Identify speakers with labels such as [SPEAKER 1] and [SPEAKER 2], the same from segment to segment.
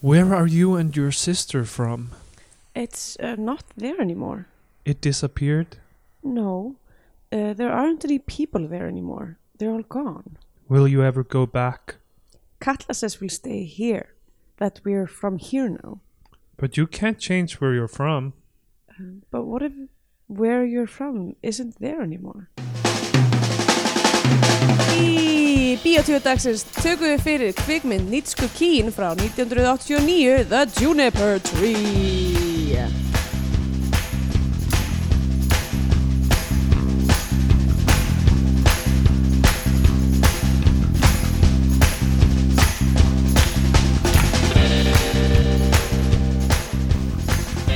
[SPEAKER 1] Where are you and your sister from?
[SPEAKER 2] It's uh, not there anymore.
[SPEAKER 1] It disappeared?
[SPEAKER 2] No, uh, there aren't any people there anymore. They're all gone.
[SPEAKER 1] Will you ever go back?
[SPEAKER 2] Katla says we stay here, that we're from here now.
[SPEAKER 1] But you can't change where you're from.
[SPEAKER 2] Um, But what if where you're from isn't there anymore?
[SPEAKER 3] Í Bíotvíu dagsins tökum við fyrir kvikmynd Nitsku Kín frá 1989 The Juniper Tree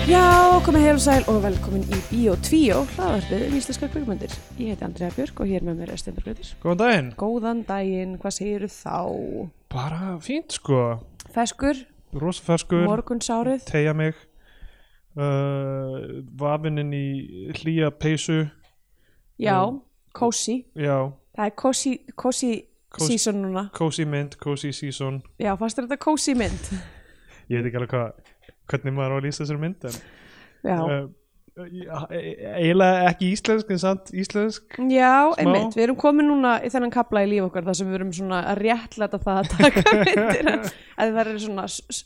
[SPEAKER 3] Já, komið heil og sæl og velkomin í Bíotvíu hlaðarpið um íslenskar kvikmyndir Ég heiti Andrea Björk og hér með mér er Stendur Gröður
[SPEAKER 1] Góðan daginn.
[SPEAKER 3] Góðan daginn, hvað segir þá?
[SPEAKER 1] Bara fínt sko.
[SPEAKER 3] Feskur,
[SPEAKER 1] Rósferskur,
[SPEAKER 3] morgunsárið
[SPEAKER 1] tegja mig, uh, vafininn í hlýja peysu.
[SPEAKER 3] Já, cozy
[SPEAKER 1] Já,
[SPEAKER 3] Það er cozy, cozy
[SPEAKER 1] Cozy.
[SPEAKER 3] season núna
[SPEAKER 1] cozy mynd, cozy season.
[SPEAKER 3] Já, fannst þér þetta cozy mynd?
[SPEAKER 1] Ég veit ekki alveg hvað, hvernig maður á að lýsa þessari mynd. En,
[SPEAKER 3] Já,
[SPEAKER 1] uh, e- eiginlega ekki íslensk, en samt íslensk.
[SPEAKER 3] Já, einmitt, við erum komin núna í þennan kapla í líf okkar þar sem við erum svona að réttlæta það að taka myndir að það eru svona s- s-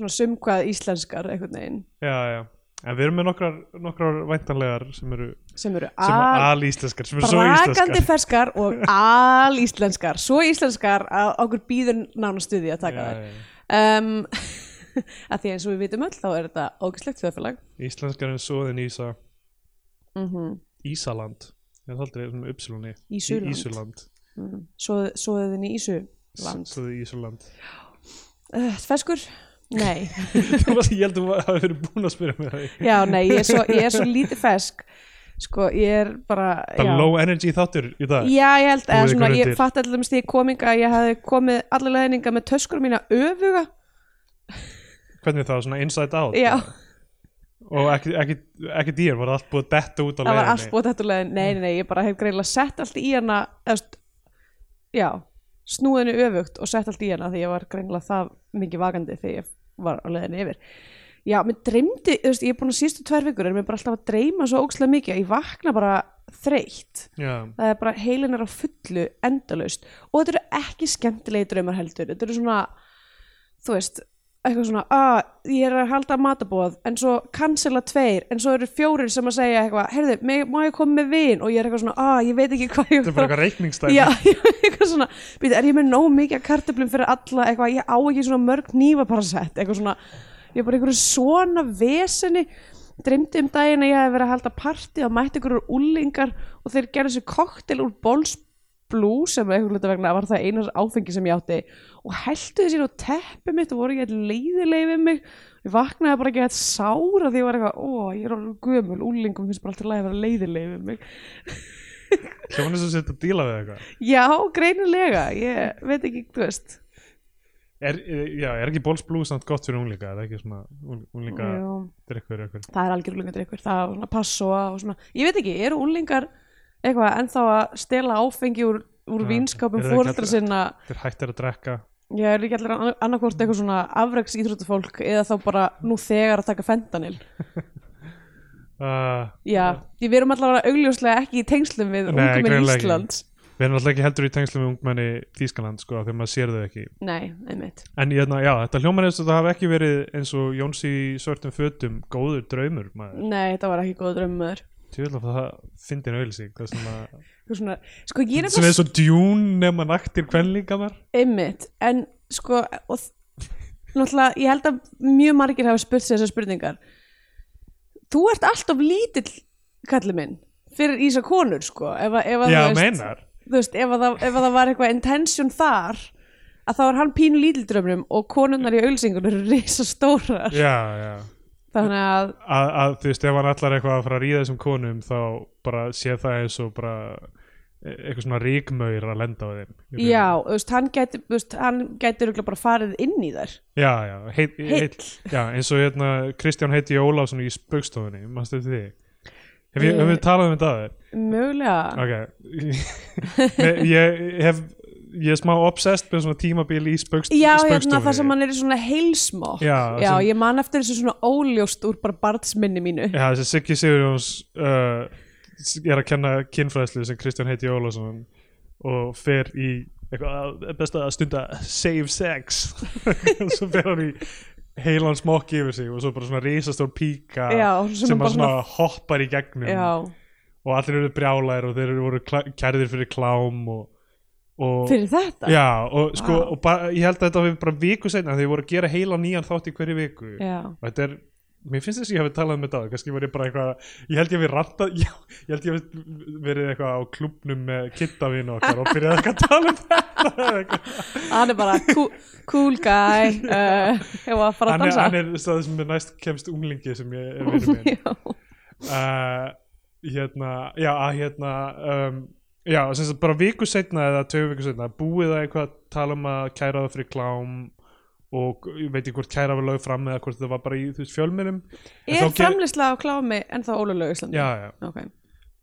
[SPEAKER 3] svona sumkvað íslenskar einhvern veginn
[SPEAKER 1] Já, já. En við erum með nokkrar, nokkrar væntanlegar sem eru
[SPEAKER 3] sem eru
[SPEAKER 1] sem
[SPEAKER 3] al-
[SPEAKER 1] alíslenskar, sem eru svo
[SPEAKER 3] brakandi
[SPEAKER 1] íslenskar.
[SPEAKER 3] ferskar og alíslenskar svo íslenskar að okkur býður nánastuði að taka
[SPEAKER 1] Já,
[SPEAKER 3] þær
[SPEAKER 1] já, já.
[SPEAKER 3] um, að því eins og við vitum öll þá er þetta ógæslegt þjóðfélag
[SPEAKER 1] Íslenskar en svoðin Ísa,
[SPEAKER 3] mm
[SPEAKER 1] Ísaland. Ég held aldrei um uppsilunni.
[SPEAKER 3] Ísuland.
[SPEAKER 1] Ísuland.
[SPEAKER 3] -hmm. svoðin í Ísuland
[SPEAKER 1] Svo þið Ísuland.
[SPEAKER 3] uh, Feskur? Nei
[SPEAKER 1] Þú varst, ég held að þú hafi verið búin að spyrja mig það.
[SPEAKER 3] Já, nei, ég er svo, ég er svo lítið fesk Sko, ég er bara
[SPEAKER 1] Það
[SPEAKER 3] já.
[SPEAKER 1] er low energy þáttur í dag.
[SPEAKER 3] Já, ég held, eða
[SPEAKER 1] Búið
[SPEAKER 3] svona,
[SPEAKER 1] ykkur
[SPEAKER 3] ég
[SPEAKER 1] undir.
[SPEAKER 3] fatt allir því ég kom inga að ég hafði komið allir leðninga með töskur mína öfuga
[SPEAKER 1] Hvernig það, svona inside out.
[SPEAKER 3] Já,
[SPEAKER 1] Og ekki, ekki, ekki dýr, var það allt búið að detta út á
[SPEAKER 3] það
[SPEAKER 1] leiðinni. Mm.
[SPEAKER 3] var allt búið þetta leðin Nei, nei, nei, ég bara hef greinlega sett allt í hana eða, st- Já, snúðinu öfugt og sett allt í hana því ég var greinlega það mikið vakandi þegar ég var á leðinni yfir Já, mér dreymdi, þú veist, ég er búin að sístu tvær vikur en mér bara alltaf að dreyma svo ókslega mikið að ég vakna bara þreytt
[SPEAKER 1] Já,
[SPEAKER 3] það er bara heilin er á fullu endalaust og þetta eru ekki skemmtilegi draumar heldur þetta eru svona þú veist, eitthvað svona að ég er að halda matabóð en svo cancela tveir, en svo eru fjórir sem að segja eitthvað, heyrðu, mig- má ég koma með vin og ég er eitthvað svona, að ég veit ekki hvað ég
[SPEAKER 1] þetta er bara eitthvað reikningstæmi.
[SPEAKER 3] Já, já, eitthvað svona, býta, er ég með nóg mikið af kartöflum fyrir alla, eitthvað, ég á ekki svona mörg nýfa bara sett, eitthvað svona, ég er bara einhverju svona veseni, dreymdi um daginn að ég hef verið að halda partí og mætti einhverjur úlingar og þeir gerðu sér koktel úr bólsblú sem eitthvað hluta vegna var það einar áfengi sem ég átti og heldu sér á teppi mitt og voru ekki eitthvað leiðilegi við mig ég vaknaði bara ekki eitthvað sára því ég var eitthvað, ó, ég er alveg gömul, úlingum finnst bara alltaf að vera leiðilegi við mig
[SPEAKER 1] Hljóðan þess að setja að díla við eitthvað.
[SPEAKER 3] Já, greinilega, ég veit ekki, þú veist
[SPEAKER 1] Er, er- já, er ekki bólsblú samt gott fyrir unglinga? Er það ekki svona ung- unglinga
[SPEAKER 3] Jú,
[SPEAKER 1] drikkur eitthvað?
[SPEAKER 3] Það er algjör úlingar drikkur, það er svona passoa og svona Ég veit ekki, eru úlingar eitthvað ennþá að stela áfengi úr, úr
[SPEAKER 1] Já,
[SPEAKER 3] vinskapum
[SPEAKER 1] eru það ekki
[SPEAKER 3] fóreldra
[SPEAKER 1] allir-
[SPEAKER 3] sinna
[SPEAKER 1] Þeir hættir að drekka.
[SPEAKER 3] Já, eru ekki allir anna- annarkvort eitthvað svona afreks íþróttufólk eða þá bara nú þegar að taka fentanil
[SPEAKER 1] Uh,
[SPEAKER 3] Já, ég verum allavega augljóslega ekki í tengslum við
[SPEAKER 1] Nei,
[SPEAKER 3] unguminn
[SPEAKER 1] greinilega ekki.
[SPEAKER 3] Íslands
[SPEAKER 1] við erum alltaf ekki heldur í tengslum við ungmenni Þískaland, sko, þegar maður sér þau ekki.
[SPEAKER 3] Nei, einmitt
[SPEAKER 1] En ég, já, þetta hljómar eins og það hafi ekki verið eins og Jóns í svörtum fötum góður draumur, maður.
[SPEAKER 3] Nei, þetta var ekki góð draumur
[SPEAKER 1] Tjóðlega að það fyndin auðlýsing, það sem að,
[SPEAKER 3] Svona, sko, ég er
[SPEAKER 1] sem er svo djún nema naktir kvenlingamar.
[SPEAKER 3] Einmitt, en sko og þ- náttúrulega, ég held að mjög margir hafa spurt sér þessar spurningar Þú ert alltof lítill kallið minn, fyrir Ísa konur sko, ef að, ef að
[SPEAKER 1] Já,
[SPEAKER 3] þú veist-
[SPEAKER 1] meinar.
[SPEAKER 3] þú veist, ef að, það, ef að það var eitthvað intention þar, að þá er hann pínu lítildrömmum og konunnar í auðsingun eru risa stórar,
[SPEAKER 1] Já, já.
[SPEAKER 3] þannig að
[SPEAKER 1] Að, að þú veist, ef hann allar eitthvað að fara að ríða þessum konum, þá bara sé það eins og bara e- eitthvað svona ríkmauður að lenda á þeim. Ég meina-
[SPEAKER 3] já, þú veist, hann gæti þú veist, hann gæti örugglega bara farið inn í þær
[SPEAKER 1] Já, já, heit,
[SPEAKER 3] Heill.
[SPEAKER 1] heit, já, eins og hérna Kristján heiti Ólafsson í spaukstofunni, mannstu eftir því? Hef ég, hef ég talað um þetta að þér?
[SPEAKER 3] mögulega,
[SPEAKER 1] Ok, ég, ég hef ég er smá obsessed með svona tímabil í spaukst,
[SPEAKER 3] Já,
[SPEAKER 1] spaukstofu
[SPEAKER 3] hérna það sem hann er í svona heilsmokk
[SPEAKER 1] Já,
[SPEAKER 3] já
[SPEAKER 1] sem-
[SPEAKER 3] ég man eftir þessu svona óljóst úr bara barnsminni mínu
[SPEAKER 1] Já, þessi Siggi Sigurjóns uh, er að kenna kynfræðslu sem Kristján heiti Ólafsson og fer í eitthvað að- best að stunda save sex svo fer hann í heilan smokk yfir sig og svo bara svona risastór píka
[SPEAKER 3] Já, sem
[SPEAKER 1] sem
[SPEAKER 3] bara
[SPEAKER 1] bara svona hoppar í gegnum
[SPEAKER 3] Já,
[SPEAKER 1] og allir eru brjálæðir og þeir eru voru kla- kærðir fyrir klám og, og
[SPEAKER 3] fyrir Ah. þetta
[SPEAKER 1] Já, og sko,
[SPEAKER 3] Vá.
[SPEAKER 1] og bara, ég held að þetta var bara viku seinna þegar ég voru að gera heila nýjan þátt í hverju viku
[SPEAKER 3] Já.
[SPEAKER 1] og þetta er, mér finnst þess að ég hafi talað um þetta áður, kannski var ég bara eitthvað, ég held ég hafi rantað, já, ég held ég hafi verið eitthvað á klubnum með kittavinu okkar og byrjaði eitthvað að tala um þetta eða eitthvað.
[SPEAKER 3] hann er bara cool, cool guy uh, hefur að fara að
[SPEAKER 1] hann er,
[SPEAKER 3] dansa
[SPEAKER 1] hann er það sem er næst kemst unglingi sem ég er verið minn
[SPEAKER 3] Já.
[SPEAKER 1] uh, hérna, já, að hérna um, já, sem sagt bara viku setna eða tvei viku setna, búið að eitthvað tala um að kæra það fyrir klám og ég veit ekki hvort kæra var lög fram eða hvort það var bara í þú veist fjölmennum
[SPEAKER 3] Er framleysla á klámi ennþá ólulegu Íslandi?
[SPEAKER 1] já, já,
[SPEAKER 3] okay.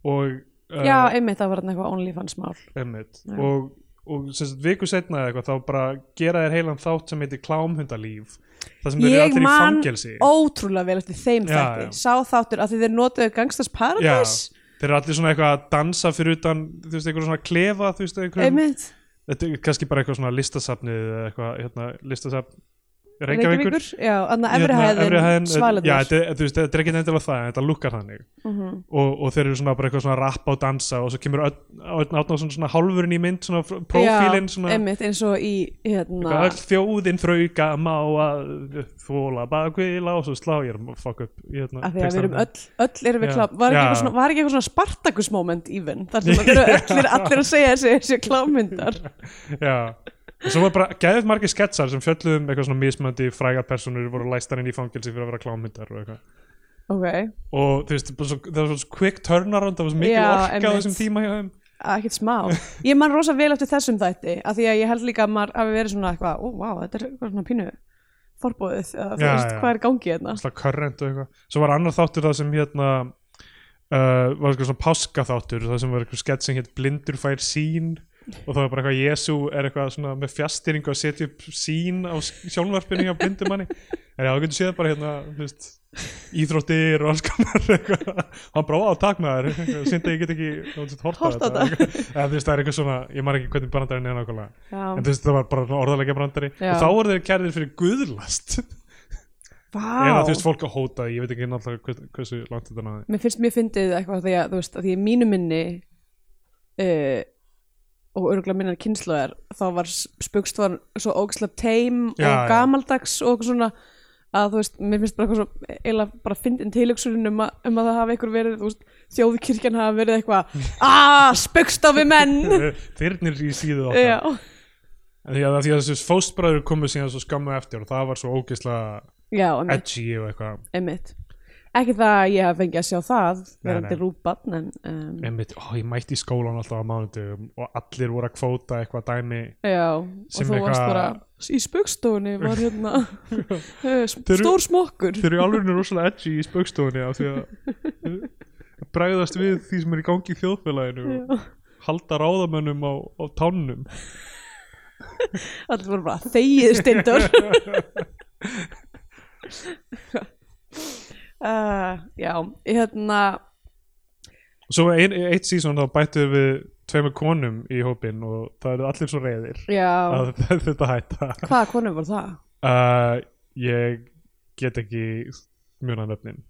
[SPEAKER 1] og uh,
[SPEAKER 3] já einmitt það var þarna eitthvað OnlyFans mál
[SPEAKER 1] einmitt
[SPEAKER 3] Já.
[SPEAKER 1] og, og sem sagt viku setna eða eitthvað þá bara gera þér heilan þátt sem heitir klámhundalíf það sem eru
[SPEAKER 3] Ég
[SPEAKER 1] allir í
[SPEAKER 3] man
[SPEAKER 1] fangelsi
[SPEAKER 3] ótrúlega vel eftir þeim
[SPEAKER 1] Já,
[SPEAKER 3] þætti
[SPEAKER 1] já.
[SPEAKER 3] Sá þáttur að því þeir notuðu Gangstars
[SPEAKER 1] já,
[SPEAKER 3] Paradise
[SPEAKER 1] þeir eru allir svona eitthvað að dansa fyrir utan, þú veist, eitthvað svona klefa þú veist, eitthvað
[SPEAKER 3] Einmitt
[SPEAKER 1] þetta er kannski bara eitthvað svona listasafnið eða eitthvað, hérna, listasafn Reykjavíkur,
[SPEAKER 3] Reykjavíkur Já, þannig að efri
[SPEAKER 1] Hérna, efri hæðin,
[SPEAKER 3] hæðin
[SPEAKER 1] já,
[SPEAKER 3] Svalendur
[SPEAKER 1] þetta, er- þú veist, þetta er ekki nefndilega það en þetta lukkar þannig
[SPEAKER 3] Mhm.
[SPEAKER 1] og, og þeir eru svona bara eitthvað svona rappa og dansa og svo kemur Ötn Átnáðsson svona hálfurinn í mynd svona fr- prófílinn svona
[SPEAKER 3] Einmitt eins og í hérna
[SPEAKER 1] eitthvað, öll þjóðin þrauka má að þvóla bakvila og svo slá ég er að fuck upp í hérna,
[SPEAKER 3] Af því að við
[SPEAKER 1] textanum.
[SPEAKER 3] erum öll, öll erum
[SPEAKER 1] Já.
[SPEAKER 3] við klám Var ekki
[SPEAKER 1] Já.
[SPEAKER 3] eitthvað svona, var ekki eitthvað svona Spartacus moment even Þar sem að eru öllir, allir að segja þessi, þessi klámyndar
[SPEAKER 1] Já, og svo var bara geðið margir sketsar sem fjölluðum eitthvað svona mismöndi fræga personur voru læstar inn í fangelsi fyrir að vera klámyndar og eitthvað
[SPEAKER 3] Ok,
[SPEAKER 1] og þú veist, bara svo, það var svo quick turnaround það var svo mikil
[SPEAKER 3] Já,
[SPEAKER 1] orka á
[SPEAKER 3] einmitt.
[SPEAKER 1] þessum tíma hjá þeim
[SPEAKER 3] ekkert smá ég man rosa vel eftir þessum þætti af því að ég held líka að maður hafi verið svona eitthvað ó, wow, þetta er eitthvað svona pínu forbóðið, eða þú
[SPEAKER 1] Já,
[SPEAKER 3] veist,
[SPEAKER 1] já.
[SPEAKER 3] hvað er gangið hérna
[SPEAKER 1] alltaf current og eitthvað svo var annar þáttur það sem hérna uh, var eitthvað svona páskaþáttur það sem var eitthvað skett sem hétt blindur fær sín og það var bara eitthvað Jesu er eitthvað svona með fjastýringu að setja upp sín á s- sjónvarpinu hjá blindumanni en já, þú getur séð bara hérna þú veist, íþróttir og alls konar eitthvað. hann bráði á takmaður sýndi að ég get ekki þú veist, horft á
[SPEAKER 3] Horft á
[SPEAKER 1] þetta eða þú veist, það er eitthvað svona, ég maður ekki hvernig brandarinn er nákvæmlega en
[SPEAKER 3] já,
[SPEAKER 1] þú veist það var bara orðalega brandari
[SPEAKER 3] Já.
[SPEAKER 1] og þá voru þeir kærðir fyrir guðlast eða þú veist
[SPEAKER 3] vá
[SPEAKER 1] fólk að hóta því, ég veit ekki náttúrulega hvers- hversu langt þetta náði
[SPEAKER 3] mér finnst mér fyndið eitthvað af því að þú veist, af því að mínu minni uh, og örgulega minnar kynnslóðar þá var spugstofan svo ógislega teim og
[SPEAKER 1] Já, já.
[SPEAKER 3] gamaldags og eitthvað svona að þú veist, mér finnst bara eitthvað svo eiginlega bara fyndin tilöksunin um, að- um að það hafi eitthvað verið, þú veist, þjóðkirkjan hafi verið eitthvað, "Ah, aaa, spugstofi menn
[SPEAKER 1] þyrnir í síðu okkar
[SPEAKER 3] Já,
[SPEAKER 1] en því að, því að þessu fóstbræður komu síðan svo skammu eftir og það var svo ógeðslega
[SPEAKER 3] já einmitt,
[SPEAKER 1] edgy og eitthvað
[SPEAKER 3] einmitt. Ekki það að ég hef fengið að sjá það
[SPEAKER 1] Nei,
[SPEAKER 3] verandi
[SPEAKER 1] nei.
[SPEAKER 3] rúbann en um,
[SPEAKER 1] Einmitt, ó, ég mætti í skólan alltaf á mánudum og allir voru að kvóta eitthvað dæmi
[SPEAKER 3] já,
[SPEAKER 1] Sem
[SPEAKER 3] og þú varst
[SPEAKER 1] eitthvað-
[SPEAKER 3] bara í spugstofunni var hérna eh, s-
[SPEAKER 1] Þeir eru-
[SPEAKER 3] stór smokkur
[SPEAKER 1] þeir eru alveg rosalega edgy í spaukstofunni af því að bregðast við því sem er í gangi í þjóðfélaginu og halda ráðamönnum á, á tánum
[SPEAKER 3] allir voru bara þegið stendur uh, Já, hérna
[SPEAKER 1] Svo ein, eitt sísón þá bættu við tveimur konum í hópin og það eru allir svo reyðir
[SPEAKER 3] já,
[SPEAKER 1] að þetta hætta
[SPEAKER 3] hvaða konu var það?
[SPEAKER 1] uh, Ég get ekki mjöna nöfnin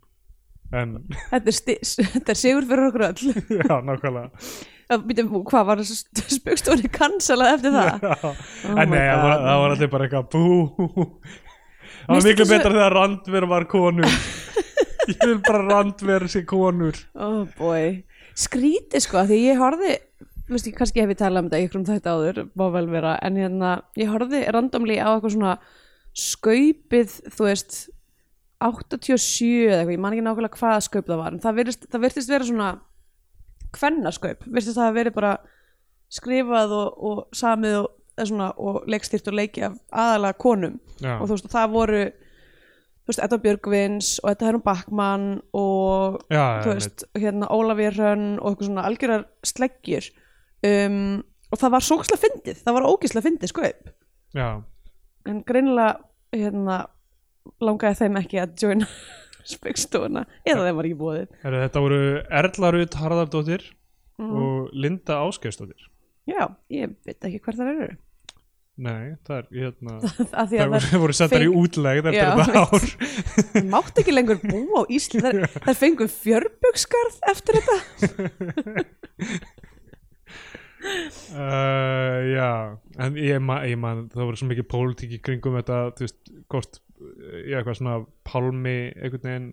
[SPEAKER 1] en
[SPEAKER 3] Þetta er, stis, þetta er sigur fyrir okkur öll
[SPEAKER 1] já, nákvæmlega
[SPEAKER 3] Eh, býtum, Hvað var spugstofunni kansalað eftir það?
[SPEAKER 1] já.
[SPEAKER 3] Oh my
[SPEAKER 1] En nei, það var,
[SPEAKER 3] God.
[SPEAKER 1] það var allir bara eitthvað bú Það
[SPEAKER 3] Mér
[SPEAKER 1] var
[SPEAKER 3] finnst
[SPEAKER 1] miklu
[SPEAKER 3] þetta svo-
[SPEAKER 1] betra þegar randver var konur Ég vil bara randver sé konur
[SPEAKER 3] oh boy skrítið sko, af því ég horfði veist ég, kannski hef ég talað um þetta í ykkur um þetta áður má vel vera, en hérna ég horfði randomli á eitthvað svona skaupið, þú veist 87 eða eitthvað, ég man ekki nákvæmlega hvaða skaup það var, en það virtist, það virtist vera svona kvennarskaup, virtist það hafa verið bara skrifað og, og samið og, eða svona, og leikstýrt og leiki af aðalega konum
[SPEAKER 1] Já,
[SPEAKER 3] og þú veist, og það voru þú veist, Edda Björgvins og Edda Herrum Backmann og
[SPEAKER 1] já,
[SPEAKER 3] þú veist, hérna Ólafir Hrönn og eitthvað svona algjörar sleggjur um, og það var sókslega fyndið, það var ógislega fyndið skaup
[SPEAKER 1] já,
[SPEAKER 3] en greinilega hérna, langaði þeim ekki að joina spekstofuna eða þeim var ekki búið
[SPEAKER 1] Heru, þetta voru Erla Rut Harðardóttir
[SPEAKER 3] mm.
[SPEAKER 1] og Linda Áskjöfsdóttir
[SPEAKER 3] já, ég veit ekki hver það eru
[SPEAKER 1] nei, það er hérna
[SPEAKER 3] af því
[SPEAKER 1] það
[SPEAKER 3] að það
[SPEAKER 1] voru, voru settar í
[SPEAKER 3] feng-
[SPEAKER 1] útlegð
[SPEAKER 3] Já,
[SPEAKER 1] eftir þetta ár
[SPEAKER 3] mátt ekki lengur búa á Íslandi þær, þær fengu fjörbugskarð eftir þetta
[SPEAKER 1] uh, já, en ég, ma ég man það voru svo mikið pólitík í kringum þetta þú veist, hvort ég eitthvað svona pálmi einhvern veginn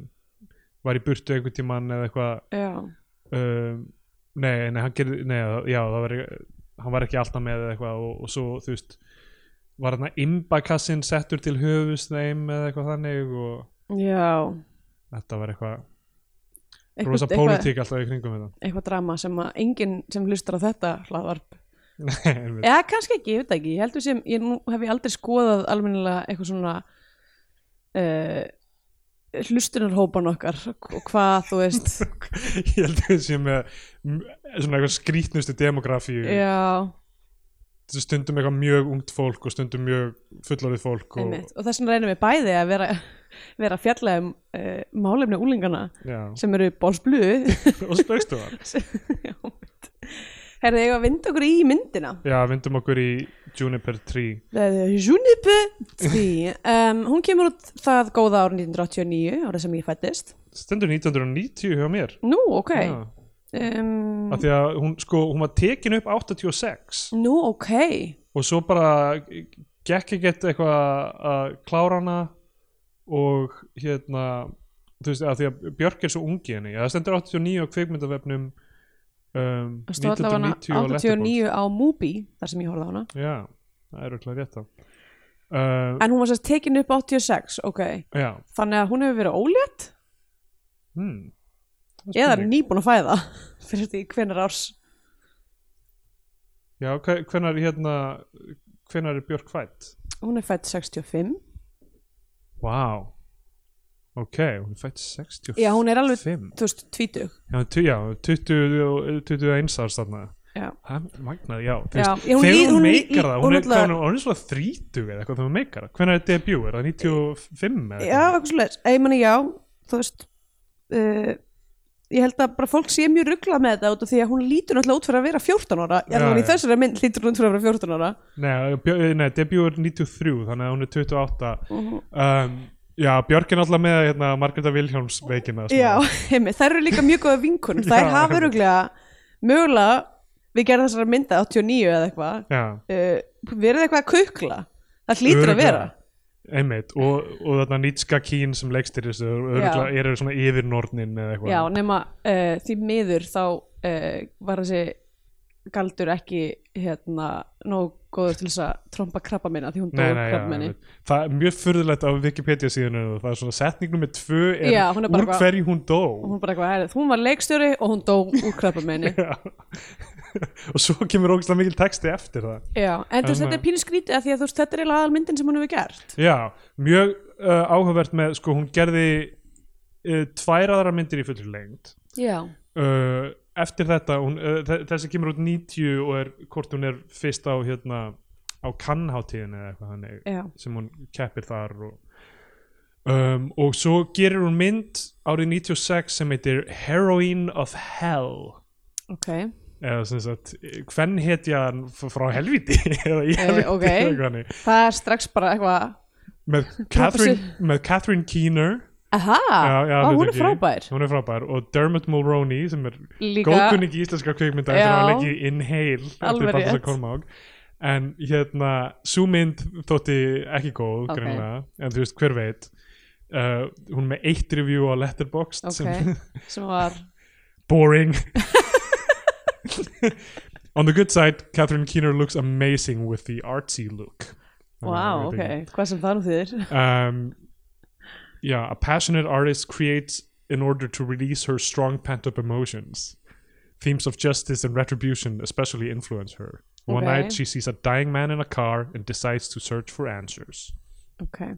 [SPEAKER 1] var í burtu einhvern tímann eða eitthvað
[SPEAKER 3] já,
[SPEAKER 1] um, nei, nei, hann gerði nei, það- já, það var, hann var ekki alltaf með eða eitthvað og, og svo, þú veist var hann að imbakassin settur til höfus þeim eða eitthvað þannig og
[SPEAKER 3] já
[SPEAKER 1] þetta var eitthvað,
[SPEAKER 3] Eitthvað-
[SPEAKER 1] rosa
[SPEAKER 3] eitthvað-
[SPEAKER 1] pólitík alltaf í kringum þetta
[SPEAKER 3] eitthvað drama sem að enginn sem hlustar á þetta hlaðvarp
[SPEAKER 1] Nei, einmitt.
[SPEAKER 3] eða kannski ekki, ég veit það ekki, ég heldur sem ég nú hef ég aldrei skoðað almennilega eitthvað svona uh, hlustunarhópan okkar og hvað þú veist
[SPEAKER 1] ég held að þessi með m- svona eitthvað skrýtnustu demografíu
[SPEAKER 3] já,
[SPEAKER 1] stundum eitthvað mjög ungt fólk og stundum mjög fullorðið fólk og,
[SPEAKER 3] einmitt, og þess vegna reynum við bæði að vera, vera að fjalla um uh, málefni úlingana
[SPEAKER 1] já,
[SPEAKER 3] sem eru bólsblu
[SPEAKER 1] og spöngstu það
[SPEAKER 3] herði ég að vinda okkur í myndina
[SPEAKER 1] já, vindum okkur í Juniper 3
[SPEAKER 3] Það er Junipe Tree um, hún kemur út það góða ár 1989 árið sem ég fættist
[SPEAKER 1] stendur 1990 hjá mér
[SPEAKER 3] nú, ok
[SPEAKER 1] já.
[SPEAKER 3] um,
[SPEAKER 1] af því að hún, sko, hún var tekin upp 86
[SPEAKER 3] Nú, ok
[SPEAKER 1] og svo bara gekk ekki eitthvað að klára hana og hérna þú veist, af því að Björk er svo ungi henni ja, það stendur 89 á kvikmyndavefnum um,
[SPEAKER 3] Það stóð allavega
[SPEAKER 1] 1990 á
[SPEAKER 3] hana 89 á Mubi þar sem ég horfði á hana
[SPEAKER 1] Letterboxd. já, það er öll að rétta uh,
[SPEAKER 3] En hún var sérst tekin upp 86, ok
[SPEAKER 1] já
[SPEAKER 3] Þannig að hún hefur verið ólétt
[SPEAKER 1] hmm. Það er
[SPEAKER 3] eða
[SPEAKER 1] spurning.
[SPEAKER 3] nýbúin að fæða fyrir því hvenar árs
[SPEAKER 1] já, hve- hvenær hérna hvenær er Björk fætt?
[SPEAKER 3] Hún er fætt 65
[SPEAKER 1] Vá wow. ok, hún er fætt 65
[SPEAKER 3] Já, hún er alveg 2020
[SPEAKER 1] Já, tu- já 20 og- 21 árs þarna
[SPEAKER 3] Já.
[SPEAKER 1] Það er magnað, já, þú
[SPEAKER 3] Já,
[SPEAKER 1] veist,
[SPEAKER 3] já, hún
[SPEAKER 1] Þegar
[SPEAKER 3] lí-
[SPEAKER 1] hún,
[SPEAKER 3] hún lí-
[SPEAKER 1] meikar það, hún
[SPEAKER 3] hún
[SPEAKER 1] er,
[SPEAKER 3] náttúrulega-
[SPEAKER 1] hún, er, hún er svona 30 eða eitthvað þegar hún meikar það Hvernig er debut, er það 95 eða
[SPEAKER 3] Já,
[SPEAKER 1] eitthvað?
[SPEAKER 3] eitthvað svo leis Ég meni já, þú veist uh, Ég held að bara fólk sé mjög ruglað með þetta út af því að hún lítur náttúrulega út fyrir að vera 14 ára
[SPEAKER 1] Já,
[SPEAKER 3] Já, hún í
[SPEAKER 1] já.
[SPEAKER 3] þessari mynd lítur hún út fyrir að vera 14 ára
[SPEAKER 1] Nei, bjö- nei, debut er 93, þannig að hún er 28 um, Já, Björk er náttúrulega með hérna, Margreta Vilhjálms veikina svona.
[SPEAKER 3] Já, heimi, þær eru líka mjög góða vinkunum
[SPEAKER 1] Já,
[SPEAKER 3] Þær hafa
[SPEAKER 1] einmitt.
[SPEAKER 3] öruglega mögulega við gerðum þessara mynda 89 eða eitthvað
[SPEAKER 1] já
[SPEAKER 3] uh, verið eitthvað að kukla það hlýtur að
[SPEAKER 1] Örugglega.
[SPEAKER 3] vera
[SPEAKER 1] Einmitt, og, og þarna Nitska Kín sem leikstir þessu, örugglega eru svona yfirnornin eða eitthvað
[SPEAKER 3] Já, nema uh, því miður þá uh, var þessi galdur ekki hérna nóg góður til þess að tromba krabba minna því hún
[SPEAKER 1] Nei,
[SPEAKER 3] dói
[SPEAKER 1] nei, já,
[SPEAKER 3] krabba minni
[SPEAKER 1] einmitt. það er mjög furðulegt á Wikipedia síðan það er svona setningnum með tvö er
[SPEAKER 3] Já, hún er bara
[SPEAKER 1] úr
[SPEAKER 3] eitthvað-
[SPEAKER 1] hverju hún dó
[SPEAKER 3] og hún bara eitthvað herrið, hún var leikstjóri og hún dó úr krabba minni
[SPEAKER 1] Já. og svo kemur ógæslega mikil texti eftir það
[SPEAKER 3] Já, en þú veist
[SPEAKER 1] Þannig-
[SPEAKER 3] þetta er pínu skrítið að því að þú veist þetta er eiginlega aðal myndin sem hún hefur gert
[SPEAKER 1] já, mjög uh, áhugavert með sko hún gerði uh, tvær aðra myndir í fullri lengd
[SPEAKER 3] Já,
[SPEAKER 1] uh, eftir þetta hún, uh, þe- þessi kemur út 90 og er hvort hún er fyrst á hérna á kannháttíðin eða eitthvað þannig
[SPEAKER 3] já,
[SPEAKER 1] sem hún keppir þar og, um, og svo gerir hún mynd árið 96 sem heitir Heroine of Hell
[SPEAKER 3] ok
[SPEAKER 1] eða sem sagt hvern hetja frá helviti eða í helviti
[SPEAKER 3] ok.
[SPEAKER 1] eða eitthvað þannig.
[SPEAKER 3] Það er strax bara eitthvað
[SPEAKER 1] með, Catherine, með Catherine Keener
[SPEAKER 3] Aha,
[SPEAKER 1] Já, já,
[SPEAKER 3] á, Ah. hún er
[SPEAKER 1] hlutverki.
[SPEAKER 3] frábær
[SPEAKER 1] hún er frábær og Dermot Mulroney sem er
[SPEAKER 3] Líka,
[SPEAKER 1] góðkunning í íslenska kvikmynda eftir að
[SPEAKER 3] Já.
[SPEAKER 1] hafa leikið Inhale
[SPEAKER 3] Alveg
[SPEAKER 1] eftir Baltasar
[SPEAKER 3] rétt.
[SPEAKER 1] Kormák en hérna, sú mynd þótti ekki góð
[SPEAKER 3] Ok.
[SPEAKER 1] greinilega, en þú veist hver veit uh, hún er með eitt review á Letterboxd sem
[SPEAKER 3] ok, sem var
[SPEAKER 1] boring on the good side Catherine Keener looks amazing with the artsy look
[SPEAKER 3] Wow,
[SPEAKER 1] Þannig að
[SPEAKER 3] ok, hvað sem það nú þýðir
[SPEAKER 1] um, yeah, a passionate artist creates in order to release her strong pent up emotions. Themes of justice and retribution especially influence her. One
[SPEAKER 3] Okay.
[SPEAKER 1] night she sees a dying man in a car and decides to search for answers.
[SPEAKER 3] Ok,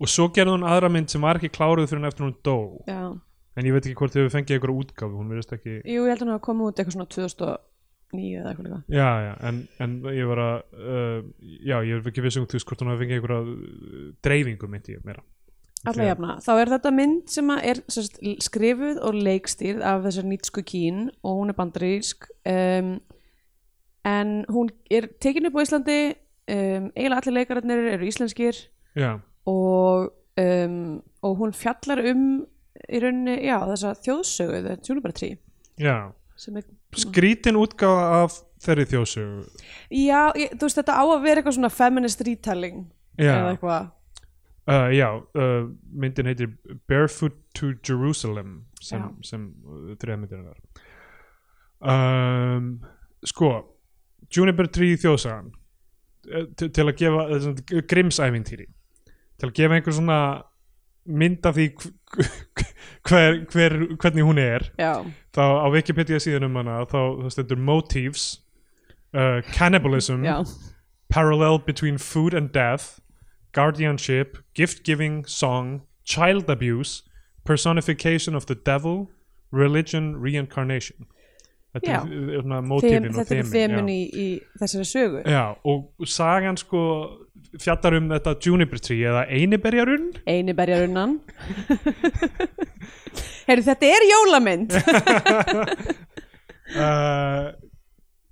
[SPEAKER 1] Og svo gerði hún aðra mynd sem var ekki kláruð fyrir hún eftir hún dó.
[SPEAKER 3] já
[SPEAKER 1] En ég veit ekki hvort þau hefur fengið einhverja útgáfu, hún verðist ekki...
[SPEAKER 3] Jú, ég held að hún hafa komið út eitthvað svona 2005 nýju eða eitthvað líka
[SPEAKER 1] já, já, en, en ég var að uh, já, ég er ekki viss um þú veist hvort hún hafi fengið einhverja uh, dreifingu myndi ég meira
[SPEAKER 3] Alla jafna, þá er þetta mynd sem að er sem sagt, skrifuð og leikstýrð af þessar nýtsku kín og hún er bandarísk um, en hún er tekin upp á Íslandi um, eiginlega allir leikararnir eru íslenskir
[SPEAKER 1] já,
[SPEAKER 3] og, um, og hún fjallar um í rauninni, já, þessa þjóðsögu The Juniper Tree
[SPEAKER 1] já,
[SPEAKER 3] sem er,
[SPEAKER 1] Sko. skrítin útgáfa af þeirri þjóðsögu
[SPEAKER 3] já, ég, þú veist þetta á að vera eitthvað svona feminist retelling eða
[SPEAKER 1] já,
[SPEAKER 3] eitthvað
[SPEAKER 1] uh, já uh, myndin heitir Barefoot to Jerusalem sem,
[SPEAKER 3] Já.
[SPEAKER 1] sem uh, þriðmyndin er um, sko Juniper 3 þjóðsagan eh, til til að gefa eh, svona grimsævintýri til að gefa einhver svona mynd af því hv- hver, hver, hvernig hún er
[SPEAKER 3] já,
[SPEAKER 1] þá á Wikipedia síðan um hana þá, þá stendur motifs uh, cannibalism
[SPEAKER 3] já,
[SPEAKER 1] parallel between food and death, guardianship, gift giving, song, child abuse, personification of the devil, religion, reincarnation. Þetta
[SPEAKER 3] Já.
[SPEAKER 1] er eh, svona
[SPEAKER 3] Þem,
[SPEAKER 1] mótífin og Eh.
[SPEAKER 3] þetta er
[SPEAKER 1] þemin.
[SPEAKER 3] þemin í, í þessari sögu
[SPEAKER 1] Já. já, og sagan sko fjallar um þetta juniper tree eða einiberjarunn.
[SPEAKER 3] eini berjarunnan heyrðu þetta er jólamynd
[SPEAKER 1] Eh. Uh,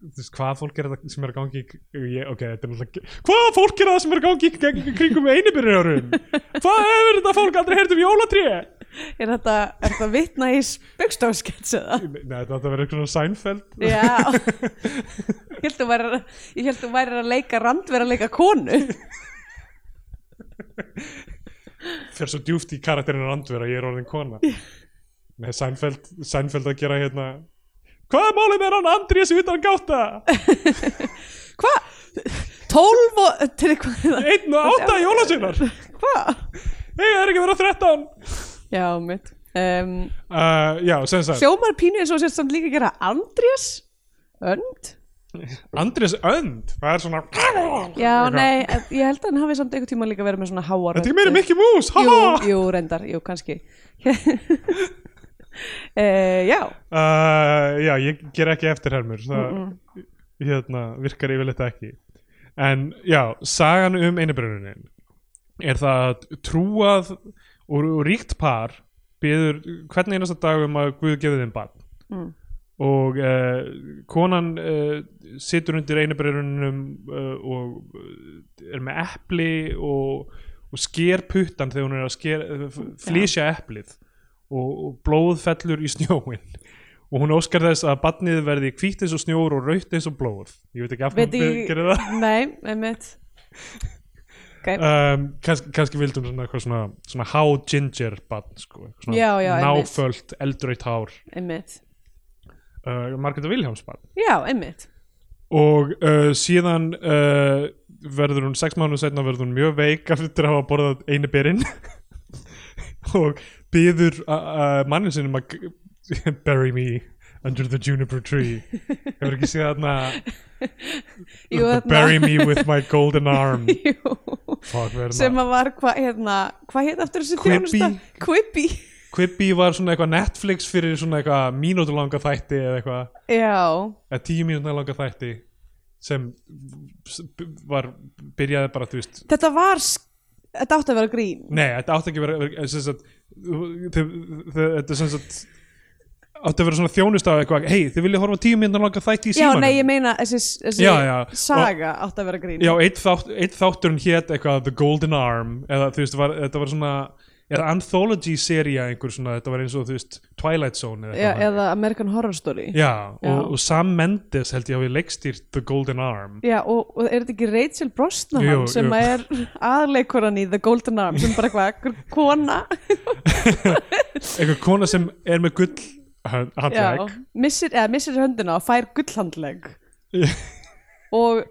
[SPEAKER 1] þú veist, hvað fólk er það sem er að gangi í- ég, ok, þetta er náttúrulega hvað fólk er það sem er að gangi í gegn- kringum einibyrjarun hvað hefur þetta fólk aldrei heyrt um jólatré
[SPEAKER 3] er þetta, er þetta vitna í spöggstofskets eða?
[SPEAKER 1] Nei, þetta átti að vera eitthvað svona Seinfeld
[SPEAKER 3] Já Ég held þú værir að- ég held þú væri að leika randvera að leika konu
[SPEAKER 1] Fyrir svo djúft í karakterinu randvera Ég er orðin kona Nei, Seinfeld, Seinfeld að gera hérna Hvað er málið með hann Andrés utan gáta?
[SPEAKER 3] Hva? Tólf og til hvað
[SPEAKER 1] Einn og átta í jólasinnar
[SPEAKER 3] Hva?
[SPEAKER 1] Nei, það er ekki að vera 13
[SPEAKER 3] Já, mitt um,
[SPEAKER 1] uh, Já, sem sagt
[SPEAKER 3] Hljómar pínu eins og sér samt líka að gera Andrés Önd?
[SPEAKER 1] Andrés önd, það er svona
[SPEAKER 3] Já,
[SPEAKER 1] Eitthvað.
[SPEAKER 3] nei, ég held að hann hafi samt einhvern tíma líka verið með svona háar
[SPEAKER 1] Þetta er ekki
[SPEAKER 3] röddir.
[SPEAKER 1] meiri Mickey Mouse, ha
[SPEAKER 3] jú,
[SPEAKER 1] ha
[SPEAKER 3] jú, reyndar, jú, kannski uh, Já,
[SPEAKER 1] uh, já, ég ger ekki eftirhermur það hérna, virkar yfirleitt ekki en já, sagan um einibrunnin er það að trúað og, og ríkt par býður hvern einasta dag um að Guð gefið þeim barn
[SPEAKER 3] Mm.
[SPEAKER 1] og uh, konan uh, situr undir einibrunninum uh, og uh, er með epli og, og sker puttan þegar hún er að sker, flýsja eplið og, og blóð fellur í snjóin og hún óskar þess að barnið verði hvítt eins og snjór og rautt eins og blóð ég veit ekki af
[SPEAKER 3] Veit
[SPEAKER 1] hverju hún
[SPEAKER 3] ekki-
[SPEAKER 1] gerir það
[SPEAKER 3] nei, einmitt
[SPEAKER 1] um, kannski, kannski vildum svona, eitthvað svona, svona há ginger barn sko, eitthvað svona
[SPEAKER 3] Já, já, einmitt.
[SPEAKER 1] náfölt eldraut hár
[SPEAKER 3] Einmitt.
[SPEAKER 1] uh, Margreta Vilhjáms barn
[SPEAKER 3] Já, einmitt.
[SPEAKER 1] og uh, síðan uh, verður hún sex mánuð setna verður hún mjög veik eftir að hafa borðað einu berinn og byður uh, mannin sinum að g- bury me under the juniper tree hefur ekki séð þarna
[SPEAKER 3] Jú,
[SPEAKER 1] "The
[SPEAKER 3] þarna-
[SPEAKER 1] bury me with my golden arm
[SPEAKER 3] Jú,
[SPEAKER 1] Fuck, verður
[SPEAKER 3] sem
[SPEAKER 1] maður-
[SPEAKER 3] að var hvað hérna, hvað hérna aftur þessi
[SPEAKER 1] Quibi.
[SPEAKER 3] þjónusta? Quibi.
[SPEAKER 1] Quibi var svona eitthvað Netflix fyrir svona eitthvað mínútur langa þætti eða eitthvað
[SPEAKER 3] Já,
[SPEAKER 1] eða tíu mínútur langa þætti sem s- b- var byrjaði bara þú veist
[SPEAKER 3] þetta var, sk- þetta átti að vera grín.
[SPEAKER 1] Nei, þetta átti ekki að vera- vera sem sagt, þau- þau- þau- þetta sem sagt átti að vera svona þjónust á eitthvað hei, þið viljið horfa á tíu myndan langa þætti í
[SPEAKER 3] Já,
[SPEAKER 1] símanum
[SPEAKER 3] nei, ég meina þessi, þessi
[SPEAKER 1] Já, já.
[SPEAKER 3] saga átti að vera grín.
[SPEAKER 1] Já, eitt, þátt, eitt þátturinn hét eitthvað The Golden Arm eða þú veist, var, þetta var svona eða anthology seria einhver svona þetta var eins og þú veist, Twilight Zone
[SPEAKER 3] Já,
[SPEAKER 1] eitthvað þannig.
[SPEAKER 3] eða American Horror Story.
[SPEAKER 1] Já,
[SPEAKER 3] Já.
[SPEAKER 1] og, og Sam Mendes held ég að við leikstýrt The Golden Arm
[SPEAKER 3] Já, og, og er þetta ekki Rachel Brosnahan
[SPEAKER 1] Jú,
[SPEAKER 3] sem
[SPEAKER 1] jú.
[SPEAKER 3] jú. er aðleikuran í The Golden Arm sem bara eitthvað einhver kona
[SPEAKER 1] eitthvað kona sem er með gull hand-
[SPEAKER 3] já,
[SPEAKER 1] handlegg
[SPEAKER 3] missir, eða, missir höndina og fær gullhandleg
[SPEAKER 1] Já.
[SPEAKER 3] og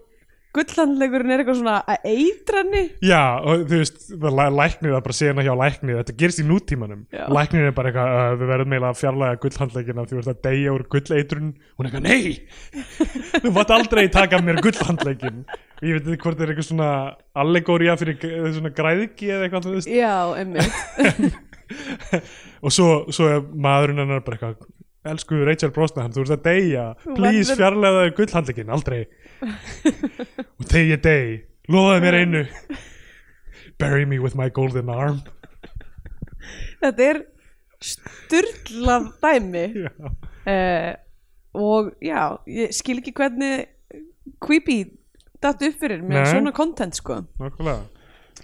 [SPEAKER 3] gullhandlegurinn er eitthvað svona að eitranni
[SPEAKER 1] Já, og þú veist, það læ- læknir það bara sena hjá læknir, þetta gerist í nútímanum
[SPEAKER 3] Já.
[SPEAKER 1] læknir er bara eitthvað, uh, við verðum eiginlega að fjarlæga gullhandleggina því þú ert að deyja úr gulleitrun hún er eitthvað, nei þú mátt aldrei taka af mér gullhandleggin og ég veit ekki hvort það er eitthvað svona allegória fyrir g- svona græðiki eða eitthvað, þú veist,
[SPEAKER 3] já, emmi
[SPEAKER 1] og svo, svo er maðurinn hennar bara eitthvað elsku Rachel Brosnan, þú ert að deyja please
[SPEAKER 3] verður-
[SPEAKER 1] fjarlæðaði gullhandlegin, aldrei og þegar ég dey loðaði mér einu bury me with my golden arm
[SPEAKER 3] þetta er styrlað dæmi
[SPEAKER 1] Já.
[SPEAKER 3] uh, og já ég skil ekki hvernig creepy datt upp fyrir með
[SPEAKER 1] Nei.
[SPEAKER 3] svona content sko
[SPEAKER 1] Nákvæmlega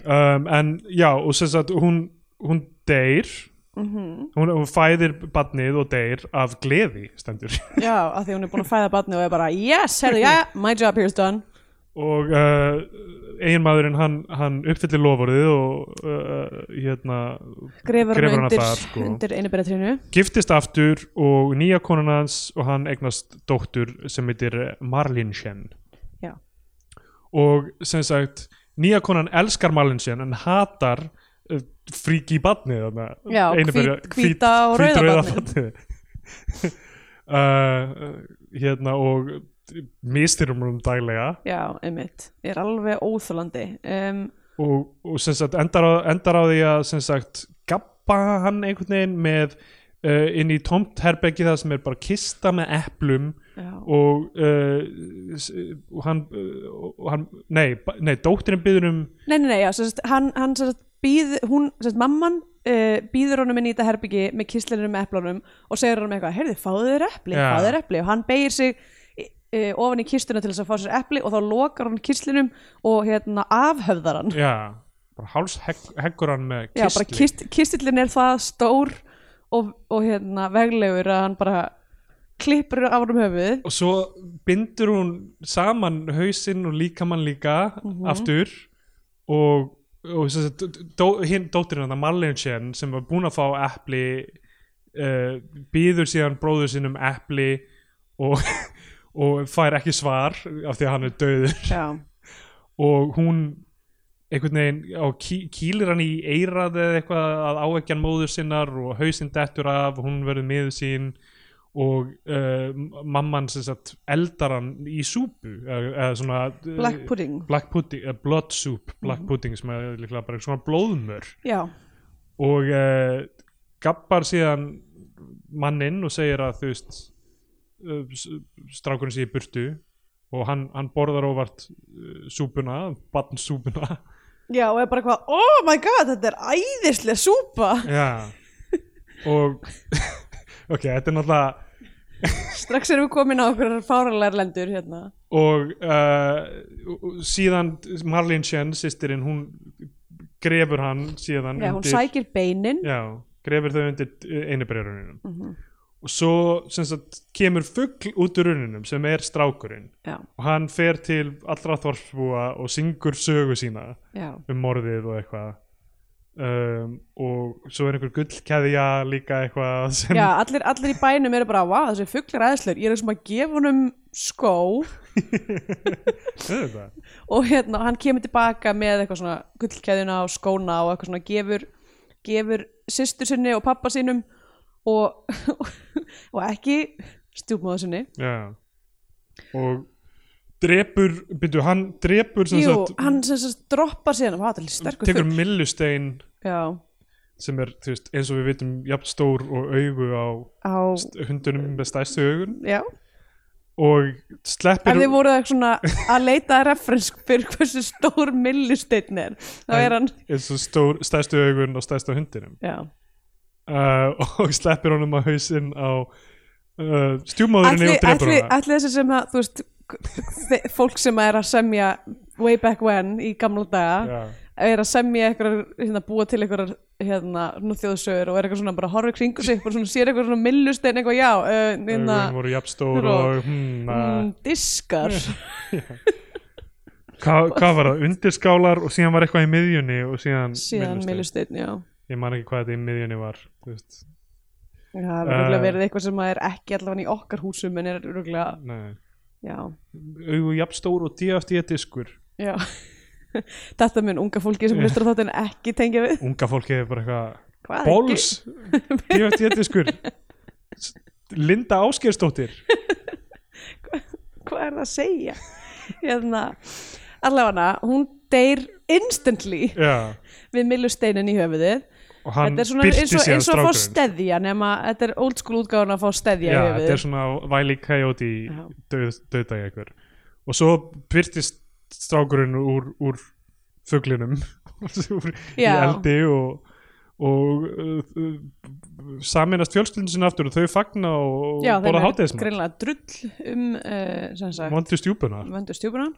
[SPEAKER 1] um, En já, og sem sagt hún, hún deyr hún, hún fæðir badnið og deyr af gleði stendur
[SPEAKER 3] já, af því hún er búin að fæða barni og er bara yes, herðu, já, my job here is done
[SPEAKER 1] og uh, eiginmaðurinn hann, hann uppfyllir lofurðið og uh, hérna, Grefur
[SPEAKER 3] grefur hann
[SPEAKER 1] hana
[SPEAKER 3] undir,
[SPEAKER 1] þar, sko.
[SPEAKER 3] undir einu beratrínu
[SPEAKER 1] giftist aftur og nýja konan hans og hann eignast dóttur sem heitir Marlin Shen
[SPEAKER 3] Já.
[SPEAKER 1] og sem sagt nýja konan elskar Marlin Shen en hatar uh, fríki í badnið þarna,
[SPEAKER 3] Já,
[SPEAKER 1] einu
[SPEAKER 3] hvít-
[SPEAKER 1] berja- hvít-
[SPEAKER 3] hvíta og
[SPEAKER 1] hvít-
[SPEAKER 3] rauða
[SPEAKER 1] barnið. uh, hérna og mistyrum um daglega
[SPEAKER 3] já, einmitt, er alveg óþólandi um,
[SPEAKER 1] og, og sem sagt endar á, endar á því að sem sagt gappa hann einhvern veginn með uh, inn í tómt herbeggi það sem er bara kista með eplum
[SPEAKER 3] já,
[SPEAKER 1] og, uh, s- og hann, uh, og hann nei, ba- nei, dóttirinn byður um
[SPEAKER 3] nei, nei, nei, já, sérst, hann, hann sérst, býð, hún, sérst, mamman uh, býður honum inn í þetta herbyggi með kýslinum með eplunum og segir honum eitthvað, heyrðu, fáðu þér epli,
[SPEAKER 1] Já.
[SPEAKER 3] fáðu þér epli og hann beigir sig uh, ofan í kistuna til þess að fá sér epli og þá lokar hann kýslinum og hérna afhöfðar hann
[SPEAKER 1] já, bara hálsheggur hann með
[SPEAKER 3] já,
[SPEAKER 1] kistli
[SPEAKER 3] bara kist, kistillin er það stór og, og hérna veglegur að hann bara klippur af honum höfuðið
[SPEAKER 1] og svo bindur hún saman hausinn og líkamann líka aftur og, og sem sagt, dó, hinn dóttirinn hann, Marlinchen, sem var búin að fá epli uh, býður síðan bróður sinn um epli og, og fær ekki svar af því að hann er döður
[SPEAKER 3] já,
[SPEAKER 1] og hún einhvern veginn á, ký, kýlir hann í eirað eða eitthvað að áekjan móður sinnar og hausinn dettur af og hún verður miður sín og uh, mamman sem sagt eldar hann í súpu eða eða svona eh,
[SPEAKER 3] black pudding
[SPEAKER 1] black pudding, uh, blood soup black pudding sem er líklega bara svona blóðmör
[SPEAKER 3] já,
[SPEAKER 1] og uh, gappar síðan mannin og segir að þú veist uh, s- strákurinn sé í burtu og hann, hann borðar óvart uh, súpuna, barnsúpuna
[SPEAKER 3] já, og er bara eitthvað oh my god, þetta er æðislega súpa
[SPEAKER 1] Já Og Ok, þetta er náttúrulega
[SPEAKER 3] strax erum við komin á okkur fáralegar lendur hérna
[SPEAKER 1] Og uh, síðan Marlene Shen, sýstirinn, hún grefur hann síðan
[SPEAKER 3] já, hún sækir beinin
[SPEAKER 1] Já, grefur þau undir einubrérununum mm
[SPEAKER 3] Mhm.
[SPEAKER 1] Og svo sem sagt, kemur fugl út úr runinum sem er strákurinn
[SPEAKER 3] já,
[SPEAKER 1] og hann fer til allra þorpsbúa og syngur sögu sína
[SPEAKER 3] já,
[SPEAKER 1] um morðið og eitthvað um, og svo er einhver gullkeðja líka eitthvað sem
[SPEAKER 3] já allir, allir í bænum eru bara wow, þessi fuglar æðislegur, ég er sem að gefa honum skó
[SPEAKER 1] Auðvitað.
[SPEAKER 3] og hérna, hann kemur tilbaka með eitthvað svona gullkeðjuna og skóna og eitthvað svona gefur, gefur systur sinni og pappa sinum og, og ekki stjúpmóðu sinni
[SPEAKER 1] Já Og drepur, byrju, hann drepur sem
[SPEAKER 3] Jú,
[SPEAKER 1] sagt,
[SPEAKER 3] hann sem sagt droppar síðan og hann er sterkur
[SPEAKER 1] tekur
[SPEAKER 3] fugl
[SPEAKER 1] millustein
[SPEAKER 3] Já,
[SPEAKER 1] sem er, þú veist, eins og við vitum jafn stór og augu á
[SPEAKER 3] á,
[SPEAKER 1] st- hundunum með stæstu augun
[SPEAKER 3] já
[SPEAKER 1] og
[SPEAKER 3] Ef
[SPEAKER 1] sleppir
[SPEAKER 3] þið voruð eitthvað svona að leita að referens fyrir hversu stór millisteinn er þá
[SPEAKER 1] En-
[SPEAKER 3] er hann,
[SPEAKER 1] eins og stór, stæstu augun og stæstu á hundinum
[SPEAKER 3] já
[SPEAKER 1] uh, og sleppir honum á hausinn á uh, stjúmaðurinni
[SPEAKER 3] Ætli,
[SPEAKER 1] og drepur
[SPEAKER 3] ætli,
[SPEAKER 1] hana
[SPEAKER 3] ætli þessi sem að, þú veist þe- fólk sem er að semja way back when í gamla daga
[SPEAKER 1] Já.
[SPEAKER 3] er að semja eitthvað, hérna, búa til eitthvað hérna, svona þjóðsögur og er eitthvað svona bara horfir kringu sig, bara svona sér eitthvað svona millustein eitthvað, já, uh, hérna
[SPEAKER 1] augun voru jafn stór
[SPEAKER 3] og-
[SPEAKER 1] og hmm,
[SPEAKER 3] mm, diskar
[SPEAKER 1] hvað hva var það, undirskálar og síðan var eitthvað í miðjunni og síðan,
[SPEAKER 3] síðan
[SPEAKER 1] myllusteinn.
[SPEAKER 3] millustein, já
[SPEAKER 1] ég man ekki hvað þetta í miðjunni var þú veist,
[SPEAKER 3] Já, það er
[SPEAKER 1] Eh.
[SPEAKER 3] örugglega verið eitthvað sem er ekki allavega í okkar húsum en er rúglega,
[SPEAKER 1] nei
[SPEAKER 3] já,
[SPEAKER 1] augu jafn stór og DFD diskur
[SPEAKER 3] já þetta mun unga fólki sem hlustur á þáttin ekki tengja við
[SPEAKER 1] unga fólki er bara eitthvað
[SPEAKER 3] Hvað er
[SPEAKER 1] bóls, DFD diskur Linda Áskeirsdóttir
[SPEAKER 3] hvað er það að segja hérna, allavega hún deyr instantly
[SPEAKER 1] já,
[SPEAKER 3] við millusteinin í höfuðið
[SPEAKER 1] og hann
[SPEAKER 3] þetta er svona eins
[SPEAKER 1] byrti
[SPEAKER 3] og,
[SPEAKER 1] síðan
[SPEAKER 3] eins og að fá
[SPEAKER 1] strákurinn
[SPEAKER 3] steðja nema þetta er old school útgáðan að fá steðja
[SPEAKER 1] já,
[SPEAKER 3] í höfuðið.
[SPEAKER 1] þetta er svona væli kæjóti
[SPEAKER 3] Já.
[SPEAKER 1] döðdagi einhver og svo byrtist strákurinn úr, úr fuglinum úr, í
[SPEAKER 3] Já.
[SPEAKER 1] eldi og, og uh, uh, saminast fjölskyldin sinna aftur og þau fagna og
[SPEAKER 3] Já,
[SPEAKER 1] og
[SPEAKER 3] þeim
[SPEAKER 1] borða
[SPEAKER 3] er
[SPEAKER 1] hátegismann
[SPEAKER 3] greinilega drull um uh, sem sagt,
[SPEAKER 1] vondu stjúpuna
[SPEAKER 3] vöndu stjúpuna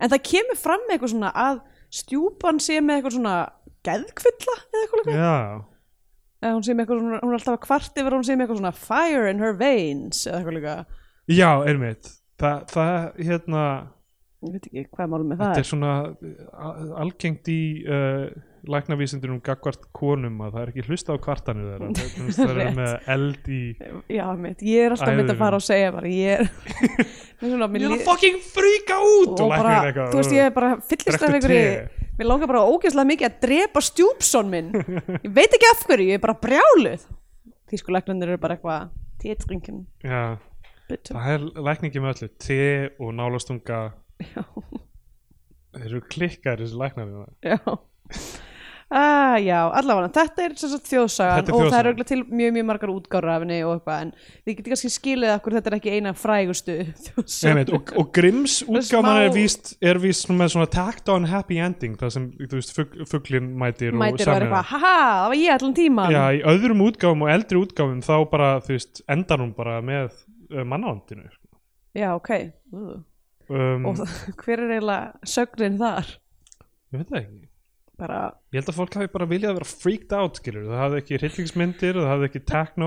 [SPEAKER 3] en það kemur fram með eitthvað svona að stjúpan sé með eitthvað svona geðkvilla eða eitthvað líka
[SPEAKER 1] já,
[SPEAKER 3] yeah. hún, sé með eitthvað svona, hún er alltaf að kvart yfir að hún sé með eitthvað svona fire in her veins eða eitthvað líka
[SPEAKER 1] já, einmitt Þa, það hérna
[SPEAKER 3] ég veit ekki hvað málum með það
[SPEAKER 1] þetta
[SPEAKER 3] er
[SPEAKER 1] er svona uh, algengt í uh, læknavísindunum gagvart konum að það er ekki hlusta á kvartanir þeirra Þeir- þeir eru
[SPEAKER 3] Rétt.
[SPEAKER 1] með eld í
[SPEAKER 3] já, mitt, ég er alltaf mynd
[SPEAKER 1] Æðurum.
[SPEAKER 3] að fara og segja bara ég er Mér er svona, mér líð-
[SPEAKER 1] fucking fríka út uh,
[SPEAKER 3] og bara, þú veist ég er bara fyllist af
[SPEAKER 1] Drekktu
[SPEAKER 3] einhverju
[SPEAKER 1] te.
[SPEAKER 3] mér langar bara ógeðslega mikið að drepa stjúpson minn ég veit ekki af hverju, ég er bara brjáluð þýskulegnandir eru bara eitthvað tétringin,
[SPEAKER 1] já,
[SPEAKER 3] bitur
[SPEAKER 1] það er lækningi með öllu te og nálastunga
[SPEAKER 3] já,
[SPEAKER 1] þeir eru klikkar þessi læknar já,
[SPEAKER 3] já Ah, já, allavega, þetta er sem sagt þjóðsagan
[SPEAKER 1] Þetta er
[SPEAKER 3] og það
[SPEAKER 1] þjóðsagan.
[SPEAKER 3] eru örugglega til mjög, mjög margar útgára af henni og eitthvað, en þið getur kannski skilið okkur þetta er ekki eina frægustu þjóðsagan
[SPEAKER 1] Einmitt, og, og Grimms útgáman
[SPEAKER 3] smá-
[SPEAKER 1] er víst, er víst svona með svona tacked on happy ending það sem, þú veist, fugg, fugglin mætir,
[SPEAKER 3] mætir og er
[SPEAKER 1] sameinar.
[SPEAKER 3] eitthvað, haha, það var ég allan tíman
[SPEAKER 1] Já, í öðrum útgáfum og eldri útgáfum þá bara, þú veist, endar hún bara með uh, mannaandinu
[SPEAKER 3] já ok uh.
[SPEAKER 1] um,
[SPEAKER 3] og hver er eiginlega sögnin þar?
[SPEAKER 1] Ég veit það ekki
[SPEAKER 3] Bara
[SPEAKER 1] Ég held að fólk hafi bara viljað að vera freaked out, skilur Það hafði ekki hryllingsmyndir, það hafði ekki techno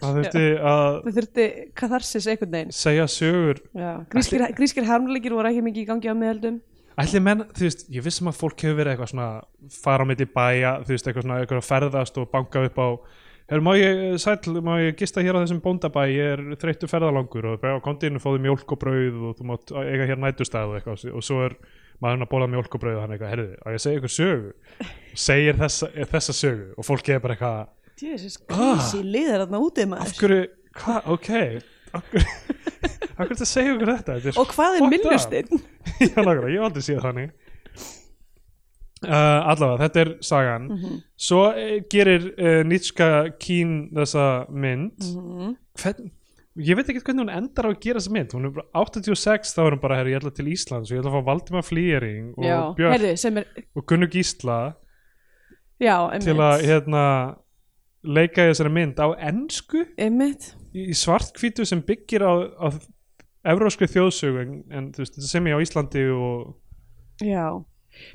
[SPEAKER 1] Það þurfti að
[SPEAKER 3] þau þurfti katharsis einhvern veginn
[SPEAKER 1] segja sögur
[SPEAKER 3] Já. grískir, grískir harmleikir voru ekki mikið í gangi á meðaldum
[SPEAKER 1] Ætli menn, þú veist, ég vissum að fólk hefur verið eitthvað svona fara á milli bæja, þú veist, eitthvað svona eitthvað að ferðast og banka upp á Hér, má ég, eh, sæll, má ég gista hér á þessum bóndabæ, ég er þreyttu ferðalangur og bara á kondinu fóðu mjólk og brauð og þú mátt eiga hér nætustæð og eitthvað og svo er maðurinn að bóla mjólk og brauð og hann eitthvað, herðu, að ég segja eitthvað sögu og segir þessa, eh, þessa sögu og fólk er bara eitthvað,
[SPEAKER 3] Jesus, crazy ah. liðar þarna úti
[SPEAKER 1] af
[SPEAKER 3] maður
[SPEAKER 1] hverju, hvað, ok, af hverju, af hverju þetta segja okkur þetta? þetta er
[SPEAKER 3] og hvað er
[SPEAKER 1] fucked up."
[SPEAKER 3] minnustinn?
[SPEAKER 1] Já, nákvæmlega, ég hef aldrei séð þannig uh, Allavega, þetta er sagan
[SPEAKER 3] Mhm.
[SPEAKER 1] Svo eh, gerir uh, Nitschka Kín þessa mynd
[SPEAKER 3] Mhm.
[SPEAKER 1] Hvern, Ég veit ekki hvernig hún endar á að gera þessa mynd Hún er bara 86, þá er hún bara herri, ég ætla til Íslands og ég ætla að fá Valdimar Flýring og
[SPEAKER 3] Já,
[SPEAKER 1] Björk
[SPEAKER 3] heyrðu, sem er
[SPEAKER 1] og Gunnu Gísla
[SPEAKER 3] já,
[SPEAKER 1] til að
[SPEAKER 3] einmitt,
[SPEAKER 1] hérna, leika í þessari mynd á ensku
[SPEAKER 3] einmitt.
[SPEAKER 1] í svartkvítu sem byggir á, á evróskri þjóðsögu en, en þú veist, þetta sem ég á Íslandi og
[SPEAKER 3] Já.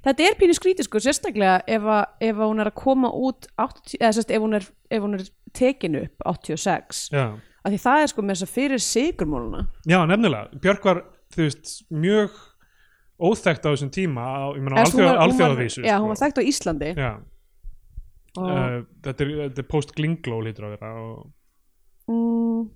[SPEAKER 3] þetta er pínu skrítið sko sérstaklega ef, að, ef að hún er að koma út 80, eða sérst ef hún er, ef hún er tekin upp 86
[SPEAKER 1] já
[SPEAKER 3] af því það er sko með þess að fyrir sigurmóluna
[SPEAKER 1] Já, nefnilega, Björk var þú veist, mjög óþekkt á þessum tíma á, ég meina, á
[SPEAKER 3] Eða, þú veist,
[SPEAKER 1] alþjóð,
[SPEAKER 3] hún var- hún var-
[SPEAKER 1] alþjóðavísu sko.
[SPEAKER 3] já, hún var þekkt á Íslandi
[SPEAKER 1] já,
[SPEAKER 3] og,
[SPEAKER 1] uh, þetta er, þetta er post-glingló lítur á vera og,
[SPEAKER 3] Mm,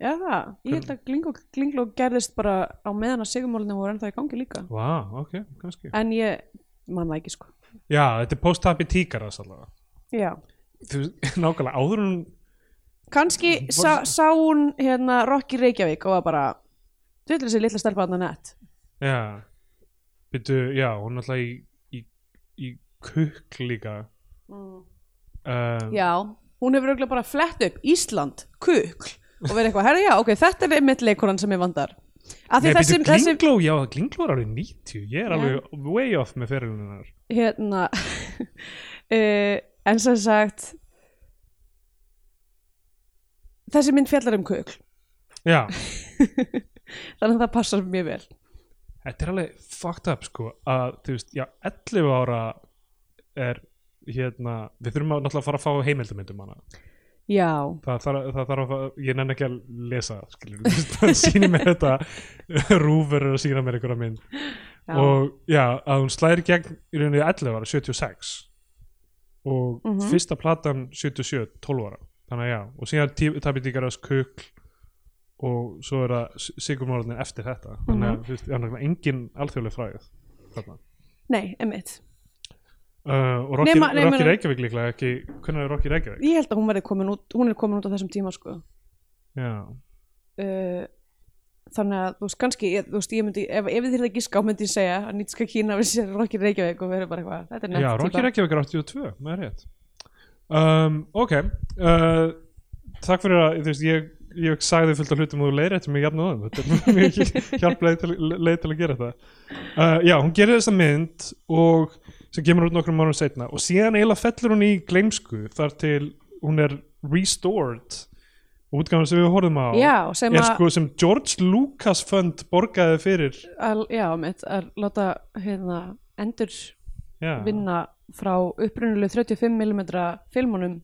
[SPEAKER 3] Já það, ég held að Glingló, Glingló gerðist bara á meðan að sigumólinu voru ennþá í gangi líka
[SPEAKER 1] wow, ok, kannski
[SPEAKER 3] En ég man það ekki sko
[SPEAKER 1] Já, þetta er post-happy tíkaras allavega
[SPEAKER 3] Já
[SPEAKER 1] þú veist, nákvæmlega áður en
[SPEAKER 3] Kanski sá, sá hún hérna Rocky Reykjavík og var bara Þú ætlir þessi litla stelpa hann að nett
[SPEAKER 1] já, byrju, já, hún er alltaf í, í, í kukk líka um,
[SPEAKER 3] Já, hún hefur auðvitað bara flett upp Ísland, kukl og verið eitthvað, herra já, ok, þetta er einmitt leikonan sem ég vandar Af því
[SPEAKER 1] Nei,
[SPEAKER 3] þessi,
[SPEAKER 1] þessi,
[SPEAKER 3] þessi,
[SPEAKER 1] glingló, já, glingló er alveg 90 ég er
[SPEAKER 3] Já.
[SPEAKER 1] alveg way off með fyrirlunar
[SPEAKER 3] hérna uh, en sem sagt þessi mynd fjallar um kukl
[SPEAKER 1] Já,
[SPEAKER 3] þannig að það passar mjög vel
[SPEAKER 1] Þetta er alveg fucked up sko að þú veist, já, 11 ára er hérna við þurfum að náttúrulega að fara að fá heimildamindum hana
[SPEAKER 3] já,
[SPEAKER 1] það þarf, það þarf að fá, ég nenni ekki að lesa skilur, þú veist, hann sýnir mér þetta rúfur er að sýna mér einhverja mynd
[SPEAKER 3] já.
[SPEAKER 1] og já, að hún slæðir gegn í rauninni 11 ára, 76 og
[SPEAKER 3] Mhm.
[SPEAKER 1] fyrsta platan 77, 12 ára þannig að já, og síðan tapir tíkarast kukl og svo er það sigurmálinn eftir þetta þannig
[SPEAKER 3] Mhm.
[SPEAKER 1] að þú veist, þannig að engin alþjóðleg fræð þarna
[SPEAKER 3] nei, emitt
[SPEAKER 1] Uh, og Rocky,
[SPEAKER 3] Nema- nei,
[SPEAKER 1] Rocky
[SPEAKER 3] meina-
[SPEAKER 1] Reykjavík líklega ekki, hvernig er Rocky Reykjavík?
[SPEAKER 3] ég held að hún, verði komin út, hún er komin út á þessum tíma sko.
[SPEAKER 1] Já,
[SPEAKER 3] uh, þannig að þú veist kannski ég, þú veist, ég myndi, ef, ef þið þyrfið ekki ská myndi ég segja að nýtska kína við sér Rocky Reykjavík og verið bara eitthvað, þetta er nett
[SPEAKER 1] Já Rocky
[SPEAKER 3] típa.
[SPEAKER 1] Reykjavík er 82, það er rétt um, ok uh, takk fyrir að þú veist, ég, ég sagði fullt af hlutum og þú leir eftir mig jafn og það þetta er mjög hjálp leið til, leið til að gera þetta uh, já, hún gerir þessa mynd og sem kemur út nokkrum árum setna og síðan eiginlega fellur hún í gleimsku þar til hún er restored útgáðan sem við horfum á
[SPEAKER 3] Já, sem
[SPEAKER 1] er
[SPEAKER 3] að,
[SPEAKER 1] sko sem George Lucas fund borgaði fyrir
[SPEAKER 3] að já, mitt, að láta hérna, endur
[SPEAKER 1] já,
[SPEAKER 3] vinna frá upprunnuleg 35mm filmunum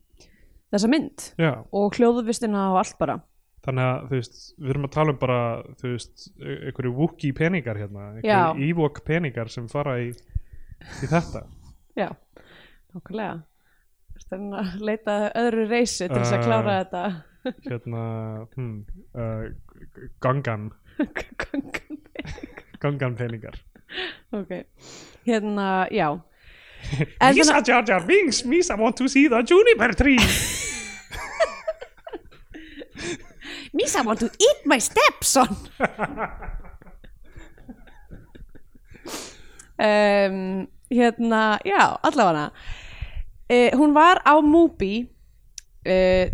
[SPEAKER 3] þessa mynd
[SPEAKER 1] já.
[SPEAKER 3] og hljóðuvistina og allt bara
[SPEAKER 1] þannig að þú veist, við erum að tala um bara þú veist, e- einhverju Wookiee peningar hérna,
[SPEAKER 3] Já.
[SPEAKER 1] einhverju Ewok peningar sem fara í, í þetta
[SPEAKER 3] Já, nákvæmlega Þannig að leita að öðru reysi til þess að
[SPEAKER 1] Uh.
[SPEAKER 3] klára þetta
[SPEAKER 1] hérna hmm, uh, g- gangan
[SPEAKER 3] gangan
[SPEAKER 1] gangan peningar
[SPEAKER 3] Ok, hérna, já En
[SPEAKER 1] Misa Jar Jar Binks, Misa want to see the juniper tree
[SPEAKER 3] Misa, I want to eat my stepson um, Hérna, já, allavega uh, Hún var á Mubi uh,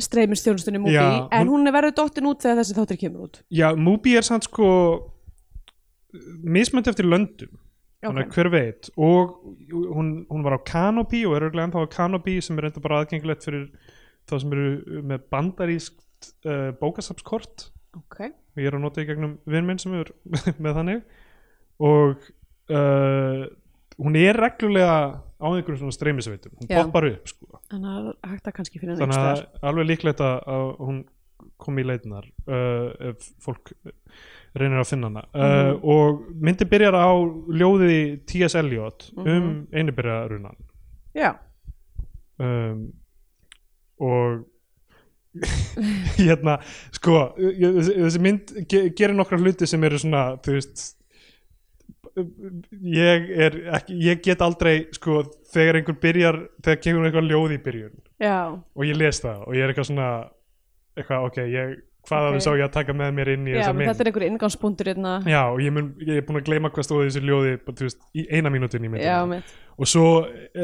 [SPEAKER 3] streymistjónustunni Mubi
[SPEAKER 1] Já,
[SPEAKER 3] en
[SPEAKER 1] hún-
[SPEAKER 3] hún er verður dottin út þegar þessi þáttur kemur út
[SPEAKER 1] já, Mubi er samt sko mismönd eftir löndum þannig að
[SPEAKER 3] Ok.
[SPEAKER 1] hver veit og hún, hún var á Canopy og er örgulega ennþá á Canopy sem er enda bara aðgengilegt fyrir þá sem eru með bandarískt uh, bókasapskort
[SPEAKER 3] okay.
[SPEAKER 1] og ég er að nota í gegnum vinn minn sem er með þannig og uh, hún er reglulega á einhverjum svona streymisveitum hún
[SPEAKER 3] Já.
[SPEAKER 1] poppar upp sko
[SPEAKER 3] Þannig að hægt að kannski finna
[SPEAKER 1] þannig
[SPEAKER 3] neitt
[SPEAKER 1] að
[SPEAKER 3] stær
[SPEAKER 1] alveg líklegt að, að hún kom í leitinar uh, ef fólk reynir að finna hana uh, og myndi byrjar á ljóðið í T.S. Eliot um einubyrjarunan
[SPEAKER 3] Já,
[SPEAKER 1] um, og hérna sko, ég- þessi þessi mynd ge gerir nokkra hluti sem eru svona þú veist ég er ekki, ég get aldrei sko, þegar einhver byrjar þegar kemur eitthvað ljóð í byrjun
[SPEAKER 3] já,
[SPEAKER 1] og ég les það og ég er eitthvað svona eitthvað, ok, ég, hvað
[SPEAKER 3] Ok.
[SPEAKER 1] okay. sá ég að taka með mér inn í
[SPEAKER 3] já
[SPEAKER 1] þessa mynd
[SPEAKER 3] þetta er einhver ingangspunktur hérna
[SPEAKER 1] já, og ég, mun, ég er búin að gleyma hvað stóði þessu ljóði bara, þú veist, í eina mínútin í myndinni
[SPEAKER 3] Já, mitt
[SPEAKER 1] og svo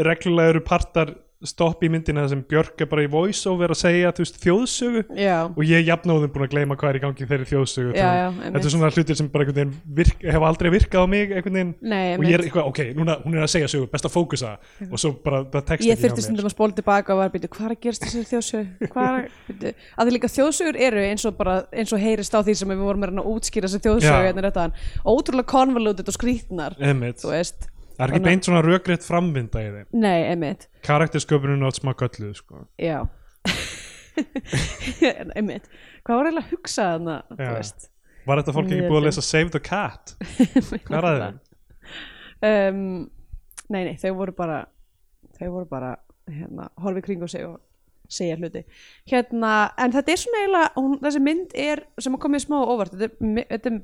[SPEAKER 1] reglulega eru partar stopp í myndina þar sem Björk er bara í voice over að segja þú veist, þjóðsögu
[SPEAKER 3] Já,
[SPEAKER 1] og ég er jafnóðum búin að gleyma hvað er í gangi í þeirri þjóðsögu
[SPEAKER 3] já,
[SPEAKER 1] þannig-
[SPEAKER 3] já,
[SPEAKER 1] þetta
[SPEAKER 3] einmitt
[SPEAKER 1] er svona hlutir sem bara einhvern veginn virk, hefa aldrei virkað á mig einhvern veginn
[SPEAKER 3] Nei,
[SPEAKER 1] og ég er
[SPEAKER 3] einmitt
[SPEAKER 1] eitthvað, ok, núna hún er að segja sögu best að fókusa og svo bara það tekst
[SPEAKER 3] ég
[SPEAKER 1] ekki hjá
[SPEAKER 3] þurfti
[SPEAKER 1] mér.
[SPEAKER 3] stundum að spóla tilbaka og var byrju, hvað er að gerast þessari þjóðsögur hvað er að, byrju, að því líka þjóðsögur eru eins og bara, eins og heyrist á því sem við vorum að reyna að útskýra þessari þjóðsögur
[SPEAKER 1] Já.
[SPEAKER 3] hérna rétt áðan. ótrúlega convoluted og skrýtnar
[SPEAKER 1] Einmitt.
[SPEAKER 3] þú veist,
[SPEAKER 1] það er ekki beint svona rökrétt framvinda í þeim
[SPEAKER 3] nei, einmitt
[SPEAKER 1] karaktersköpunin átt smá gölluð sko.
[SPEAKER 3] já einmitt, hvað var eiginlega að hugsa þarna, þú
[SPEAKER 1] Já.
[SPEAKER 3] veist
[SPEAKER 1] var þetta fólk ekki
[SPEAKER 3] Mjög
[SPEAKER 1] búið að
[SPEAKER 3] fínt.
[SPEAKER 1] lesa Save the Cat hvað er að þeim?
[SPEAKER 3] um, nei, nei, þau voru bara þau voru bara hérna, horfi í kring og segja, segja hluti hérna, en þetta er svona eiginlega hún, þessi mynd er, sem að komið smá á óvart þetta er, mi- þetta er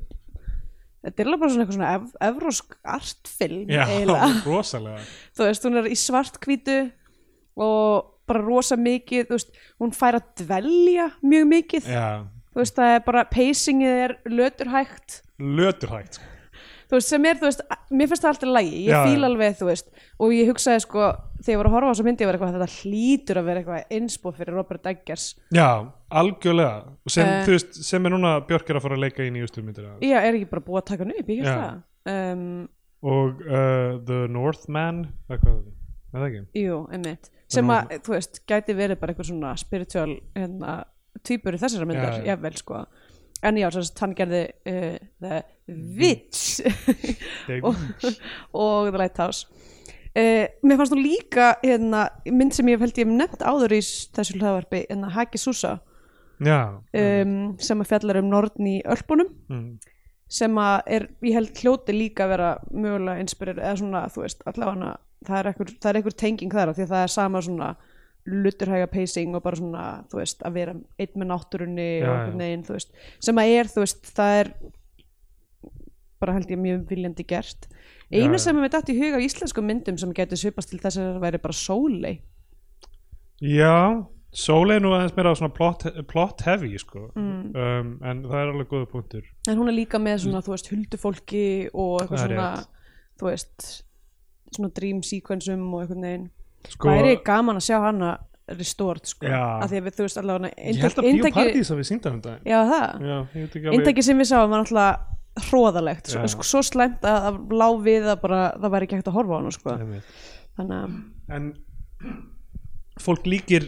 [SPEAKER 3] þetta er eiginlega bara svona eitthvað svona ev, evrósk artfilm
[SPEAKER 1] já,
[SPEAKER 3] eiginlega
[SPEAKER 1] rosalega
[SPEAKER 3] þú veist, hún er í svartkvítu og bara rosa mikið þú veist, hún fær að dvelja mjög mikið,
[SPEAKER 1] já,
[SPEAKER 3] þú veist, það er bara pacingið er löturhægt
[SPEAKER 1] löturhægt sko.
[SPEAKER 3] þú veist, sem er, þú veist, a- mér finnst það alltaf lægi, ég
[SPEAKER 1] Já, já.
[SPEAKER 3] fíla alveg, þú veist og ég hugsaði sko, þegar ég var að horfa á þessu myndi ég var eitthvað, þetta hlýtur að vera eitthvað innspó fyrir Robert Eggers
[SPEAKER 1] já, algjörlega Og sem,
[SPEAKER 3] Eh.
[SPEAKER 1] uh, veist, sem er núna Björk er að fara að leika í nýjustu myndir af.
[SPEAKER 3] ég er ekki bara búið að taka hann upp, ég held
[SPEAKER 1] Já.
[SPEAKER 3] það um,
[SPEAKER 1] og uh, The Northman eitthvað, er það ekki?
[SPEAKER 3] jú, einmitt sem að, þú veist, gæti verið bara eitthvað svona spiritual, hérna, týpur í þessara myndar,
[SPEAKER 1] Já, já.
[SPEAKER 3] jafnvel, sko en já, þess að hann gerði uh, The Witch
[SPEAKER 1] Dave-
[SPEAKER 3] og, og The Lighthouse Uh, mér fannst nú líka hérna, mynd sem ég held ég hef nefnt áður í s- þessu hlaðvarpi, hérna Haki Súsa
[SPEAKER 1] já,
[SPEAKER 3] um, sem að fjallar um norðn í Ölpunum
[SPEAKER 1] mm,
[SPEAKER 3] sem að er, ég held hljóti líka að vera mögulega inspirir eða svona, þú veist, allavega það er einhver, það er einhver tenging þar af því að það er sama svona lutturhæga pacing og bara svona, þú veist, að vera einn með náttúrunni
[SPEAKER 1] Já,
[SPEAKER 3] og
[SPEAKER 1] já.
[SPEAKER 3] einhvern veginn, þú veist, sem að er, þú veist, það er bara held ég mjög viljandi gert
[SPEAKER 1] Já,
[SPEAKER 3] eina
[SPEAKER 1] já.
[SPEAKER 3] sem er dætt í huga af íslenskum myndum sem getur svipast til þess að það væri bara sólei
[SPEAKER 1] já Sólei nú aðeins meira á svona plot, plot heavy sko.
[SPEAKER 3] Mm.
[SPEAKER 1] um, en það er alveg góða punktur
[SPEAKER 3] en hún er líka með svona, þú veist, huldufólki og
[SPEAKER 1] Mm.
[SPEAKER 3] eitthvað
[SPEAKER 1] Það er
[SPEAKER 3] svona, þú veist svona dream sequenceum og eitthvað neginn
[SPEAKER 1] sko,
[SPEAKER 3] væri gaman að sjá hana restored sko,
[SPEAKER 1] Já.
[SPEAKER 3] af því að við þú veist allavega
[SPEAKER 1] ég held að
[SPEAKER 3] inntaki,
[SPEAKER 1] biopartís að við sínda um daginn
[SPEAKER 3] já það,
[SPEAKER 1] já, ég veit ekki alveg
[SPEAKER 3] inntaki sem við sáum var náttúrulega hróðalegt,
[SPEAKER 1] Já.
[SPEAKER 3] svo, sko, svo slæmt að það lá við að bara, það væri ekki hægt að horfa á hana sko,
[SPEAKER 1] Einmitt.
[SPEAKER 3] þannig að
[SPEAKER 1] en fólk líkir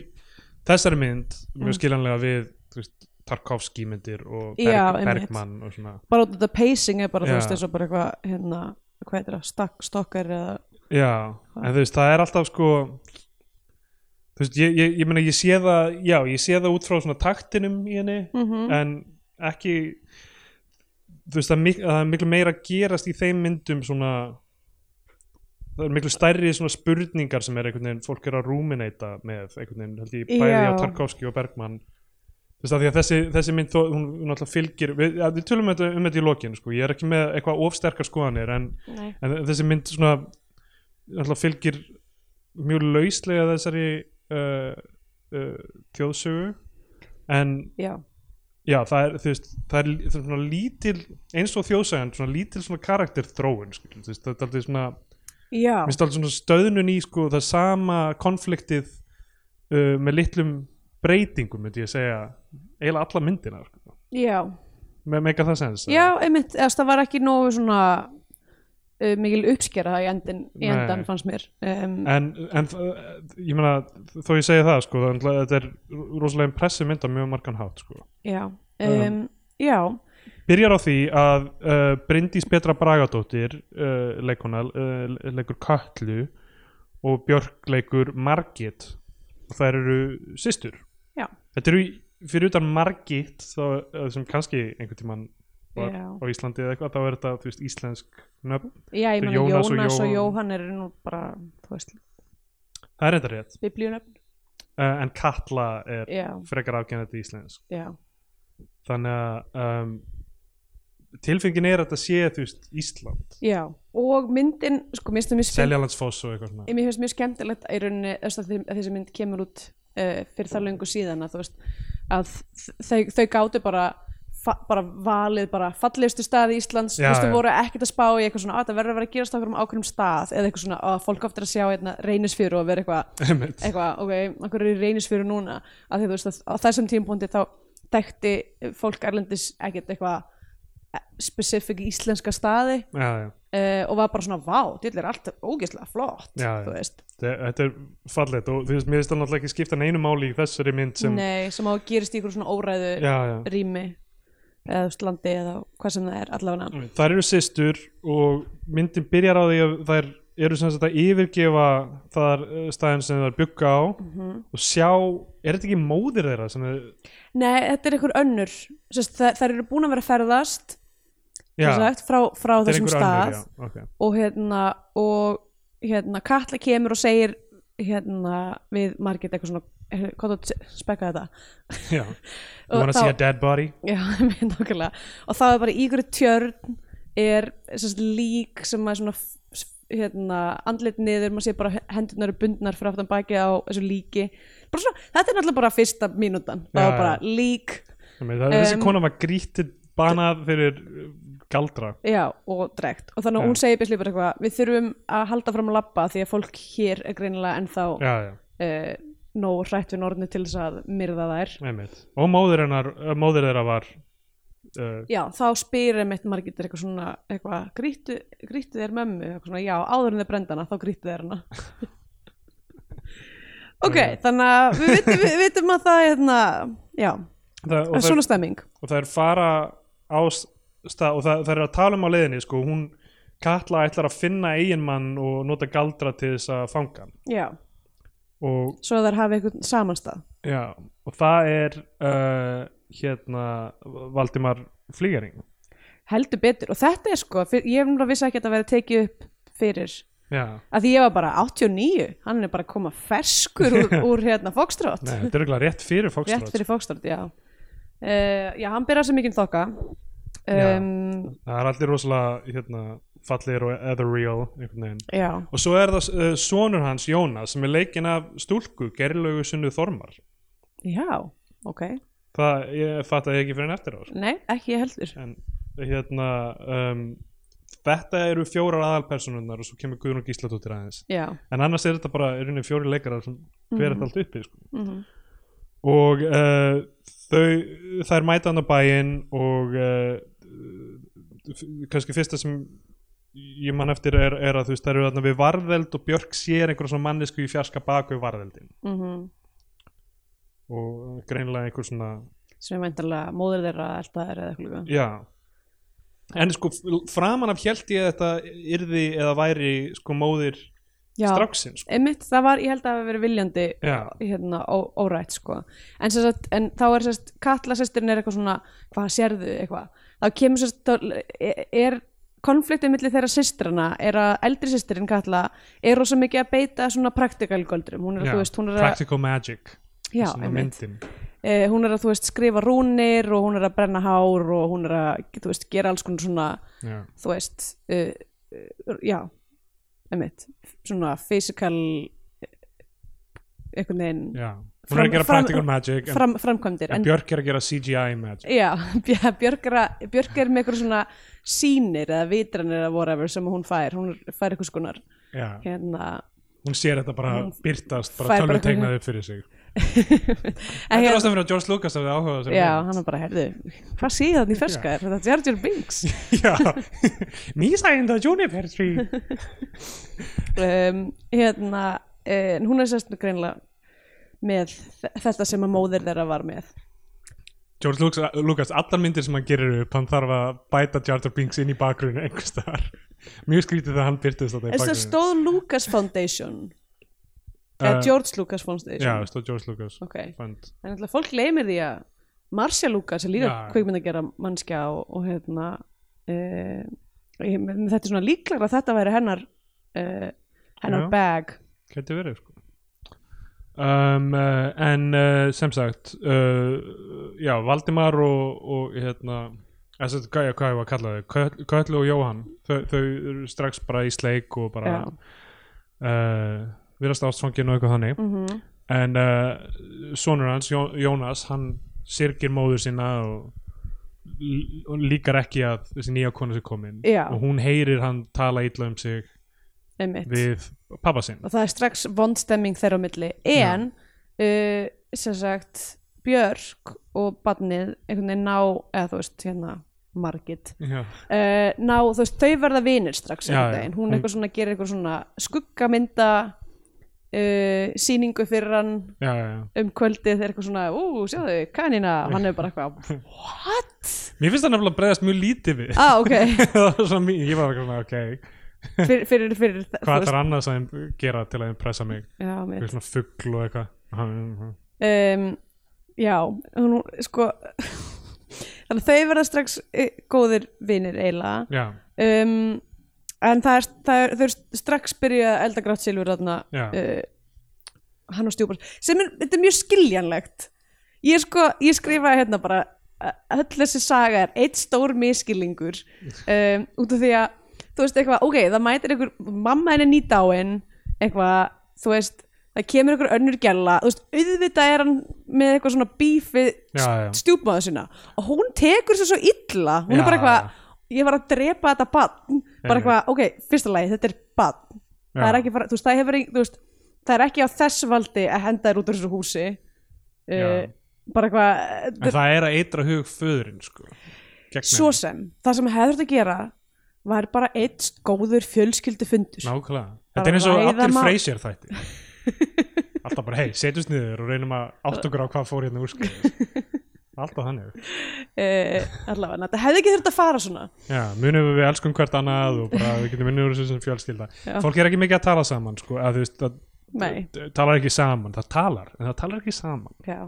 [SPEAKER 1] þessari mynd mjög skiljanlega við þú veist, Tarkovski myndir og Berg,
[SPEAKER 3] Mm. Já, einmitt.
[SPEAKER 1] Bergmann og svona
[SPEAKER 3] bara út af þetta pacing er bara þú
[SPEAKER 1] Já.
[SPEAKER 3] veist eins og bara eitthvað hérna, hvað heitir það, stakk, stokkar eða,
[SPEAKER 1] já, en þú veist, það er alltaf sko þú veist, ég, ég, ég meina ég sé það, já, ég sé það út frá svona taktinum í henni en ekki þú veist, það er, mik það er miklu meira að gerast í þeim myndum svona það er miklu stærri svona spurningar sem er einhvern veginn, fólk er að rúminata með einhvern veginn, held ég, bæði
[SPEAKER 3] Já.
[SPEAKER 1] á Tarkovski og Bergmann þú veist, af því að þessi, þessi mynd þó, hún, hún alltaf fylgir, við, ja, við tölum þetta, um þetta í lokin, sko, ég er ekki með eitthvað ofsterkar skoðanir, en,
[SPEAKER 3] Nei.
[SPEAKER 1] en þessi mynd svona, alltaf fylgir mjög lauslega þessari uh, uh, þjóðsögu en
[SPEAKER 3] já,
[SPEAKER 1] já, það er, þú veist, það er, það er svona lítil, eins og þjóðsagan, svona lítil svona karakter þróun, þú veist, það er alltaf svona
[SPEAKER 3] já,
[SPEAKER 1] Mér finnst alltaf svona stöðnun í sko, það sama konfliktið uh, með litlum breytingum myndi ég segja, eiginlega alla myndina sko.
[SPEAKER 3] já
[SPEAKER 1] Me meika það sens
[SPEAKER 3] já, einmitt, eða það var ekki nógu svona uh, mikil uppskera í, endin, í
[SPEAKER 1] Nei.
[SPEAKER 3] endan fannst mér um,
[SPEAKER 1] en, en uh, ég meina þó ég segi það sko, þannig að þetta er rosalega impressi mynd á mjög margan hátt sko.
[SPEAKER 3] já, um,
[SPEAKER 1] Um.
[SPEAKER 3] já
[SPEAKER 1] byrjar á því að uh, Bryndís Petra Bragadóttir uh, leikuna, uh, leikur Kallu og Björk leikur Margit og þær eru systur
[SPEAKER 3] Já.
[SPEAKER 1] þetta eru í- fyrir utan Margit þá, eh, sem kannski einhvern tímann var
[SPEAKER 3] Já.
[SPEAKER 1] á Íslandi eða eitthvað þá er þetta þú veist, íslensk nöfn
[SPEAKER 3] já,
[SPEAKER 1] Þetta
[SPEAKER 3] ég
[SPEAKER 1] er
[SPEAKER 3] meina
[SPEAKER 1] Jónas og
[SPEAKER 3] Jónas, og
[SPEAKER 1] Jóhann.
[SPEAKER 3] Jóhann eru nú bara, þú veist,
[SPEAKER 1] það er þetta rétt
[SPEAKER 3] biblíunöfn
[SPEAKER 1] uh, en Katla er
[SPEAKER 3] já,
[SPEAKER 1] frekar afgjennandi íslensk
[SPEAKER 3] já,
[SPEAKER 1] þannig að um, tilfengin er að þetta sé þú veist, Ísland,
[SPEAKER 3] já og myndin, sko, minnst það mjög skemmt
[SPEAKER 1] Seljalandsfoss og eitthvað svona
[SPEAKER 3] Mér finnst mjög skemmtilegt að í rauninni þess að þeir- að þessi mynd kemur út uh, fyrir það löngu síðan að þú veist að þ- þau, þau gátu bara fa, bara valið bara fallegustu staði Íslands, þú
[SPEAKER 1] Já,
[SPEAKER 3] veist, þau
[SPEAKER 1] já.
[SPEAKER 3] voru ekkert að spá í eitthvað svona, að það verður að vera að gerast á okkur um ákveðum stað eða eitthvað svona, að fólk oftir að sjá einna, reynisfjöru og vera eitthvað
[SPEAKER 1] Einmitt.
[SPEAKER 3] eitthvað, ok, okkur er í reynisfjöru núna að því þú veist að á þessum tímpúndi þá þekkti fólk erlendis ekkert eitthvað spesifik íslenska staði
[SPEAKER 1] já, já.
[SPEAKER 3] uh, og var bara svona, vá, þetta er allt ógeðslega flott,
[SPEAKER 1] Já, já.
[SPEAKER 3] þú veist
[SPEAKER 1] Þe- Þetta er fallegt og þú veist, mér finnst það náttúrulega ekki skipta neinu máli í þessari mynd sem
[SPEAKER 3] Nei, sem á að gerist í ykkur svona óræðu
[SPEAKER 1] já, já.
[SPEAKER 3] rými eða þú veist, landi eða hvað sem það er allavega
[SPEAKER 1] Þær eru systur og myndin byrjar á því að þær eru sem sagt að yfirgefa þar eh, staðinn sem þær bygga á
[SPEAKER 3] Mhm.
[SPEAKER 1] og sjá, er þetta ekki móðir þeirra sem þau,
[SPEAKER 3] Nei, þetta er ykkur önnur Sest, það, það eru búin að vera að ferðast
[SPEAKER 1] já,
[SPEAKER 3] sem sagt, frá, frá
[SPEAKER 1] þetta er
[SPEAKER 3] þessum
[SPEAKER 1] einhver
[SPEAKER 3] stað
[SPEAKER 1] önnur, já, okay.
[SPEAKER 3] og hérna og hérna Katla kemur og segir hérna við Margit eitthvað svona "Heyrðu, hvað þú ert að spekka þetta
[SPEAKER 1] já.
[SPEAKER 3] Og
[SPEAKER 1] You wanna see
[SPEAKER 3] þá-
[SPEAKER 1] a dead body?
[SPEAKER 3] Já, með nákvæmlega og þá er bara í hverju tjörn er sérst, lík sem maður svona f- s- hérna, andlit niður, maður sé bara hendurnar eru bundnar fyrir aftan baki á þessu líki bara svona, þetta er náttúrulega bara fyrsta mínútan það
[SPEAKER 1] Já,
[SPEAKER 3] var bara
[SPEAKER 1] já.
[SPEAKER 3] lík
[SPEAKER 1] Um, þessi
[SPEAKER 3] Em,
[SPEAKER 1] kona var grítið banað fyrir eh, galdra
[SPEAKER 3] já, og dregt og þannig
[SPEAKER 1] Já.
[SPEAKER 3] að hún segir byrslið bara eitthvað við þurfum að halda fram að labba því að fólk hér er greinilega ennþá uh,
[SPEAKER 1] já, já,
[SPEAKER 3] nóg hrætt við norðinu til þess að myrða þær
[SPEAKER 1] einmitt og móðir, hennar, eh, móðir þeirra var uh,
[SPEAKER 3] já, þá spyr einmitt margir eitthvað svona, eitthvað, grýttu, grýttu þér mömmu, eitthvað svona, já, áður en þeir brenda hana, þá grýttu þér hana. ok,
[SPEAKER 1] Mm.
[SPEAKER 3] þannig að við vitum, við vitum að það, hérna, já,
[SPEAKER 1] það, og
[SPEAKER 3] það er svona stemming.
[SPEAKER 1] og það er fara á s- stað og það, það er að tala um á leiðinni sko, hún Katla ætlar að finna eiginmann og nota galdra til þess að fanga hann
[SPEAKER 3] Já,
[SPEAKER 1] og,
[SPEAKER 3] svo að þær hafi eitthvað samanstað.
[SPEAKER 1] já, og það er uh, hérna Valdimar Flýgaring
[SPEAKER 3] Heldur betur, og þetta er sko, fyr, ég hef náttúrulega vissi ekki að þetta verið tekið upp fyrir,
[SPEAKER 1] já,
[SPEAKER 3] að því ég var bara 89, hann er bara að koma ferskur úr, úr hérna, Fokstrót.
[SPEAKER 1] nei, þetta er örugglega rétt fyrir
[SPEAKER 3] Rétt
[SPEAKER 1] Foxtrot
[SPEAKER 3] fyrir Fokstrót, já. Uh, já, hann byrjar sem mikið þokka.
[SPEAKER 1] Já.
[SPEAKER 3] Um,
[SPEAKER 1] það er allir rosalega hérna, fallir og ethereal einhvern veginn
[SPEAKER 3] já.
[SPEAKER 1] og svo er það uh, sonur hans Jónas sem er leikinn af stúlku Gerlaugu Sunnu Þormar
[SPEAKER 3] Já, ok.
[SPEAKER 1] það ég, fatt að ég ekki fyrir en eftir á sko.
[SPEAKER 3] Nei, ekki ég heldur.
[SPEAKER 1] en hérna um, þetta eru fjórar aðalpersonunnar og svo kemur Guðrún Gísladóttir aðeins
[SPEAKER 3] já,
[SPEAKER 1] en annars er þetta bara í rauninni fjóri leikarar sem hver þetta allt uppi sko.
[SPEAKER 3] mm
[SPEAKER 1] og uh, þau þær mæta hann á bæinn og uh, kannski fyrsta sem ég man eftir er, er að þú veist þær eru þarna við varðeld og Björk sér einhver svona mannesku í fjarska baku við varðeldin
[SPEAKER 3] mhm.
[SPEAKER 1] og greinlega einhver svona
[SPEAKER 3] sem er meintalega móður þeirra elta þeirra eða eitthvað líka.
[SPEAKER 1] já en sko f- framan af held ég að þetta yrði eða væri sko móðir
[SPEAKER 3] já,
[SPEAKER 1] stráksinn sko.
[SPEAKER 3] einmitt, það var, ég held að það hafi verið viljandi
[SPEAKER 1] já,
[SPEAKER 3] hérna, ó- órætt sko en, sem sagt, en þá er sérst, Katla sérstyrinn er eitthvað svona, hvað sérðu eitthvað þá kemur sérst, þá er- er konfliktið milli þeirra sýstrana er að eldri sýstirinn Katla er rosa mikið að beita svona practical göldrum hún er að,
[SPEAKER 1] já.
[SPEAKER 3] þú veist, hún er að,
[SPEAKER 1] practical magic
[SPEAKER 3] já,
[SPEAKER 1] svona
[SPEAKER 3] einmitt,
[SPEAKER 1] myndin
[SPEAKER 3] eh, hún er að þú veist, skrifa rúnir og hún er að brenna hár og hún er að, þú veist, gera alls konar svona
[SPEAKER 1] já,
[SPEAKER 3] þú veist uh, uh, já, einmitt svona physical eh, einhvern veginn
[SPEAKER 1] já. hún er
[SPEAKER 3] Fram-
[SPEAKER 1] að gera
[SPEAKER 3] fram-
[SPEAKER 1] practical magic en,
[SPEAKER 3] fram, framkvæmdir
[SPEAKER 1] en
[SPEAKER 3] en,
[SPEAKER 1] Björk er að gera CGI magic
[SPEAKER 3] já, Bj- Björk er, að, Björk er með eitthvað svona sýnir eða vitranir eða whatever sem hún fær hún fær eitthvað skonar
[SPEAKER 1] já.
[SPEAKER 3] hérna
[SPEAKER 1] hún sér þetta bara byrtast bara
[SPEAKER 3] fær bara
[SPEAKER 1] tölvutegnað upp fyrir sig
[SPEAKER 3] en
[SPEAKER 1] þetta er
[SPEAKER 3] hérna,
[SPEAKER 1] ástæðan fyrir að George Lucas hafði áhuga á þessari
[SPEAKER 3] já,
[SPEAKER 1] mynd.
[SPEAKER 3] hann er bara, herðu hvað sé það í ferska, er þetta Jar Jar Binks
[SPEAKER 1] já Misa in the Juniper tree
[SPEAKER 3] um, hérna eh, en hún er sérst greinlega með þe- þetta sem að móðir þeirra var með
[SPEAKER 1] George Lucas, Lucas, allar myndir sem hann gerir upp hann þarf að bæta Jar Jar Binks inn í bakgrunni einhvers staðar mjög skrítið þegar hann byrtist þetta í
[SPEAKER 3] en svo
[SPEAKER 1] bakgrunni
[SPEAKER 3] stóð Lucas Foundation
[SPEAKER 1] Eh,
[SPEAKER 3] eða George Lucas
[SPEAKER 1] já,
[SPEAKER 3] Foundation
[SPEAKER 1] stóð George Lucas
[SPEAKER 3] ok,
[SPEAKER 1] Fund.
[SPEAKER 3] en alltaf fólk leymir því að Marcia Lucas er líka
[SPEAKER 1] Já.
[SPEAKER 3] kveikmynd að gera mannskja og, og hérna uh, þetta er svona líklar að þetta væri hennar uh, hennar
[SPEAKER 1] Já.
[SPEAKER 3] bag
[SPEAKER 1] Gæti verið sko um, uh, En uh, sem sagt uh, Já, Valdimar og, og hérna eða sem sagt, Hvað hvað ég var að kalla þau? Köll- Köllu og Jóhann þau, þau eru strax bara í sleik og bara
[SPEAKER 3] Já.
[SPEAKER 1] uh, Virast ástfangin og eitthvað þannig
[SPEAKER 3] mm
[SPEAKER 1] En uh, sonur hans, Jó- Jónas Hann sirgir móður sína og l- og líkar ekki að þessi nýja konu sem kom inn
[SPEAKER 3] Já.
[SPEAKER 1] og hún heyrir hann tala illa um sig
[SPEAKER 3] einmitt
[SPEAKER 1] við pappa sinn
[SPEAKER 3] og það er strax vondstemming þeirra á milli en uh, sem sagt Björk og barnið einhvern veginn ná, eða þú veist hérna Margit
[SPEAKER 1] Já,
[SPEAKER 3] uh, ná, þú veist, þau verða vinir strax
[SPEAKER 1] Já,
[SPEAKER 3] einhvern
[SPEAKER 1] já.
[SPEAKER 3] veginn, hún
[SPEAKER 1] Hún-
[SPEAKER 3] eitthvað svona gerir eitthvað svona skuggamynda uh, sýningu fyrir hann
[SPEAKER 1] já, já, já
[SPEAKER 3] um kvöldið þegar eitthvað svona, ú, sjáðu, kanina hann er bara eitthvað, what?
[SPEAKER 1] Mér finnst það nefnilega bregðast mjög lítið við
[SPEAKER 3] ah, ok,
[SPEAKER 1] Það var svo mjög, ég var ekki svona, ok
[SPEAKER 3] fyrir, fyrir, fyrir
[SPEAKER 1] Hvað þarf annað sem gera til að impressa mig
[SPEAKER 3] já, mitt
[SPEAKER 1] Eitthvað svona fugl og eitthvað
[SPEAKER 3] um, já, hún, sko þannig að þau verða strax eh, góðir vinir eiginlega
[SPEAKER 1] Já,
[SPEAKER 3] um, en það er, það er, þau eru strax byrja að elda grátt silfur þarna
[SPEAKER 1] Já.
[SPEAKER 3] uh, Eh, hann og stjúpar sem er, þetta er mjög skiljanlegt ég, er sko, ég skrifa hérna bara uh, öll þessi saga er eitt stór miskillingur um, út af því að þú veist eitthvað, ok, það mætir einhver mamma henni nýdáin eitthvað, þú veist það kemur einhver önnur gæla þú veist, auðvitað er hann með eitthvað svona bífið
[SPEAKER 1] já, já
[SPEAKER 3] stjúpmaður sína og hún tekur sér svo illa hún
[SPEAKER 1] Já.
[SPEAKER 3] er bara eitthvað ég var að drepa þetta barn bara
[SPEAKER 1] Einmitt.
[SPEAKER 3] eitthvað, ok, fyrsta lagi, þetta er barn það er
[SPEAKER 1] Já.
[SPEAKER 3] ekki, bara, þú veist, það hefur ein- þú veist, það er ekki á þess valdi að henda þér út úr þessu húsi uh,
[SPEAKER 1] Já.
[SPEAKER 3] bara eitthvað eh,
[SPEAKER 1] En það er að eitra hug föðurinn, sko Gegn
[SPEAKER 3] svo
[SPEAKER 1] henni.
[SPEAKER 3] sem, það sem hefur þetta að gera var bara eitt góður fjölskyldu fundur
[SPEAKER 1] Nákvæmlega
[SPEAKER 3] Bara
[SPEAKER 1] Þetta er eins og
[SPEAKER 3] ræða
[SPEAKER 1] allir
[SPEAKER 3] mál.
[SPEAKER 1] freysir þætti Alltaf bara, hei, setjumst niður og reynum að átt okkur á hvað fór hérna úrskil Alltaf þannig
[SPEAKER 3] uh, allavega, þetta hefði ekki þurft að fara svona
[SPEAKER 1] Já, munum við elskum hvert annað og bara við getum unnið úr þessu sem fjölskylda
[SPEAKER 3] Já.
[SPEAKER 1] Fólk er ekki mikið að tala saman, sko að, þú veist, að,
[SPEAKER 3] nei,
[SPEAKER 1] talar ekki saman, það talar en það talar ekki saman
[SPEAKER 3] já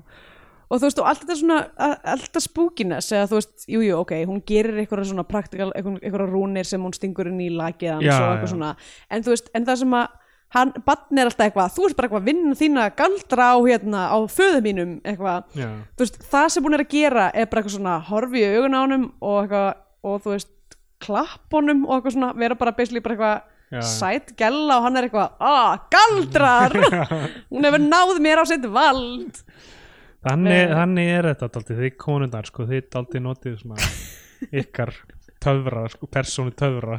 [SPEAKER 3] og þú veist, og allt þetta svona, a- allt þetta spúkinas eða þú veist, jújú, jú, ok, hún gerir eitthvað svona praktikal, eitthvað rúnir sem hún stingur inn í lakið hans
[SPEAKER 1] Já,
[SPEAKER 3] og eitthvað
[SPEAKER 1] já.
[SPEAKER 3] svona en þú veist, en það sem að hann, barn er alltaf eitthvað, þú ert bara eitthvað að vinna þína galdra á hérna, á föðu mínum eitthvað,
[SPEAKER 1] Já,
[SPEAKER 3] þú veist, það sem hún er að gera er bara eitthvað svona, horfi í augun á honum og eitthvað, og þú veist klapp honum og eitthvað svona, vera bara basically bara eitthvað
[SPEAKER 1] Já, já.
[SPEAKER 3] sæt gælla og hann er eitthvað, ah, galdrar hún hefur náð mér á sitt vald
[SPEAKER 1] þannig, þannig er þetta daldi, þið konundar sko, þið daldi notið svona ykkar töfra, sko, persónu töfra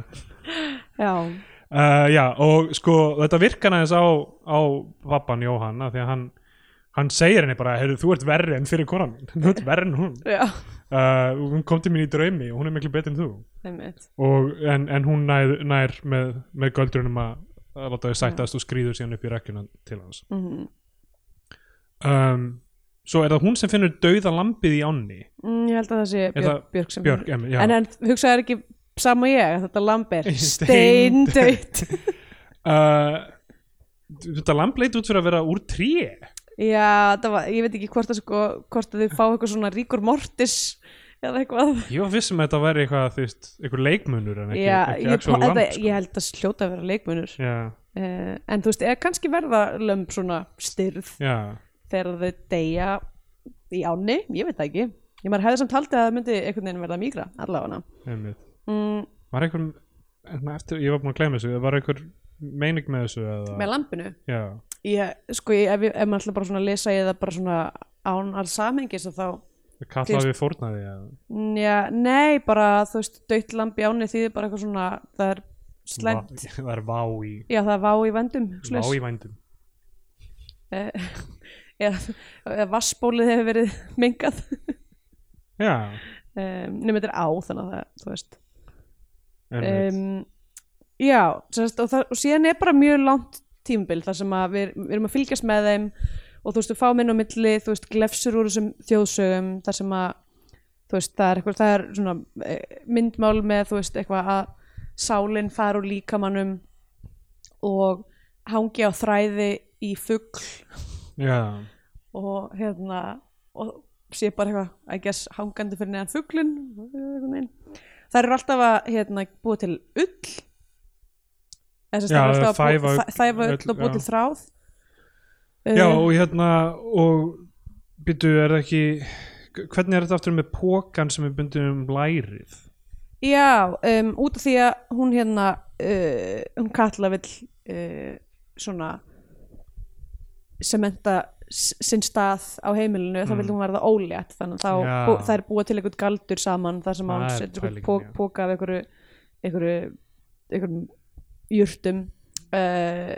[SPEAKER 3] já,
[SPEAKER 1] uh, Já, og sko þetta virkan aðeins á, á pappan Jóhann af því að hann, hann segir henni bara heyrðu, þú ert verri en fyrir konan mín þú ert verri en hún
[SPEAKER 3] já,
[SPEAKER 1] uh, hún kom til mín í draumi og hún er miklu betur en þú
[SPEAKER 3] einmitt
[SPEAKER 1] og, en, en hún nær, nær með, með göldrunum að, að láta þau sættast og skrýður síðan upp í rekkjuna til hans
[SPEAKER 3] Mhm.
[SPEAKER 1] um, Svo er það hún sem finnur dauða lambið í ánni
[SPEAKER 3] mm, ég held að það sé Björk,
[SPEAKER 1] það
[SPEAKER 3] Björk sem
[SPEAKER 1] Björk, em, já
[SPEAKER 3] en, en hugsaðu ekki sama og ég að þetta lamb er
[SPEAKER 1] Steindautt.
[SPEAKER 3] steindautt
[SPEAKER 1] uh, Þetta lamb leit út fyrir að vera úr tré
[SPEAKER 3] já, það var, ég veit ekki hvort að sko, hvort að þið fá eitthvað svona ríkur mortis eða eitthvað
[SPEAKER 1] Ég var vissum að þetta væri eitthvað, þú veist, eitthvað leikmunur en ekki,
[SPEAKER 3] já,
[SPEAKER 1] ekki
[SPEAKER 3] ég,
[SPEAKER 1] actual
[SPEAKER 3] pa-
[SPEAKER 1] lamb
[SPEAKER 3] þetta,
[SPEAKER 1] sko.
[SPEAKER 3] ég held að hljóta að vera leikmunur uh,
[SPEAKER 1] Já,
[SPEAKER 3] en þú veist, eða kannski verða lömb svona styrð
[SPEAKER 1] já,
[SPEAKER 3] þegar þau deyja í áni, ég veit það ekki ég maður hefði samt haldið að það myndi einhvern veginn verða mýgra allavega
[SPEAKER 1] einmitt
[SPEAKER 3] mm,
[SPEAKER 1] Var einhver, en eftir, ég var búin að gleyma þessu var einhver meining með þessu eða,
[SPEAKER 3] með lampinu
[SPEAKER 1] Já,
[SPEAKER 3] ég, sko, ég, ef, ég- ef maður ætla bara svona að lesa ég það bara svona án alls samhengis og þá,
[SPEAKER 1] kalla við fórnaði eða.
[SPEAKER 3] já, nei bara þú veist, dött lamb í áni þýðir bara eitthvað svona, það er slæmt
[SPEAKER 1] Va- Það er vá í,
[SPEAKER 3] já, það er vá í vendum
[SPEAKER 1] vá
[SPEAKER 3] svoleiðis.
[SPEAKER 1] í vændum
[SPEAKER 3] Eh, eða eða vassbólið hefur verið mengað
[SPEAKER 1] Já,
[SPEAKER 3] um, nema þetta er á þannig að það, þú veist
[SPEAKER 1] einmitt
[SPEAKER 3] um, já, sérst, og, það, og síðan er bara mjög langt tímabil þar sem að við, við erum að fylgjast með þeim og þú veist, við fáum inn á milli þú veist, glefsur úr þessum þjóðsögum þar sem að, þú veist, það er eitthvað það er svona eh, myndmál með þú veist, eitthvað að sálinn fara úr líkamannum og hangi á þræði í fugl
[SPEAKER 1] Já,
[SPEAKER 3] og hérna og sé bara eitthvað, I guess, hangandi fyrir neðan fuglun það eru alltaf að hérna, búa til ull eða þess að
[SPEAKER 1] Já,
[SPEAKER 3] það eru alltaf að
[SPEAKER 1] þæfa
[SPEAKER 3] búa-
[SPEAKER 1] ull-
[SPEAKER 3] þæ- þæfa
[SPEAKER 1] ull,
[SPEAKER 3] ull og búa
[SPEAKER 1] já.
[SPEAKER 3] til þráð
[SPEAKER 1] já,
[SPEAKER 3] Uh,
[SPEAKER 1] og hérna og byttu, er það ekki hvernig er þetta aftur með pókan sem er bundið um lærið
[SPEAKER 3] já um, út af því að hún hérna uh, hún kalla vill uh, svona sementa sinn stað á heimilinu þá
[SPEAKER 1] Mm.
[SPEAKER 3] vil hún verða ólétt þannig að þá,
[SPEAKER 1] Já.
[SPEAKER 3] bú, það er búa til einhvern galdur saman þar sem
[SPEAKER 1] Það
[SPEAKER 3] hún
[SPEAKER 1] er
[SPEAKER 3] setur
[SPEAKER 1] pælingin,
[SPEAKER 3] einhvern
[SPEAKER 1] já.
[SPEAKER 3] póka af einhverju einhverju, einhverjum jurtum uh,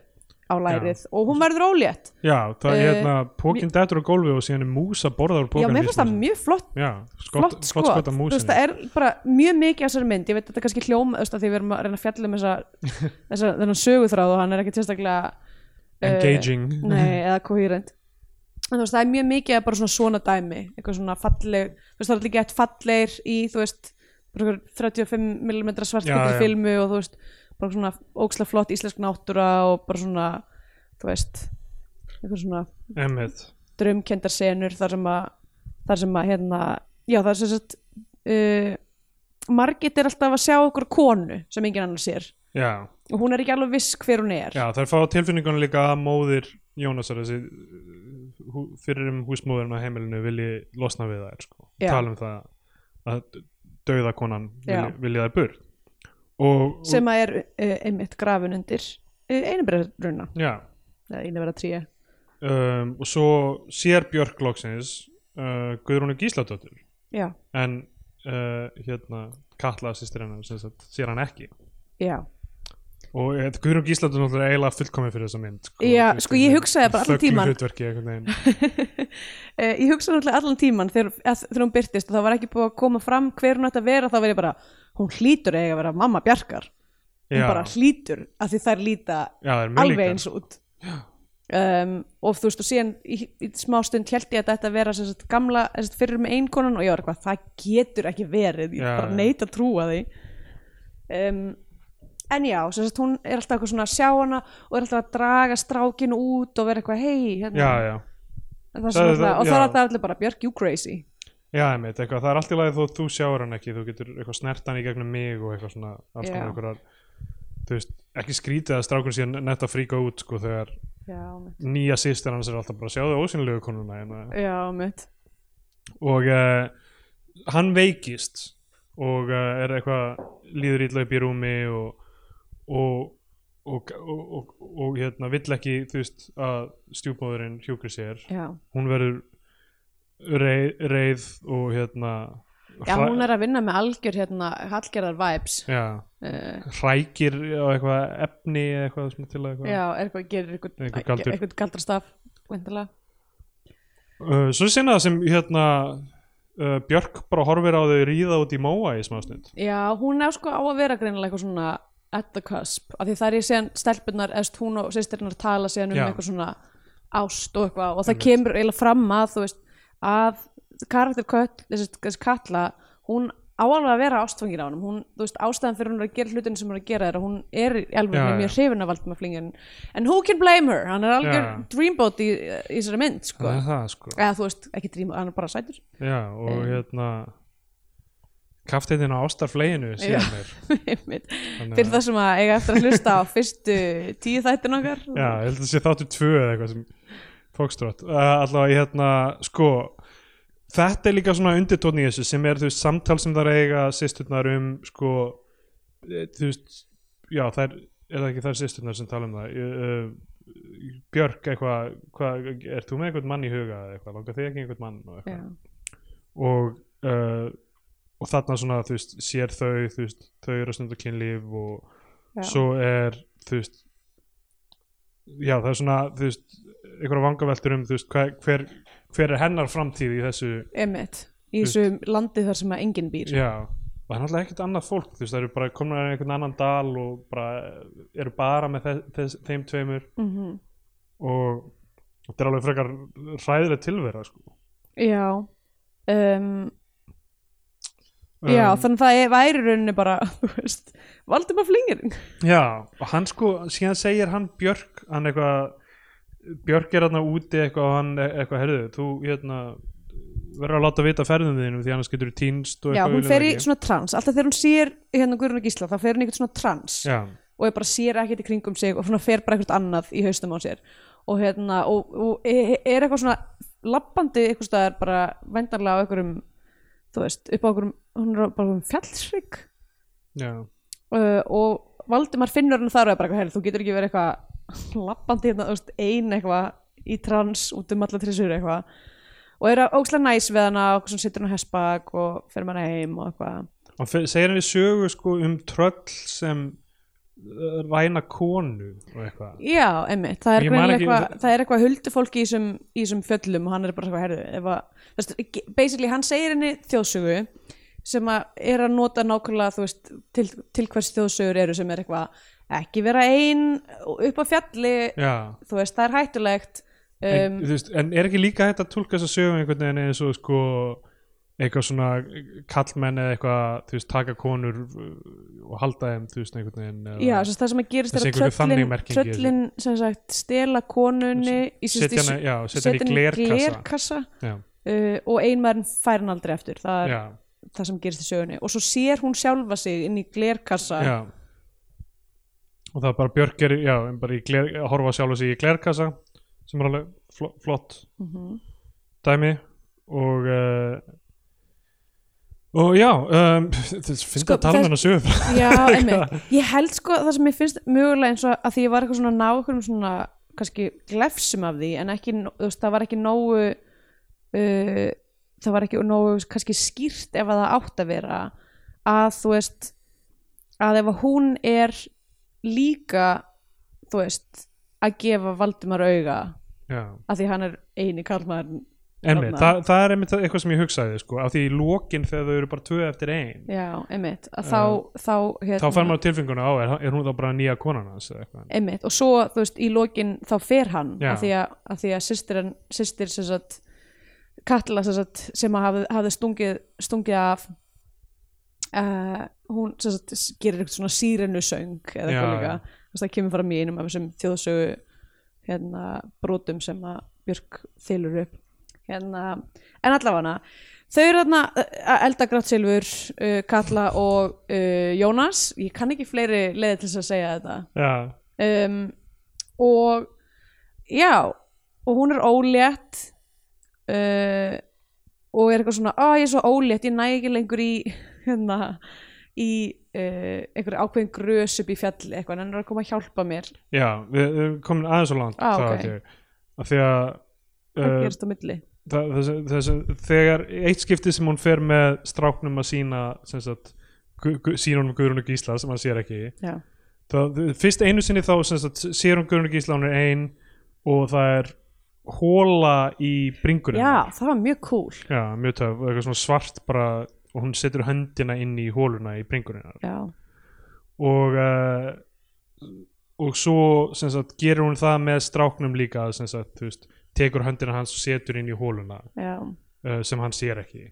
[SPEAKER 3] á lærið og hún verður ólétt
[SPEAKER 1] Já, það er
[SPEAKER 3] Eh,
[SPEAKER 1] hérna pókinn dættur á gólfi og síðan er músa borðar úr
[SPEAKER 3] já,
[SPEAKER 1] pókanum
[SPEAKER 3] mér finnst það mjög flott
[SPEAKER 1] Já, skot,
[SPEAKER 3] flott skot,
[SPEAKER 1] skot af
[SPEAKER 3] Þú veist,
[SPEAKER 1] músinni
[SPEAKER 3] það er bara mjög mikið af þessari mynd ég veit að þetta er kannski hljóma þú veist, af því við erum að reyna að fjalla um þessa, þessa, þennan söguþráð og hann er ekki sérstaklega eh,
[SPEAKER 1] Engaging
[SPEAKER 3] nei, eða kohýrend en þú veist, það er mjög mikið af bara svona svona dæmi eitthvað svona falleg þú veist, það er líka eitt fallegir í þú veist, bara einhver 35mm
[SPEAKER 1] Já, já.
[SPEAKER 3] svartkvítur filmu og þú veist bara svona ókslega flott íslensk náttúra og bara svona, þú veist eitthvað svona
[SPEAKER 1] Emmett
[SPEAKER 3] draumkendar senur þar sem að, þar sem að hérna, já það er sem sagt uh, Margit er alltaf að sjá okkur konu sem enginn annar sér
[SPEAKER 1] Já,
[SPEAKER 3] og hún er ekki alveg viss hver hún er
[SPEAKER 1] já það er fá tilfinningunum líka að móðir Jónasar þessi hú- fyrir um húsmóðurinn á heimilinu vilji losna við þær sko.
[SPEAKER 3] Já.
[SPEAKER 1] tala um það að dauða konan
[SPEAKER 3] Já.
[SPEAKER 1] vilji, vilji þær burt og, og,
[SPEAKER 3] sem að er uh, einmitt grafun undir uh, einabræðruna
[SPEAKER 1] já,
[SPEAKER 3] eða einabræða tríu
[SPEAKER 1] um, og svo sér Björk loksins uh, Guðrúnu Gísladóttur
[SPEAKER 3] já,
[SPEAKER 1] en uh, hérna Katla sýstir hennar sem sagt, sér hann ekki
[SPEAKER 3] já,
[SPEAKER 1] og eh, Guðrún Gíslandur náttúrulega er eiginlega fullkomið fyrir þessa mynd
[SPEAKER 3] Já, sko, ég hugsaði bara allan tímann.
[SPEAKER 1] hlutverki einhvern veginn
[SPEAKER 3] uh, ég hugsa náttúrulega allan tíman þegar, að, þegar hún byrtist og það var ekki búið að koma fram hver hún ætti að vera þá verið bara, hún hlýtur eiga að vera mamma bjarkar hún
[SPEAKER 1] Já.
[SPEAKER 3] bara hlýtur að því þær líta
[SPEAKER 1] Já, það er mjög
[SPEAKER 3] alveg
[SPEAKER 1] líkar.
[SPEAKER 3] eins út um, og þú veist og síðan í, í smá stund held ég að þetta vera sem sagt, gamla sem sagt, fyrir með einkonan og ég var eitthvað það getur ekki verið, ég
[SPEAKER 1] Já,
[SPEAKER 3] bara
[SPEAKER 1] já.
[SPEAKER 3] neita að trúa því um, en já, sem sagt hún er alltaf eitthvað svona að sjá hana og er alltaf að draga strákin út og vera eitthvað hei hérna.
[SPEAKER 1] Já, já,
[SPEAKER 3] En það
[SPEAKER 1] Það
[SPEAKER 3] það,
[SPEAKER 1] er
[SPEAKER 3] alltaf,
[SPEAKER 1] það-
[SPEAKER 3] og það er
[SPEAKER 1] já.
[SPEAKER 3] alltaf allir bara Björk, you crazy
[SPEAKER 1] já, einmitt, eitthvað, það er allt í lagi þó þú sjáur hann ekki, þú getur eitthvað snert hann í gegnum mig og eitthvað svona alls
[SPEAKER 3] Já.
[SPEAKER 1] konar einhverjar þú veist, ekki skrítið að strákun sé netta að fríka út sko þegar
[SPEAKER 3] já,
[SPEAKER 1] nýja sýstir hans er alltaf bara sjáðu ósynlegu konuna hérna.
[SPEAKER 3] já mitt
[SPEAKER 1] og uh, hann veikist og uh, er eitthvað líður ítla upp í rúmi og og, og, og, og, og hérna, vill ekki þú veist að stjúpmóðurinn hjúkri sér
[SPEAKER 3] já,
[SPEAKER 1] hún verður reið, reið og hérna
[SPEAKER 3] Já, hún er að vinna með algjör hérna Hallgerðar vibes
[SPEAKER 1] já,
[SPEAKER 3] uh,
[SPEAKER 1] hrækir á eitthvað efni eða eitthvað svona til að eitthvað
[SPEAKER 3] Já, er eitthvað, gerir eitthvað,
[SPEAKER 1] Einhver galdur.
[SPEAKER 3] eitthvað galdrastaf Vendilega
[SPEAKER 1] Uh, svo sinna það sem hérna uh, Björk bara horfir á þau ríða út í móa í smá stund
[SPEAKER 3] Já, hún er sko á að vera greinilega eitthvað svona at the cusp, af því það er ég séðan stelpunnar, eða hún og sýstirinnar tala séðan um
[SPEAKER 1] Já.
[SPEAKER 3] eitthvað svona ást og eitthvað og það kemur eiginlega fram að þú veist, að karakter kött, þessi, þessi kalla hún á alveg að vera ástfangin á hann hún, þú veist, ástæðan fyrir hún er að gera hlutin sem hún er að gera er að hún er í
[SPEAKER 1] Já,
[SPEAKER 3] alveg
[SPEAKER 1] já.
[SPEAKER 3] mjög hrifin af Valdimar Flingin en who can blame her, hann er algjör
[SPEAKER 1] Já.
[SPEAKER 3] dreamboat í, í þessari mynd, sko
[SPEAKER 1] það er það sko
[SPEAKER 3] eða þú veist, ekki dreamboat, hann er bara sætur
[SPEAKER 1] já, og hérna kafteitin á ástarfleginu síðan
[SPEAKER 3] Já.
[SPEAKER 1] mér
[SPEAKER 3] Einmitt. fyrir það sem að eiga eftir að hlusta á fyrstu tíu þættin okkar
[SPEAKER 1] já, ég held að það sé þáttur tvö eða eitthvað sem fókstrótt uh, allavega hérna sko þetta er líka svona undirtónn í þessu sem er þú veist samtal sem það eiga sýsturnar um sko eh, þú veist, já það er er það ekki þær sýsturnar sem tala um það Ég, uh, Björk eitthvað hva, er þú með einhvern mann í huga eða eitthvað, langar þig ekki einhvern mann og, eitthvað.
[SPEAKER 3] Já.
[SPEAKER 1] og, uh, og þarna svona þú veist, sér þau þú veist, þau eru að stunda kynlíf og
[SPEAKER 3] Já.
[SPEAKER 1] svo er þú veist já það er svona þú veist, einhverja vangaveltur um þú veist, hver, hver, hver er hennar framtíð í þessu
[SPEAKER 3] Emmett, í þessu landi þar sem að enginn býr
[SPEAKER 1] Já, og það er náttúrulega ekkert annað fólk þú veist, það eru bara komin að einhvern annan dal og bara, eru bara með þess, þess, þeim tveimur
[SPEAKER 3] mm -hmm.
[SPEAKER 1] og þetta er alveg frekar ræðileg tilvera sko.
[SPEAKER 3] Já um, Já,
[SPEAKER 1] Um,
[SPEAKER 3] þannig að það er- væri í rauninni bara, þú veist Valdimar Flingir
[SPEAKER 1] já, og hann sko síðan segir hann Björk hann eitthvað, Björk er hann úti eitthvað og hann e- eitthvað, herðu, þú hérna verður að láta vita ferðum þínum því annars getur þú týnst og
[SPEAKER 3] Já,
[SPEAKER 1] eitthvað
[SPEAKER 3] hún
[SPEAKER 1] viljum
[SPEAKER 3] fer í
[SPEAKER 1] ekki.
[SPEAKER 3] svona trans, alltaf þegar hún sér hérna Guðrún og Gísla, þá fer hún í eitthvað svona trans
[SPEAKER 1] Já,
[SPEAKER 3] og ég bara sér ekkert í kringum sig og svona fer bara eitthvað annað í haustum á sér og hérna, og, og e- er eitthvað svona lappandi eitthvað staðar bara vendarlega á einhverjum þú veist, upp á einhverjum, hún er á bara um fjallsrygg
[SPEAKER 1] já,
[SPEAKER 3] uh, og Valdimar finnur hann þar og er bara, herri, þú getur ekki verið eitthvað lappandi hérna, þú veist, ein eitthvað í trans út um alla trissur eitthvað og er að ókslega næs við hana og svona situr hann á hessbak og fer með hana heim og eitthvað
[SPEAKER 1] hann fer, segir henni sögu sko um tröll sem eh, ræna konu og eitthvað
[SPEAKER 3] Já, einmitt, það er
[SPEAKER 1] Ég man
[SPEAKER 3] greinilega
[SPEAKER 1] ekki- um
[SPEAKER 3] eitthvað það er eitthvað huldufólk í þessum, í þessum fjöllum og hann er bara eitthvað herðu ef að, þú veist, basically hann segir henni þjóðsögu sem að er að nota nákvæmlega þú veist, til, til hvers þjóðsögur eru sem er eitthvað ekki vera ein upp á fjalli
[SPEAKER 1] Já,
[SPEAKER 3] þú veist, það er hættulegt
[SPEAKER 1] en,
[SPEAKER 3] um,
[SPEAKER 1] þú veist, en er ekki líka hægt að tólka þess að sögum einhvern veginn eins og sko eitthvað svona kallmenn eða eitthvað, þú veist, taka konur uh, og halda þeim, þú veist, einhvern veginn eða-
[SPEAKER 3] já, þess, það sem að gerist
[SPEAKER 1] Það
[SPEAKER 3] er
[SPEAKER 1] sé
[SPEAKER 3] að
[SPEAKER 1] einhver þannig
[SPEAKER 3] tröllin,
[SPEAKER 1] merking í þessu.
[SPEAKER 3] tröllin sem sagt, stela konunni í, sem sagt,
[SPEAKER 1] setja
[SPEAKER 3] í-
[SPEAKER 1] hana, já, setja hana
[SPEAKER 3] setja
[SPEAKER 1] í
[SPEAKER 3] hana
[SPEAKER 1] glerkassa
[SPEAKER 3] glerkassa,
[SPEAKER 1] Já,
[SPEAKER 3] uh, og einmaðurinn fær hann aldrei eftir það er
[SPEAKER 1] já,
[SPEAKER 3] það sem gerist í sögunni og svo sér hún sjálfa sig inn í glerkassa
[SPEAKER 1] já og það er bara Björk er, já, en bara í gler, að horfa sjálf sig í glerkassa sem er alveg fl flott
[SPEAKER 3] Mhm.
[SPEAKER 1] dæmi og uh, og já um, þess, finnst
[SPEAKER 3] Sko,
[SPEAKER 1] að tala um
[SPEAKER 3] þess-
[SPEAKER 1] hennar sögum
[SPEAKER 3] já einmitt ég held sko það sem ég finnst mögulega eins og að því ég var eitthvað svona að ná einhverjum svona kannski glefsum af því en ekki, þú veist, það var ekki nógu uh, það var ekki nógu kannski skýrt ef að það átt að vera að þú veist að ef að hún er líka þú veist að gefa Valdimar auga
[SPEAKER 1] já
[SPEAKER 3] að því hann er eini karlmaðurinn
[SPEAKER 1] Einmitt,
[SPEAKER 3] Þarna.
[SPEAKER 1] það, það er einmitt eitthvað sem ég hugsaði sko, af því í lokin þegar þau eru bara tvö eftir ein
[SPEAKER 3] já, einmitt, að þá, þá, hérna,
[SPEAKER 1] þá fær maður tilfenguna á, er, er hún þá bara nýja konan hans eða eitthvað
[SPEAKER 3] einmitt og svo þú veist í lokin þá fer hann
[SPEAKER 1] Já.
[SPEAKER 3] af því að, að, því að systir, systir sem sagt, Katla sem, sagt, sem að hafði, hafði stungið, stungið af uh, hún sem sagt, s- gerir eitthvað svona sírennusöng
[SPEAKER 1] Já,
[SPEAKER 3] eða eitthvað líka
[SPEAKER 1] já.
[SPEAKER 3] Þú veist, það kemur fram í einum af þessum þjóðsögu hérna, brotum sem að Björk þylur upp hérna, en allavega þau eru þarna uh, Elda Gráttsilfur, uh, Katla og uh, Jónas, ég kann ekki fleiri leiði til þess að segja þetta
[SPEAKER 1] Já,
[SPEAKER 3] um, og já og hún er ólétt uh, og er eitthvað svona að ég er svo ólétt, ég næ ekki lengur í hérna í uh, einhverju ákveðin grös upp í fjalli eitthvað, en hann er að koma að hjálpa mér
[SPEAKER 1] já við við erum komin aðeins og langt
[SPEAKER 3] Á,
[SPEAKER 1] þá
[SPEAKER 3] Ah, ok.
[SPEAKER 1] held ég. af því að
[SPEAKER 3] hvað
[SPEAKER 1] uh,
[SPEAKER 3] gerist á milli
[SPEAKER 1] það, þessi, þessi, þegar eitt skipti sem hún fer með stráknum að sína sem sagt, gu, gu, sína honum Guðrún og Gísla sem hann sér ekki
[SPEAKER 3] Já.
[SPEAKER 1] það, fyrst einu sinni þá sem sagt, sér hún Guðrún og Gísla hún er ein og það er hóla í bringunum
[SPEAKER 3] já, það var mjög cool
[SPEAKER 1] Já, mjög töf, eitthvað svona svart bara og hún setur höndina inn í hóluna í bringunina
[SPEAKER 3] já,
[SPEAKER 1] og uh, og svo sem sagt, gerir hún það með stráknum líka sem sagt, þú veist, tekur höndina hans og setur inn í hóluna
[SPEAKER 3] já,
[SPEAKER 1] uh, sem hann sér ekki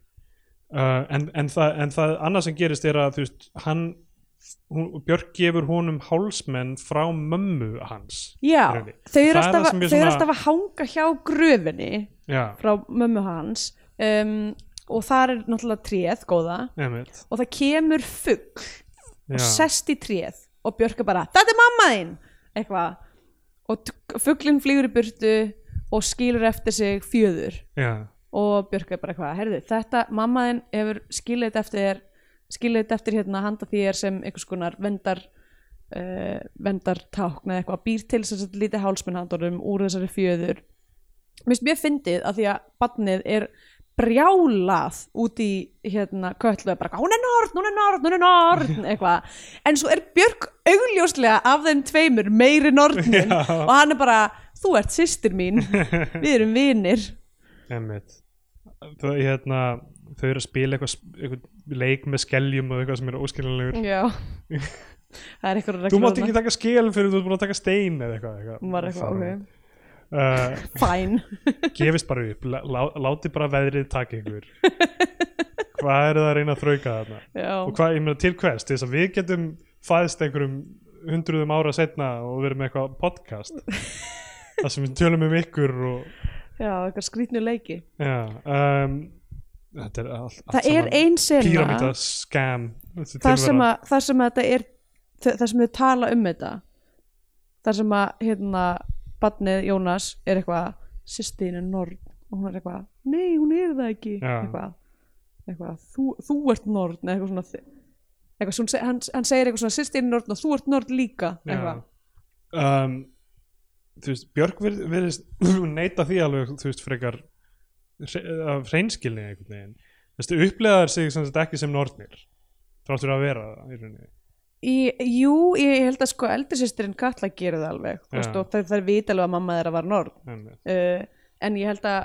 [SPEAKER 1] uh, en, en, það, en það annað sem gerist er að þú veist, hann hún, Björk gefur honum hálsmenn frá mömmu hans
[SPEAKER 3] já.
[SPEAKER 1] Í rauninni.
[SPEAKER 3] þau
[SPEAKER 1] Það
[SPEAKER 3] eru
[SPEAKER 1] er það
[SPEAKER 3] alltaf,
[SPEAKER 1] sem
[SPEAKER 3] er
[SPEAKER 1] ég
[SPEAKER 3] þau eru
[SPEAKER 1] svona-
[SPEAKER 3] alltaf að hanga hjá gröfinni
[SPEAKER 1] já,
[SPEAKER 3] frá mömmu hans um, og þar er náttúrulega tréð góða
[SPEAKER 1] emitt
[SPEAKER 3] og það kemur fugg og
[SPEAKER 1] já,
[SPEAKER 3] sest í tréð og Björk er bara þetta er mamma þín eitthvað og fugglinn flýgur í burtu og skilur eftir sig fjöður
[SPEAKER 1] já,
[SPEAKER 3] og Björk er bara eitthvað herðu þetta mamma þín hefur skilið þetta eftir þér skilið þetta eftir hérna handa þér sem einhvers konar vendar uh, vendartákn eða eitthvað býr til sem þetta lítið hálsmennhandorum úr þessari fjöður mér finnst mjög fyndið að því að barnið er brjálað út í hérna köllu er bara eitthvað, hún er norn, hún er norn, hún er norn eitthvað, en svo er Björk augljóslega af þeim tveimur meiri nornin
[SPEAKER 1] Já.
[SPEAKER 3] og hann er bara þú ert systir mín, við erum vinir
[SPEAKER 1] emitt það, hérna, þau eru að spila eitthvað, sp- eitthvað leik með skeljum og eitthvað sem eru óskiljanlegur
[SPEAKER 3] Já Það er eitthvað
[SPEAKER 1] þú mátt ekki taka skel fyrir þú ert búin að taka stein eða eitthvað, eitthvað.
[SPEAKER 3] var eitthvað, ok,
[SPEAKER 1] uh,
[SPEAKER 3] fæn
[SPEAKER 1] gefist bara upp, lá, lá- láti bara veðrið taka ykkur hvað eru það að reyna að þrauka þarna
[SPEAKER 3] Já,
[SPEAKER 1] og hvað, ég meina til hvers, til þess að við getum fæðst einhverjum hundruðum ára setna og verið með eitthvað podcast þar sem við tölum um ykkur og,
[SPEAKER 3] já eitthvað skrýtnu leiki
[SPEAKER 1] já um, þetta er all, allt
[SPEAKER 3] Það er ein sena
[SPEAKER 1] píramíta skam
[SPEAKER 3] þar sem, að, þar sem að þetta er þ- þar sem þau tala um þetta þar sem að hérna barnið Jónas er eitthvað sýstin er norn og hún er eitthvað nei hún er það ekki
[SPEAKER 1] Já.
[SPEAKER 3] eitthvað, eitthvað þú, þú ert norn eða eitthvað svona þi- eitthvað, svona, hann, hann segir eitthvað svona sýstin er norn og þú ert norn líka eitthvað,
[SPEAKER 1] um, þú veist, Björk vir- virðist neita því alveg, þú veist, frekar hre- af hreinskilni einhvern veginn, þú veist, upplegaðar sig sem sagt ekki sem nornir, þráttur að vera það í rauninni,
[SPEAKER 3] Í, jú, ég held að sko eldri systirinn Katla gerir það alveg þú veist,
[SPEAKER 1] Já.
[SPEAKER 3] og það er vita alveg að mamma þeirra var norn
[SPEAKER 1] en
[SPEAKER 3] uh, en ég held að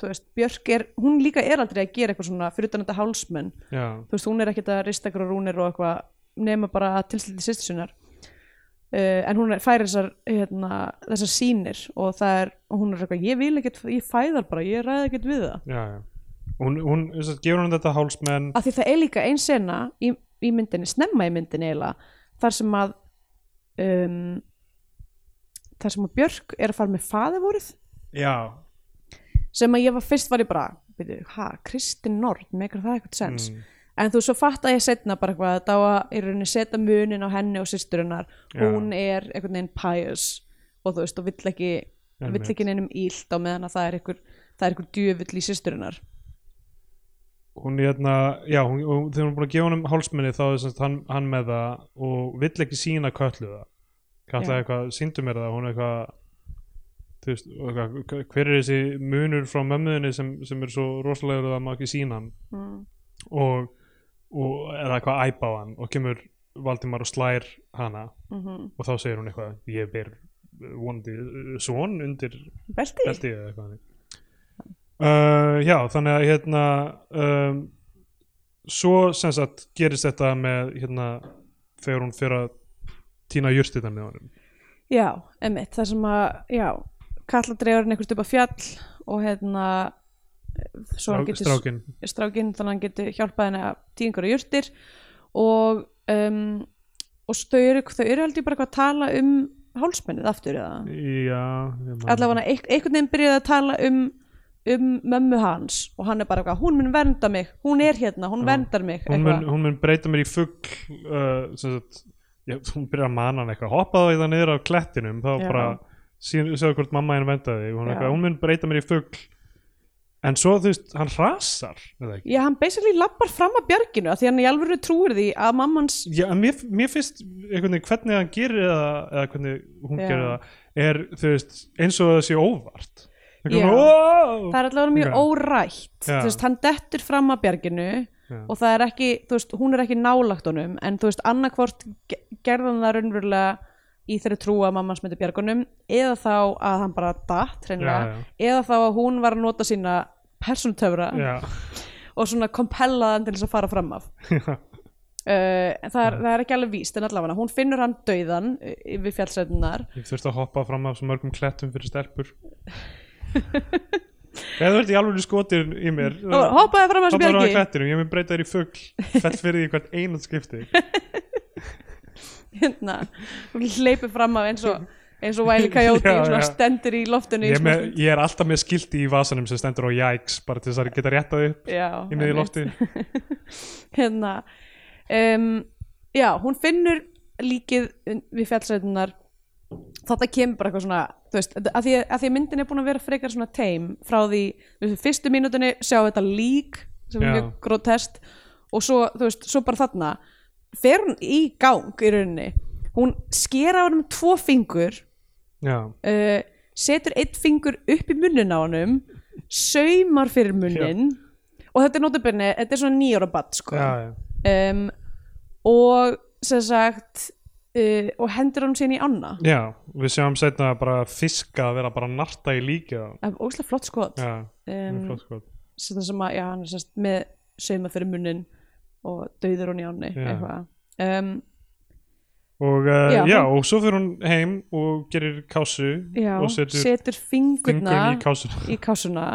[SPEAKER 3] þú veist, Björk er, hún líka er aldrei að gera eitthvað svona fyrir utan þetta hálsmenn
[SPEAKER 1] já,
[SPEAKER 3] þú veist, hún er ekkert að rista ykkur rúnir og eitthvað nema bara að tilsliti sýstur sinnar uh, en hún er, fær þessar hérna, þessar sýnir og það er, og hún er eitthvað, ég vil ekkert ég fæðar bara, ég ræði ekkert við það
[SPEAKER 1] já, já. Hún, hún, þú veist, gefur hún þetta hálsmenn,
[SPEAKER 3] af því það er líka ein sena í, í myndinni, snemma í myndinni eiginlega, þar sem að um, þar sem að Björk er að fara með faðavórið
[SPEAKER 1] já,
[SPEAKER 3] sem að ég var fyrst var ég bara byrju, ha, Kristinn Nord, meikar það eitthvað sens
[SPEAKER 1] Mm.
[SPEAKER 3] en þú svo fatta ég setna bara eitthvað að það var í rauninni setja munin á henni og systurinnar,
[SPEAKER 1] Já.
[SPEAKER 3] hún er einhvern veginn pious og þú veist og vill ekki, vill
[SPEAKER 1] Einmitt.
[SPEAKER 3] ekki neinum ílt á meðan að það er einhver það er einhver djöfull í systurinnar
[SPEAKER 1] hún er hérna, já, hún, hún, þegar hún er búin að gefa honum hálsmenni þá er sem sagt hann, hann með það og vill ekki sína köllu það kallaði
[SPEAKER 3] Já.
[SPEAKER 1] eitthvað, síndu mér það hún er eitthvað þú veist, og eitthvað, hver er þessi munur frá mömmuðinni sem, sem er svo rosalegur að maður ekki sína hann
[SPEAKER 3] mm.
[SPEAKER 1] og, og er það eitthvað að æpa á hann og kemur Valdimar og slær hana
[SPEAKER 3] mm -hmm.
[SPEAKER 1] og þá segir hún eitthvað ég ber vonandi uh, svon undir
[SPEAKER 3] Belti?
[SPEAKER 1] Belti eða eitthvað þannig. uh, Já, þannig að hérna um, svo sem sagt gerist þetta með hérna þegar hún fyrir að týna jurtitan með honum
[SPEAKER 3] Já, emmitt, það sem að já, kalla dreifurinn einhvert upp á fjall og hérna svo hann getur
[SPEAKER 1] strákin
[SPEAKER 3] strákinn þannig að hann getur hjálpað henni að tíða einhverja jurtir og um, og þau eru, þau eru heldur bara eitthvað að tala um hálsmennið aftur eða
[SPEAKER 1] Já, ég man-
[SPEAKER 3] allavega einh- einhvern veginn byrjaði að tala um um mömmu hans og hann er bara eitthvað, hún mun vernda mig, hún er hérna hún
[SPEAKER 1] Já.
[SPEAKER 3] verndar mig,
[SPEAKER 1] hún mun,
[SPEAKER 3] eitthvað
[SPEAKER 1] hún mun breyta mér í fugg uh, sem sagt já, hún byrjar að mana hann eitthvað, hoppaðu það niður af klettinum þá
[SPEAKER 3] Já.
[SPEAKER 1] bara séu hvort mamma henn vendaði hún,
[SPEAKER 3] Já.
[SPEAKER 1] eitthvað, hún mun breyta mér í fugg en svo þú veist, hann rasar eða ekki
[SPEAKER 3] Já, hann basically lappar fram að bjarginu af því hann í alvöru trúir því að mamma hans
[SPEAKER 1] Já, en mér, mér finnst einhvern veginn hvernig hann gerir það eða hvernig hún
[SPEAKER 3] Já.
[SPEAKER 1] gerir það er þú veist, eins og það sé óvart Þú Eitthvað
[SPEAKER 3] Já.
[SPEAKER 1] svona, "Wow!"
[SPEAKER 3] það er allavega mjög
[SPEAKER 1] Ok.
[SPEAKER 3] órætt
[SPEAKER 1] Já.
[SPEAKER 3] þú veist, hann dettur fram að bjarginu
[SPEAKER 1] Já.
[SPEAKER 3] og það er ekki, þú veist, hún er ekki nálagt honum en þú veist, annarkvort ge- gerði hann það raunverulega í þeirri trú að mamma hans myndi bjargunum eða þá að hann bara datt
[SPEAKER 1] Já,
[SPEAKER 3] hreinlega, eða þá að hún var að nota sína persónutöfra
[SPEAKER 1] Já.
[SPEAKER 3] og svona kompellaðan til þess að fara fram af
[SPEAKER 1] Já.
[SPEAKER 3] uh, en það, er, það er ekki alveg víst en allavega hún finnur hann dauðan uh, við fjallsveitunar
[SPEAKER 1] Ég þurfti að hoppa fram af svo mörgum klettum fyrir stelpur Eða þú ert í alveg skotir í mér
[SPEAKER 3] og hoppaði fram að þessu
[SPEAKER 1] Hoppa fram af
[SPEAKER 3] bjargi
[SPEAKER 1] klettinum, ég mun breyta þér í fugl Fett fyrir því hvert einat skipti
[SPEAKER 3] hérna, hún hleypur fram af eins og eins og Wiley Coyote
[SPEAKER 1] Já,
[SPEAKER 3] svona
[SPEAKER 1] já.
[SPEAKER 3] stendur í sko. loftunni í
[SPEAKER 1] ég, er
[SPEAKER 3] smá
[SPEAKER 1] með,
[SPEAKER 3] stund.
[SPEAKER 1] ég er alltaf með skilti í vasanum sem stendur á jæks bara til þess að geta réttað upp
[SPEAKER 3] já,
[SPEAKER 1] í miði
[SPEAKER 3] einmitt.
[SPEAKER 1] lofti
[SPEAKER 3] hérna um, já, hún finnur líkið við fjallsveitunar þetta kemur bara eitthvað svona þú veist, að því, að því að myndin er búin að vera frekar svona teim frá því, þú veist, fyrstu mínútinni sjá þetta lík sem
[SPEAKER 1] Já.
[SPEAKER 3] er mjög grotest og svo, þú veist, svo bara þarna fer hún í gang í rauninni hún sker á hann um tvo fingur
[SPEAKER 1] Já,
[SPEAKER 3] uh, setur eitt fingur upp í munnin á honum saumar fyrir munnin og þetta er notabenni, þetta er svona nýjóra batt sko.
[SPEAKER 1] já, já
[SPEAKER 3] um, og sem sagt uh, og hendur hann síðan í ána
[SPEAKER 1] Já, við sjáum setna bara fiska að vera bara að narta í líka Já,
[SPEAKER 3] það er óslega flott skot
[SPEAKER 1] það er
[SPEAKER 3] um,
[SPEAKER 1] flott sko
[SPEAKER 3] sem það sem að, já, hann er sérst með sauma fyrir munnin og dauður hann í áni
[SPEAKER 1] Já.
[SPEAKER 3] eitthvað um,
[SPEAKER 1] Og uh,
[SPEAKER 3] Já,
[SPEAKER 1] já,
[SPEAKER 3] hún-
[SPEAKER 1] og svo fyrir hún heim og gerir kásu
[SPEAKER 3] já,
[SPEAKER 1] og setur
[SPEAKER 3] setur fingurna
[SPEAKER 1] fingurinn í kásuna
[SPEAKER 3] í kásuna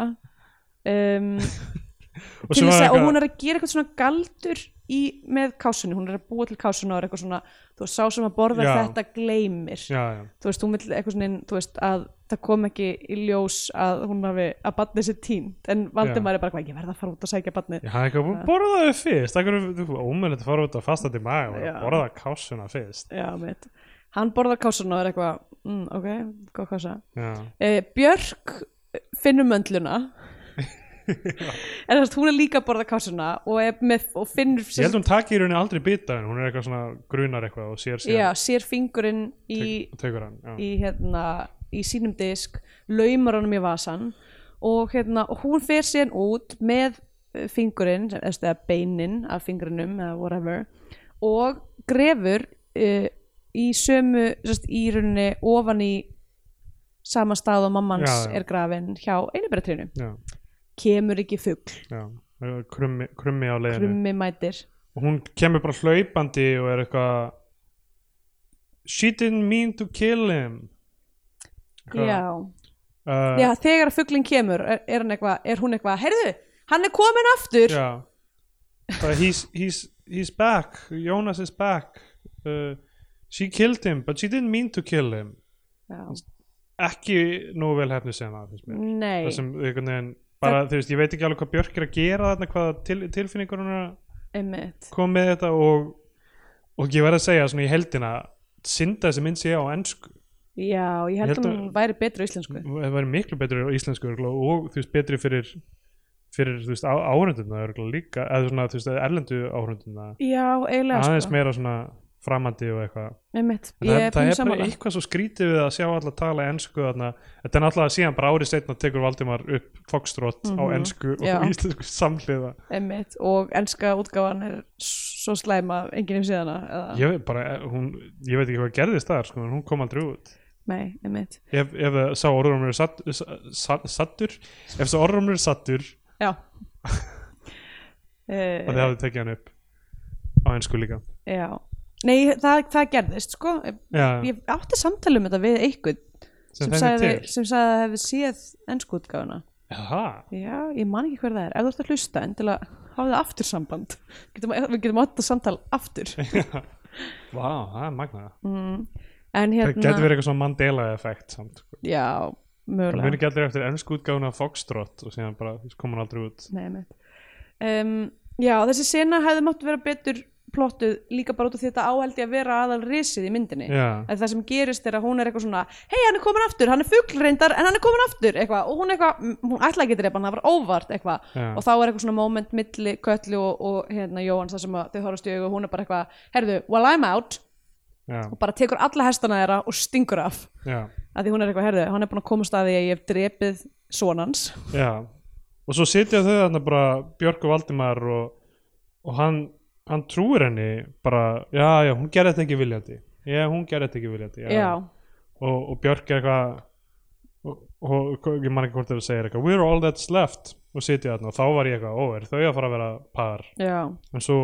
[SPEAKER 3] um,
[SPEAKER 1] og,
[SPEAKER 3] til
[SPEAKER 1] svo var
[SPEAKER 3] þess að, og
[SPEAKER 1] eitthvað-
[SPEAKER 3] hún er að gera eitthvað svona galdur í, með kásunni, hún er að búa til kásuna og er eitthvað svona, þú veist, sá sem að borða
[SPEAKER 1] Já.
[SPEAKER 3] þetta gleymir,
[SPEAKER 1] Já, já
[SPEAKER 3] þú veist, hún vil eitthvað svona, inn, þú veist, að það kom ekki í ljós að hún hafi, að barnið sér tínt en Valdimar er bara, hvað, ég verð að fara út að sækja barnið
[SPEAKER 1] Já, það er ekki að borða þau fyrst Það er ómöðilegt að fara út að fasta til maga
[SPEAKER 3] Já.
[SPEAKER 1] og borða kásuna fyrst
[SPEAKER 3] já, mitt, hann borðar kásuna og er eitthvað, mm, ok, góð kása
[SPEAKER 1] Já,
[SPEAKER 3] eh, Björk finnur möndluna en þess að hún er líka að borða kásuna og, er með, og finnur
[SPEAKER 1] Ég held hún taki í rauninni aldrei bita en hún er eitthvað svona grunar eitthvað og sér sér
[SPEAKER 3] já, sér fingurinn í
[SPEAKER 1] og tekur hann já.
[SPEAKER 3] í, hérna, í sínum disk laumar honum í vasan og, hérna, og hún fer síðan út með eh, fingurinn sem- eða eða beinin af fingrinum eða whatever og grefur uh, í sömu sérst, í rauninni ofan í sama stað og mammans
[SPEAKER 1] Já, já.
[SPEAKER 3] er grafin hjá einubæratrinu
[SPEAKER 1] Já,
[SPEAKER 3] kemur ekki fugl,
[SPEAKER 1] já. Það er Krummi, krummi á leiðinu
[SPEAKER 3] krummi mætir
[SPEAKER 1] og hún kemur bara hlaupandi og er eitthvað She didn't mean to kill him Eitthvað,
[SPEAKER 3] já,
[SPEAKER 1] uh,
[SPEAKER 3] já, þegar að fuglinn kemur er, er, hann eitthvað, er hún eitthvað, heyrðu hann er komin aftur
[SPEAKER 1] Já Bara he's, he's, he's back Jonas is back uh, She killed him but she didn't mean to kill him
[SPEAKER 3] Já.
[SPEAKER 1] Ekki nógu vel hefni sem það finnst mér
[SPEAKER 3] nei,
[SPEAKER 1] Það sem einhvern veginn bara þú veist ég veit ekki alveg hvað Björk er að gera þarna hvað til, tilfinningur hún er að
[SPEAKER 3] einmitt
[SPEAKER 1] koma með þetta og og ég verð að segja svona í heldina synda þessi mynd sé á ennsku
[SPEAKER 3] Já, ég held
[SPEAKER 1] held
[SPEAKER 3] að
[SPEAKER 1] að-
[SPEAKER 3] hún væri betri á íslensku
[SPEAKER 1] það væri miklu betri á íslensku örugglega, og þú veist betri fyrir fyrir þú veist áhrunduna líka eða svona þú veist erlendu áhrunduna
[SPEAKER 3] Já, eiginlega
[SPEAKER 1] aðeins
[SPEAKER 3] sko
[SPEAKER 1] meira svona framandi og eitthvað
[SPEAKER 3] Einmitt,
[SPEAKER 1] En það,
[SPEAKER 3] ég er
[SPEAKER 1] það
[SPEAKER 3] pínu
[SPEAKER 1] er bara
[SPEAKER 3] sammála
[SPEAKER 1] eitthvað svo skrítið við að sjá alla tala ensku þarna þetta er náttúrulega síðan bara árið setna tekur Valdimar upp fokstrótt á
[SPEAKER 3] Mhm.
[SPEAKER 1] ensku og
[SPEAKER 3] Já.
[SPEAKER 1] íslensku samhliða
[SPEAKER 3] Einmitt, og enska útgáfan er svo slæma enginn um síðana eða,
[SPEAKER 1] ég veit, bara, hún, ég veit ekki hvað gerðist þar sko, en hún kom aldrei út
[SPEAKER 3] Nei, einmitt
[SPEAKER 1] ef, ef það sá orðrumur er satt, satt, sattur ef sá orðrumur er sattur
[SPEAKER 3] Já
[SPEAKER 1] að
[SPEAKER 3] uh,
[SPEAKER 1] þið hafið tekið hann upp á ensku líka
[SPEAKER 3] Já Nei, það, það gerðist sko
[SPEAKER 1] Já,
[SPEAKER 3] Ég átti samtali um þetta við einhvern
[SPEAKER 1] sem
[SPEAKER 3] sem,
[SPEAKER 1] þekki
[SPEAKER 3] sagði,
[SPEAKER 1] til.
[SPEAKER 3] sem sagði að það hefði séð ensku útgáfuna
[SPEAKER 1] Jaha,
[SPEAKER 3] Já, ég man ekki hver það er Ef þú ert að hlusta en til að hafa það aftur samband getum, Við getum átt að samtal aftur Mm.
[SPEAKER 1] vá, það er magnað
[SPEAKER 3] En
[SPEAKER 1] það
[SPEAKER 3] hérna
[SPEAKER 1] getur verið eitthvað svona Mandela-effekt samt sko.
[SPEAKER 3] Já,
[SPEAKER 1] Það
[SPEAKER 3] mögulega
[SPEAKER 1] muni ekki allir eftir ennsku útgáfuna af Foxtrot og síðan bara kom hann aldrei út
[SPEAKER 3] Nei, einmitt. um, já, þessi sena hefði mátt vera betur plottuð líka bara út af því að þetta áhaldi að vera aðal risið í myndinni
[SPEAKER 1] Já,
[SPEAKER 3] en það sem gerist er að hún er eitthvað svona hei, hann er komin aftur, hann er fuglreindar en hann er komin aftur, eitthvað, og hún eitthvað m- hún ætlaði ekki að drepa hann, það var óvart, eitthvað
[SPEAKER 1] Já.
[SPEAKER 3] og þá er eitthvað svona moment milli Köllu og, og hérna Jóhann, það sem að þau horfast í augu og hún er bara eitthvað, herðu, well I'm out
[SPEAKER 1] já,
[SPEAKER 3] og bara tekur alla hestana þeirra og stingur af
[SPEAKER 1] já,
[SPEAKER 3] að því hún er eitthvað, herðu, hann er búin að komast að því að ég hef drepið sonans
[SPEAKER 1] Já, og svo sitja þau þarna bara Björk og Valdimar og, og hann, hann trúir henni bara, já, já, hún gerði þetta ekki viljandi já, hún gerði þetta ekki viljandi já.
[SPEAKER 3] Já,
[SPEAKER 1] Og, og Björk er eitthvað og, og og ég man ekki hvort þeir segir eitthvað we're all that's left og sitja þarna og þá var ég eitthvað, ó, er þau að fara að vera par
[SPEAKER 3] já
[SPEAKER 1] en svo,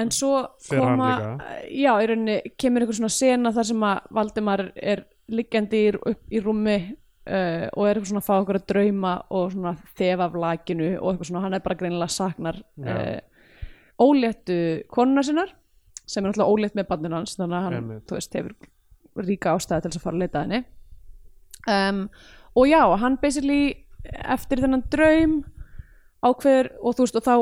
[SPEAKER 3] En svo
[SPEAKER 1] Fer hann
[SPEAKER 3] koma, já, í rauninni kemur einhver svona sena þar sem að Valdimar er liggjandi í, upp í rúmi uh, og er eitthvað svona að fá okkur að drauma og svona þef af lakinu og eitthvað svona, hann er bara greinilega saknar
[SPEAKER 1] Já.
[SPEAKER 3] uh, óléttu konuna sinnar sem er náttúrulega ólétt með bandinu hans þannig að hann,
[SPEAKER 1] Einmitt.
[SPEAKER 3] þú veist, hefur ríka ástæði til þess að fara að leita að henni um, og já, hann basically eftir þennan draum ákveður og þú veist og þá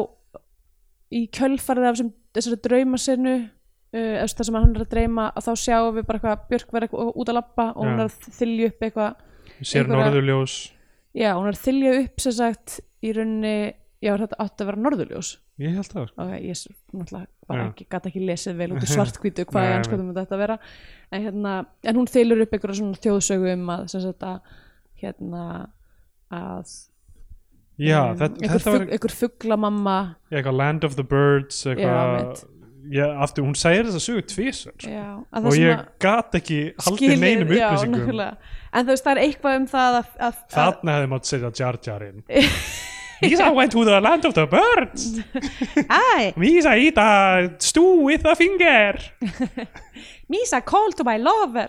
[SPEAKER 3] í kjölfarið af sem, þessari draumasinu uh, eða það sem hann er að dreyma að þá sjáum við bara eitthvað Björk verið eitthvað út að labba og hún
[SPEAKER 1] Já.
[SPEAKER 3] er að þylja upp eitthvað
[SPEAKER 1] sér
[SPEAKER 3] Einhverja-
[SPEAKER 1] norðurljós
[SPEAKER 3] já, hún er að þylja upp sem sagt í rauninni, já þetta átti að vera norðurljós
[SPEAKER 1] ég held það, sko.
[SPEAKER 3] ok, ég s- náttúrulega var
[SPEAKER 1] Já.
[SPEAKER 3] ekki, gæti ekki lesið vel út úr svartkvítu hvað
[SPEAKER 1] Nei,
[SPEAKER 3] er anskotum þetta að vera en, hérna, en hún þylur upp einhverja svona þjóðsögu um að sem sagt að hérna að
[SPEAKER 1] já,
[SPEAKER 3] um,
[SPEAKER 1] þetta,
[SPEAKER 3] einhver,
[SPEAKER 1] þetta var
[SPEAKER 3] fugg, einhver fugglamamma
[SPEAKER 1] eitthvað land of the birds eitthvað,
[SPEAKER 3] einmitt.
[SPEAKER 1] já, aftur, hún segir þess að sögu tvisar, sko
[SPEAKER 3] já, að
[SPEAKER 1] og
[SPEAKER 3] það sem
[SPEAKER 1] ég
[SPEAKER 3] að
[SPEAKER 1] gat ekki haldið
[SPEAKER 3] skilið-
[SPEAKER 1] neinum
[SPEAKER 3] já,
[SPEAKER 1] upplýsingum
[SPEAKER 3] nákvæmlega. en þú veist það er eitthvað um það að, að, að
[SPEAKER 1] þarna hefði mátt setja Jar Jar inn Mísa went to the land of the birds
[SPEAKER 3] Æ,
[SPEAKER 1] Mísa eat a stew with a finger
[SPEAKER 3] Misa call to my lover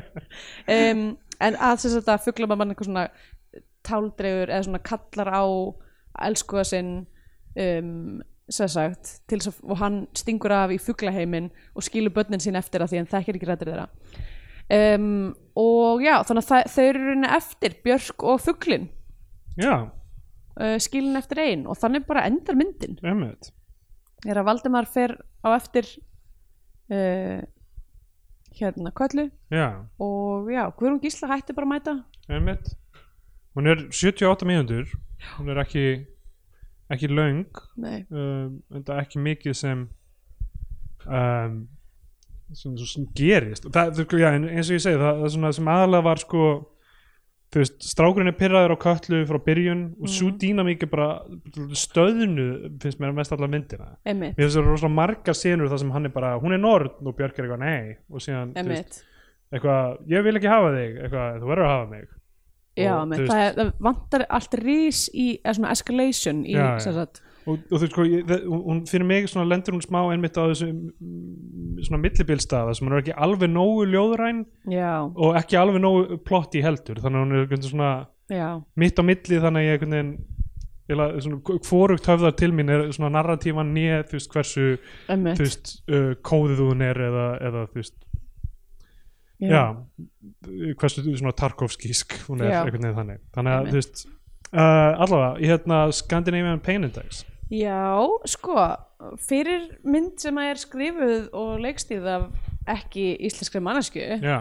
[SPEAKER 3] um, en að þess að þetta fuggla maður mann eitthvað svona táldregur eða svona kallar á elskuða sinn um, sem sagt til þess að og hann stingur af í fugglaheimin og skilur börnin sín eftir að því hann þekkir ekki rættir þeirra um, og já þannig að það- þau eru í rauninni eftir Björk og fugglin
[SPEAKER 1] já,
[SPEAKER 3] uh, skilin eftir ein og þannig bara endar myndin
[SPEAKER 1] emmitt
[SPEAKER 3] er að Valdimar fer á eftir uh, hérna kvöllu
[SPEAKER 1] já,
[SPEAKER 3] og já, Guðrún Gísla hætti bara að mæta
[SPEAKER 1] emmitt hún er 78 mínútur hún er ekki ekki löng
[SPEAKER 3] Nei.
[SPEAKER 1] um, en það er ekki mikið sem um, sem, sem gerist það, það, já, en eins og ég segi það, það er svona sem aðalega var sko þú veist, strákurinn er pyrraður á köllu frá byrjun og svo dýnamík er bara stöðnu finnst mér að mest alla myndina
[SPEAKER 3] einmitt,
[SPEAKER 1] mér finnst það rosalega margar senur þar sem hann er bara hún er norn og Björk er eitthvað nei og síðan, þú veist,
[SPEAKER 3] einmitt.
[SPEAKER 1] eitthvað, ég vil ekki hafa þig eitthvað, þú verður að hafa mig
[SPEAKER 3] Já,
[SPEAKER 1] Og,
[SPEAKER 3] einmitt.
[SPEAKER 1] þú veist-
[SPEAKER 3] Það, er, það vantar allt rís í eða svona escalation í,
[SPEAKER 1] Já, já.
[SPEAKER 3] sem sagt,
[SPEAKER 1] og, og þú veist sko, ég, þe- hún- hún fyrir mig svona lendur hún smá einmitt á þessu mm, svona millibilstaða sem hún er ekki alveg nógu ljóðræn
[SPEAKER 3] já,
[SPEAKER 1] og ekki alveg nógu plotti heldur þannig að hún er einhvern veginn svona
[SPEAKER 3] já,
[SPEAKER 1] mitt á milli þannig að ég einhvern veginn eiginlega svona hvorugt höfðar til mín er svona narratífan nýja þú veist hversu þú
[SPEAKER 3] einmitt
[SPEAKER 1] veist uh, kóðið hún er eða, eða þú veist já, hversu svona Tarkovskísk hún er
[SPEAKER 3] Já.
[SPEAKER 1] einhvern veginn þannig þannig að
[SPEAKER 3] Einmitt.
[SPEAKER 1] þú veist uh, allavega í hérna Scandinavian Pain Index
[SPEAKER 3] já, sko fyrir mynd sem að er skrifuð og leikstýð af ekki íslenskri mannesku
[SPEAKER 1] já,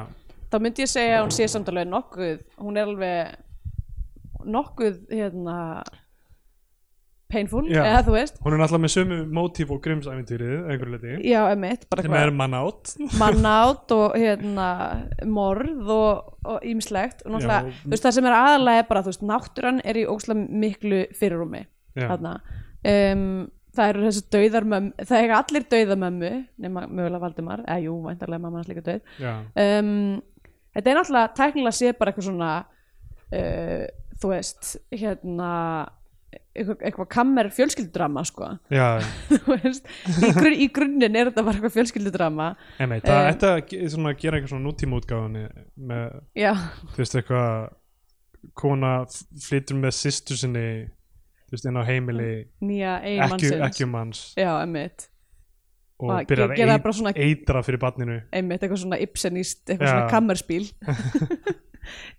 [SPEAKER 3] þá myndi ég segja að hún sé samt alveg nokkuð hún er alveg nokkuð hérna painful,
[SPEAKER 1] Já.
[SPEAKER 3] eða þú veist
[SPEAKER 1] hún er náttúrulega með sömu mótíf og grimsæventýrið einhverju leti
[SPEAKER 3] já, emitt, bara
[SPEAKER 1] sem er mann átt
[SPEAKER 3] mannátt og hérna, morð og, og ýmislegt og náttúrulega,
[SPEAKER 1] Já.
[SPEAKER 3] þú veist, það sem er aðalega er bara, þú veist, náttúran er í ókslega miklu fyrirrúmi
[SPEAKER 1] já,
[SPEAKER 3] þarna um, það eru þessi dauðarmömmu það eiga allir dauðamömmu nema mögulega Valdimar, eða jú, væntarlega mamma hans líka dauð
[SPEAKER 1] já,
[SPEAKER 3] um, þetta er náttúrulega tæknilega sé bara eitthvað svona uh, þú veist hérna eitthvað, eitthvað kammer fjölskyldudrama sko,
[SPEAKER 1] já
[SPEAKER 3] þú veist í, grun, í grunninn er þetta bara eitthvað fjölskyldudrama
[SPEAKER 1] einmitt, það
[SPEAKER 3] Eh.
[SPEAKER 1] ætti að ge- svona að gera eitthvað svona nútíma útgáðan með,
[SPEAKER 3] já,
[SPEAKER 1] þú veist, eitthvað kona f- flytur með sýstur sinni þú veist, inn á heimili
[SPEAKER 3] nýja
[SPEAKER 1] ekki,
[SPEAKER 3] eiginmannsins
[SPEAKER 1] ekki um hans
[SPEAKER 3] já, einmitt,
[SPEAKER 1] og
[SPEAKER 3] Að
[SPEAKER 1] byrjar
[SPEAKER 3] Ah, gera
[SPEAKER 1] að
[SPEAKER 3] bara svona-
[SPEAKER 1] eit- eitra fyrir barninu
[SPEAKER 3] einmitt eitthvað svona Ibsenist, eitthvað
[SPEAKER 1] Já.
[SPEAKER 3] svona kammerspíl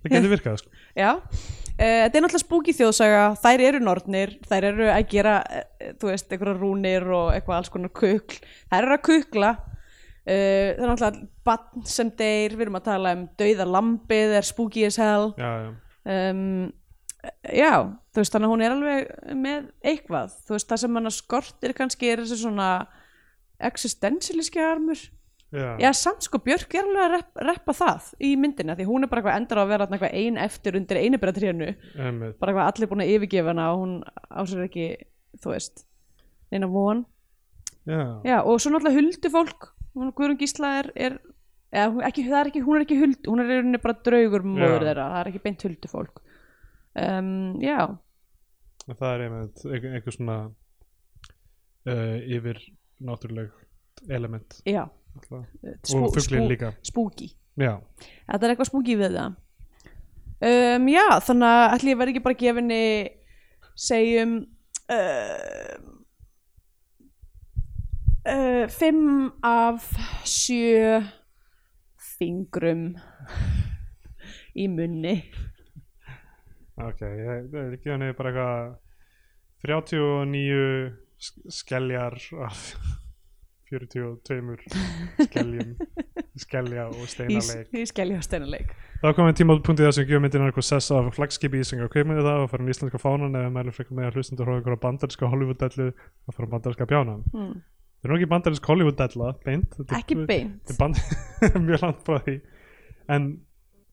[SPEAKER 1] það getur virkað, sko
[SPEAKER 3] já, Eh, þetta er náttúrulega spúki þjóðsaga þær eru nornir, þær eru að gera eh, þú veist, einhverja rúnir og eitthvað alls konar kukl, þær eru að kukla Uh, það er náttúrulega bann sem deyr, við erum að tala um dauða lambið er spooky as hell
[SPEAKER 1] já, já,
[SPEAKER 3] um, já, þú veist þannig að hún er alveg með eitthvað þú veist það sem hann skortir kannski er þessi svona existentialíski armur
[SPEAKER 1] já,
[SPEAKER 3] Já, samt sko, Björk er alveg að rep, reppa það í myndina því hún er bara eitthvað endur á að vera þarna eitthvað ein eftir undir einubræðtrénu
[SPEAKER 1] einmitt.
[SPEAKER 3] bara eitthvað allir búin að yfirgefa hana og hún ásverð ekki, þú veist neina von.
[SPEAKER 1] já,
[SPEAKER 3] Já, og svo náttúrulega huldufólk hún Guðrún Gísla er, er eða, hún- ekki, það er ekki, hún er ekki huld hún er í rauninni bara draugur móður
[SPEAKER 1] Já.
[SPEAKER 3] þeirra það er ekki beint huldufólk um, Já,
[SPEAKER 1] það er einmitt einhver, einhver svona uh, yfir náttúruleg element
[SPEAKER 3] já
[SPEAKER 1] alltaf.
[SPEAKER 3] Spú-
[SPEAKER 1] og fuglinn
[SPEAKER 3] spú-
[SPEAKER 1] líka
[SPEAKER 3] Spooky
[SPEAKER 1] já,
[SPEAKER 3] Þetta er eitthvað spúki við það. Um, já, þannig að ætli ég verði ekki bara að gefa henni segjum uh, uh, fimm af sjö fingrum í munni.
[SPEAKER 1] ok ég, ég ekki hann bara eitthvað 39 sk- skeljar af 42 skeljum skelja og
[SPEAKER 3] Í,
[SPEAKER 1] steinaleik
[SPEAKER 3] í skelja og steinaleik.
[SPEAKER 1] þá komum við tímapunktið þar sem gefum myndin eitthvað sessa af flagskipi ísengi og kaupmyndu það og farum íslenska fánan eða meðlum frekar með að hlustendur hóða einhverja bandarinska Hollywood-dellu og farum bandarinska bjánan
[SPEAKER 3] Mm.
[SPEAKER 1] það er nú ekki bandarinsk Hollywood-della beint þetta er-
[SPEAKER 3] Ekki beint.
[SPEAKER 1] Þetta er band mjög langt frá því en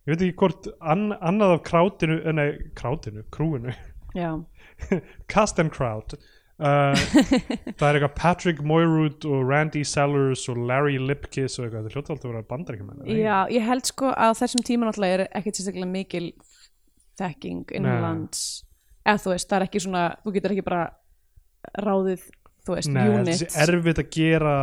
[SPEAKER 1] ég veit ekki hvort an, annað af krátinu eh, nei, krátinu, krúinu
[SPEAKER 3] Já,
[SPEAKER 1] cast and crowd uh, það er eitthvað Patrick Moirud og Randy Sellers og Larry Lipkiss og eitthvað, þetta hljóta alltaf að vera bandaríkjumenn eða
[SPEAKER 3] já, ég held sko að á þessum tíma náttúrulega er ekkert sérstaklega mikil þekking innanlands. Eða þú veist, það er ekki svona, þú getur ekki bara ráðið, þú
[SPEAKER 1] ekki?
[SPEAKER 3] veist,
[SPEAKER 1] Nei,
[SPEAKER 3] unit.
[SPEAKER 1] þetta er erfitt að gera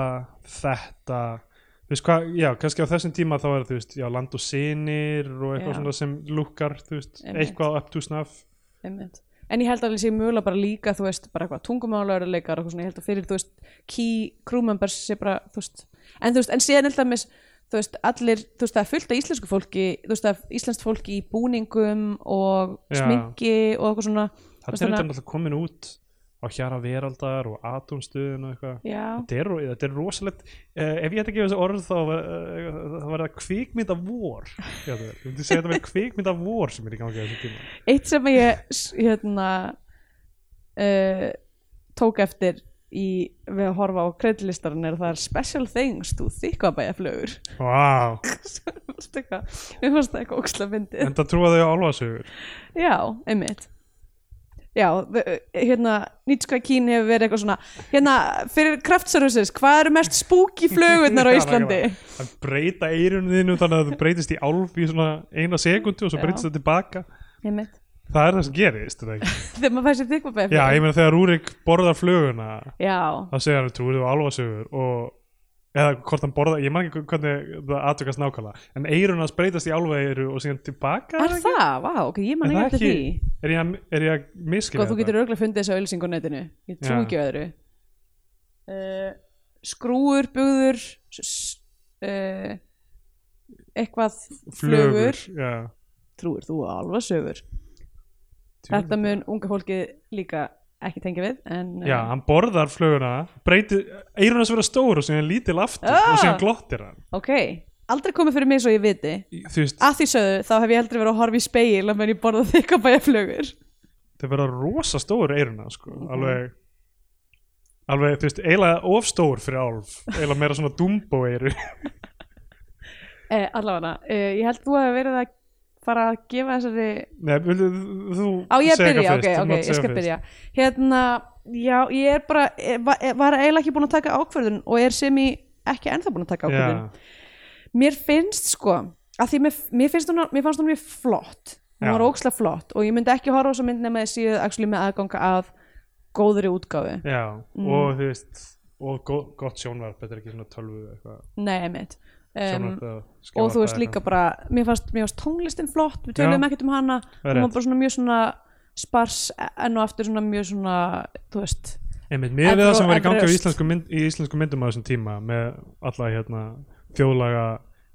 [SPEAKER 1] þetta þú veist hvað, já, kannski á þessum tíma þá er þú veist, já, land og sinir og eitthvað
[SPEAKER 3] Já.
[SPEAKER 1] svona sem lukkar, þú veist
[SPEAKER 3] Einmitt.
[SPEAKER 1] eitthvað up to snuff
[SPEAKER 3] Einmitt. En ég held að það sé mögulega bara líka, þú veist, bara eitthvað tungumálaurleikar og eitthvað svona, ég held að fyrir, þú veist, key crew members sé bara, þú veist, en þú veist, en síðan held að mis, þú veist, allir, þú veist, það er fullt af íslensku fólki, þú veist, það er íslenskt fólki í búningum og
[SPEAKER 1] Já.
[SPEAKER 3] sminki og eitthvað svona, þú
[SPEAKER 1] Þetta er
[SPEAKER 3] þannig
[SPEAKER 1] þetta
[SPEAKER 3] að-
[SPEAKER 1] náttúrulega komin út á hjara veraldar og atomstöðun og eitthvað
[SPEAKER 3] já,
[SPEAKER 1] Þetta er, þetta er rosalegt uh, ef ég ætti að gefa þessu orð þá var, uh, þá var það kvikmynda vor ég ætla að- ég myndi segja að þetta verið kvikmynda vor sem er í gangi á þessu tíma
[SPEAKER 3] eitt sem ég, s- hérna, uh, tók eftir í, við að horfa á kreidlistarinn er að það er special things, þú þykvabæja flögur,
[SPEAKER 1] wow.
[SPEAKER 3] eitthvað, mér fannst það eitthvað ókslega myndið.
[SPEAKER 1] en það trúa þau á álfasögur
[SPEAKER 3] Já, einmitt Já, þe- hérna Nýtska kín hefur verið eitthvað svona hérna, fyrir kraftservices, hvað eru mest spooky flugurnar á
[SPEAKER 1] Já,
[SPEAKER 3] Íslandi?
[SPEAKER 1] nákvæmlega. að breyta eirunum þínu þannig að þú breytist í álf í svona eina sekundu og svo
[SPEAKER 3] Já.
[SPEAKER 1] breytist það tilbaka
[SPEAKER 3] Einmitt,
[SPEAKER 1] það er það sem gerist er það ekki?
[SPEAKER 3] þegar maður fær sér þykvabæð
[SPEAKER 1] já, ég meina þegar Rúrik borðar fluguna
[SPEAKER 3] Já,
[SPEAKER 1] þá segir hann trúið á álfasögur og eða hvort hann borða, ég man ekki hvernig það atvökast nákvæmlega, en eirun hans breytast í álfaeiru og síðan tilbaka
[SPEAKER 3] er það? Vá, ok, ég man
[SPEAKER 1] Er
[SPEAKER 3] ekki
[SPEAKER 1] það
[SPEAKER 3] eftir
[SPEAKER 1] ekki-
[SPEAKER 3] því
[SPEAKER 1] Er ég að, er ég að
[SPEAKER 3] Sko,
[SPEAKER 1] miskilja
[SPEAKER 3] þú getur örgulega fundið þessu auðlýsing á netinu Ég trú
[SPEAKER 1] Já.
[SPEAKER 3] ekki á öðru uh, Skrúur, bugður s- s- uh, eitthvað flugur,
[SPEAKER 1] já.
[SPEAKER 3] trúir þú á alveg sögur Þetta mun unga fólkið líka ekki tengja við en,
[SPEAKER 1] Já,
[SPEAKER 3] eh,
[SPEAKER 1] hann borðar fluguna, breytir, eirun hans vera stór og síðan lítil aftur
[SPEAKER 3] Ah!
[SPEAKER 1] og síðan glottir hann.
[SPEAKER 3] ok, aldrei komið fyrir mig svo ég viti
[SPEAKER 1] Í- Þú veist,
[SPEAKER 3] að því sögðu þá hef ég heldur verið að horfa í speil að menn ég borða þykka bæja flugur
[SPEAKER 1] það verða rosa stór eiruna, sko, alveg, alveg, þú veist, eiginlega ofstór fyrir álf, eiginlega meira svona dumbo eiru.
[SPEAKER 3] eh, allavega, eh, ég held þú að verið að fara að gefa þessari
[SPEAKER 1] Nei, vildu, þú
[SPEAKER 3] á ég að
[SPEAKER 1] segja
[SPEAKER 3] byrja,
[SPEAKER 1] eitthvað fyrst,
[SPEAKER 3] ok,
[SPEAKER 1] þú
[SPEAKER 3] ok,
[SPEAKER 1] mátt
[SPEAKER 3] ég
[SPEAKER 1] segja
[SPEAKER 3] skal
[SPEAKER 1] fyrst.
[SPEAKER 3] byrja hérna, já, ég er bara eh, va- eh, var eiginlega ekki búin að taka ákvörðun og er sem ég ekki ennþá búin að taka ákvörðun
[SPEAKER 1] Já,
[SPEAKER 3] mér finnst sko að því mér, mér finnst hún, mér fannst hún mjög flott hún
[SPEAKER 1] Já.
[SPEAKER 3] var ókslega flott og ég myndi ekki horfa á þessa mynd nema þessi actually með aðganga að góðri útgáfi
[SPEAKER 1] já,
[SPEAKER 3] Mm.
[SPEAKER 1] og þú veist, og go, gott sjónvarp, þetta er ekki svona tölvu eitthvað,
[SPEAKER 3] nei, mitt um,
[SPEAKER 1] sjónvarp eða
[SPEAKER 3] og
[SPEAKER 1] skjónvarp
[SPEAKER 3] þú veist
[SPEAKER 1] eða
[SPEAKER 3] líka bara, mér fannst, mér fannst tónlistin flott við
[SPEAKER 1] Já.
[SPEAKER 3] töluðum ekkert um hana
[SPEAKER 1] Það er
[SPEAKER 3] hún
[SPEAKER 1] rétt.
[SPEAKER 3] var bara svona mjög svona spars e, enn og aftur svona mjög svona þú veist,
[SPEAKER 1] Einmitt, miðað við
[SPEAKER 3] Evru-
[SPEAKER 1] það sem var í gangi á
[SPEAKER 3] Everest.
[SPEAKER 1] íslensku mynd, í íslensku myndum á þessum tíma með alla hérna þjóðlaga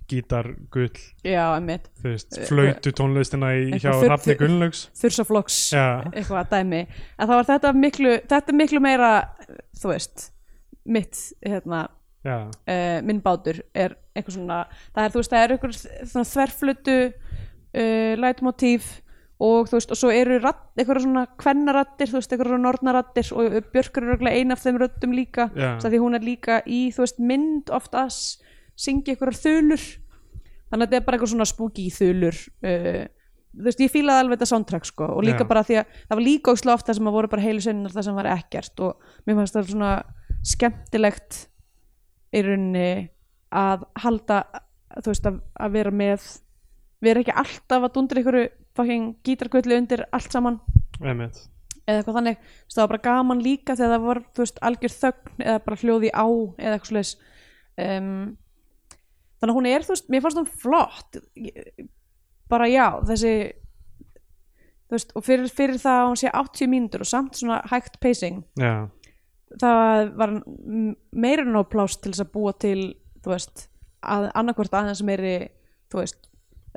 [SPEAKER 1] gítar, gull,
[SPEAKER 3] já, emitt
[SPEAKER 1] þú veist, flöytu tónlistina í, hjá
[SPEAKER 3] Eitthvað full-
[SPEAKER 1] Rafni Gunnlaugs
[SPEAKER 3] þursaflokks,
[SPEAKER 1] Já.
[SPEAKER 3] eitthvað dæmi en það var þetta miklu, þetta er miklu meira þú veist, mitt hérna,
[SPEAKER 1] Já,
[SPEAKER 3] uh, minn bátur er eitthvað svona, það er þú veist það er eitthvað svona þverflutu uh, lætmotíf og þú veist og svo eru radd, eitthvað svona kvennarattir, þú veist eitthvað nornarattir og Björk er örugglega ein af þeim röddum líka
[SPEAKER 1] Já.
[SPEAKER 3] Svo af því hún er líka í þú veist mynd oft as syngja einhverjar þulur þannig að þetta er bara eitthvað svona spooky þulur uh, þú veist, ég fílaði alveg þetta soundtrack sko og líka
[SPEAKER 1] Já.
[SPEAKER 3] bara því að það var líka ógislega oft það sem að voru bara heilu sönnar það sem var ekkert og mér fannst það svona skemmtilegt í rauninni að halda þú veist, að, að vera með vera ekki alltaf að dundra einhverju fucking gítarkvöllu undir allt saman
[SPEAKER 1] einmitt
[SPEAKER 3] eða eitthvað þannig þú veist, það var bara gaman líka þegar það var þú veist, algjör þögn eða bara hljóði á eða eitthvað slags um, þannig að hún er þú veist, mér fannst hún flott Ég- bara já, þessi þú veist, og fyrir, fyrir það að hún sé 80 mínútur og samt svona hægt pacing
[SPEAKER 1] já,
[SPEAKER 3] það var m- meira en nóg pláss til þess að búa til þú veist, að, annarkvort aðeins meiri þú veist,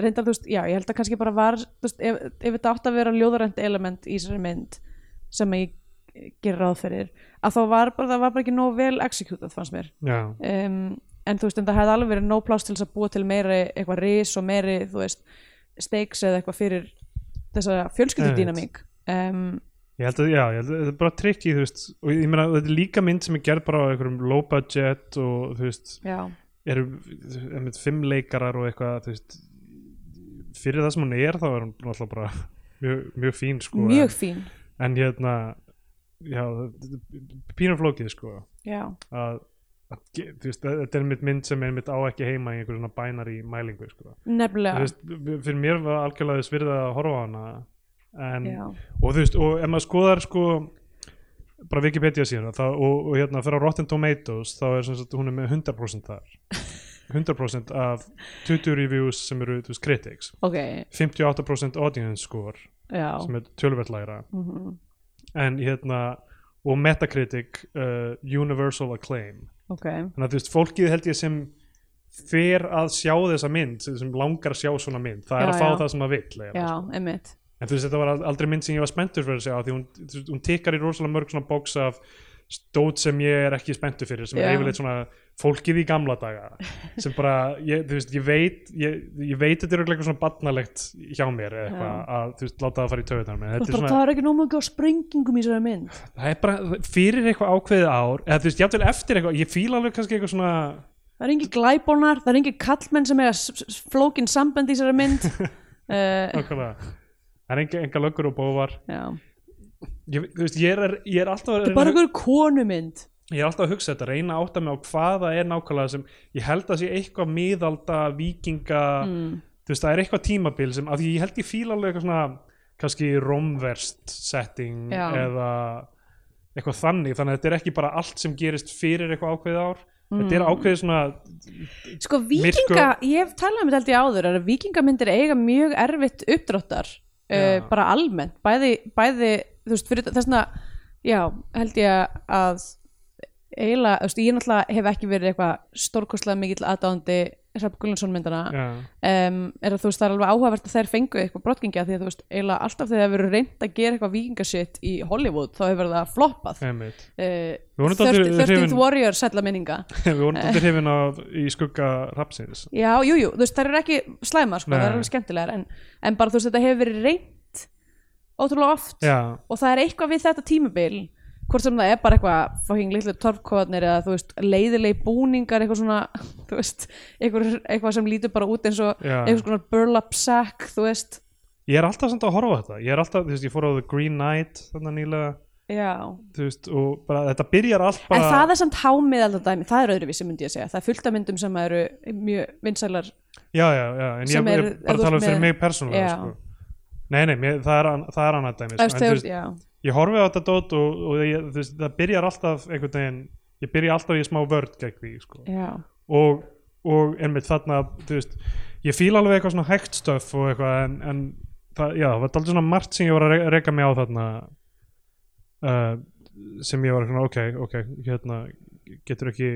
[SPEAKER 3] reyndar þú veist já, ég held að kannski bara var þú veist, ef, ef þetta átt að vera ljóðarænt element í þessari mynd sem ég gerir ráð fyrir að þá var bara, það var bara ekki nóg vel executað fannst mér
[SPEAKER 1] já,
[SPEAKER 3] um, en þú veist, en það hefði alveg verið nóg pláss til þess að búa til meiri eitthvað ris og meiri, þú veist steiks eða eitthvað fyrir þessa fjölskyldudínamík um,
[SPEAKER 1] ég held að, já, ég held að þetta er bara tricky, þú veist, og ég meina þetta er líka mynd sem er gerð bara á einhverjum low budget og þú veist,
[SPEAKER 3] já,
[SPEAKER 1] eru einmitt fimm leikarar og eitthvað, þú veist fyrir það sem hún er þá er hún náttúrulega bara mjög, mjög fín, sko
[SPEAKER 3] mjög fín
[SPEAKER 1] en, en hérna, já pínaflókið, sko
[SPEAKER 3] já,
[SPEAKER 1] að, að ge- þú veist, þetta er einmitt mynd sem er einmitt á ekki heima í einhverjum bænar í mælingu, sko Þú
[SPEAKER 3] nefnilega
[SPEAKER 1] veist, fyrir mér var algjörlega þess virðið að horfa á hana en,
[SPEAKER 3] Já.
[SPEAKER 1] og þú veist, og ef maður skoðar sko bara Wikipedia síðan það, og, og hérna fyrir á Rotten Tomatoes þá er sem sagt hún er með 100% þar 100% af 20 reviews sem eru, þú veist, critics
[SPEAKER 3] ok,
[SPEAKER 1] 58% audience score
[SPEAKER 3] já
[SPEAKER 1] sem er tölvært lægra
[SPEAKER 3] mm
[SPEAKER 1] en hérna, og Metacritic uh, Universal Acclaim
[SPEAKER 3] ok,
[SPEAKER 1] þannig að þú veist, fólkið held ég sem fer að sjá þessa mynd sem sem langar að sjá svona mynd það er
[SPEAKER 3] Já,
[SPEAKER 1] að fá
[SPEAKER 3] já.
[SPEAKER 1] það sem það vill eiginlega,
[SPEAKER 3] já,
[SPEAKER 1] sko.
[SPEAKER 3] einmitt
[SPEAKER 1] en þú veist, þetta var al- aldrei mynd sem ég var spenntur fyrir að sjá því hún, þú veist, hún tikkar í rosalega mörg svona bóks af stót sem ég er ekki spenntur fyrir sem er
[SPEAKER 3] Já.
[SPEAKER 1] yfirleitt svona fólkið í gamla daga sem bara, ég, þú veist, ég veit ég, ég veit þetta er örugglega eitthvað svona barnalegt hjá mér eða eitthvað að þú veist, láta það fara í taugarnar á mér. Þetta er
[SPEAKER 3] bara,
[SPEAKER 1] svona-
[SPEAKER 3] það er ekki nóg mikið á springingum í þessari mynd
[SPEAKER 1] það er bara fyrir eitthvað ákveðið ár eða þú veist, jafnvel eftir eitthvað, ég fíla alveg kannski eitthvað svona
[SPEAKER 3] það er engin glæbónar, það er engin kallmenn sem er flókin samband í þessari mynd uh,
[SPEAKER 1] Nákvæmlega. Það er enga, enga löggur og bóvar
[SPEAKER 3] já
[SPEAKER 1] ég, þú veist, ég, er, ég, er alltaf að
[SPEAKER 3] það er
[SPEAKER 1] reyna,
[SPEAKER 3] bara
[SPEAKER 1] að hu-
[SPEAKER 3] einhver konumynd
[SPEAKER 1] ég er alltaf að hugsa þetta reyna að átta mig á hvað það er nákvæmlega sem ég held að sé eitthvað miðalda vikinga,
[SPEAKER 3] Mm.
[SPEAKER 1] þú veist, það er eitthvað tímabil sem, af því ég held ég fíla alveg eitthvað svona kannski romverst setting
[SPEAKER 3] Já.
[SPEAKER 1] eða eitthvað þannig, þannig að þetta er ekki bara allt sem gerist fyrir eitthvað ákveðið ár þetta
[SPEAKER 3] Mm.
[SPEAKER 1] er ákveðið svona,
[SPEAKER 3] sko vikinga, ég hef talað um þetta held ég áður er að vikingamyndir eiga mjög erfitt uppdráttar uh,
[SPEAKER 1] Já.
[SPEAKER 3] bara almennt, bæði, bæði þú veist, fyrir þessna já, held ég að eiginlega, þú veist, ég náttúrulega hef ekki verið eitthvað stórkostlega mikill aðdáðandi Hrafn Gullansson myndana
[SPEAKER 1] já,
[SPEAKER 3] um, er að þú veist það er alveg áhugavert að þær fengu eitthvað brotkingja því að þú veist eiginlega alltaf þegar það verið reynd að gera eitthvað vikingasitt í Hollywood þá hefur það floppað uh,
[SPEAKER 1] einmitt Við vorum
[SPEAKER 3] 13th
[SPEAKER 1] dálítið hrifin-
[SPEAKER 3] 13th Warrior sætla minninga
[SPEAKER 1] við vorum
[SPEAKER 3] Eh.
[SPEAKER 1] þetta hrifin af í skugga rapsins
[SPEAKER 3] já, jújú, jú, þú veist þær eru ekki slæmar sko,
[SPEAKER 1] Nei.
[SPEAKER 3] það er alveg skemmtilegar en, en bara þú veist þetta hefur verið reynd ótrúlega oft
[SPEAKER 1] já,
[SPEAKER 3] og það er eitthvað við þetta tímabil hvort sem það er bara eitthvað fucking litlu torfkóðanir eða þú veist leiðilegi búningar eitthvað svona þú veist eitthvað, eitthvað sem lítur bara út eins og
[SPEAKER 1] Já.
[SPEAKER 3] eitthvað svona burlap sack þú veist
[SPEAKER 1] Ég er alltaf samt að horfa á þetta Ég er alltaf, þú veist, ég fór á The Green Knight þannig nýlega,
[SPEAKER 3] Já,
[SPEAKER 1] þú veist og bara, þetta byrjar allt
[SPEAKER 3] en
[SPEAKER 1] bara
[SPEAKER 3] það er samt hámiðaldan dæmi, það er öðruvísi myndi ég að segja það er fullt af myndum sem eru mjög vinsælar
[SPEAKER 1] Já, já, já, en
[SPEAKER 3] sem
[SPEAKER 1] ég er
[SPEAKER 3] eru- ef
[SPEAKER 1] bara að
[SPEAKER 3] þú
[SPEAKER 1] tala um
[SPEAKER 3] ert
[SPEAKER 1] fyrir
[SPEAKER 3] með-
[SPEAKER 1] mig persónulega
[SPEAKER 3] Já.
[SPEAKER 1] sko. Nei, nei, mér, það, er, an- það er annað dæmi sko. en, þú
[SPEAKER 3] Eftir,
[SPEAKER 1] veist,
[SPEAKER 3] já,
[SPEAKER 1] Ég horfi á þetta dót og, og ég, þú veist, það byrjar alltaf einhvern veginn, ég byrja alltaf í smá vörd gegn því, sko
[SPEAKER 3] já,
[SPEAKER 1] og, og einmitt þarna þú veist, ég fíla alveg eitthvað svona hægt stöf og eitthvað en, en það, já, það var aldrei svona margt sem ég var að re- reka mig á þarna uh, sem ég var svona ok, ok, hérna getur ekki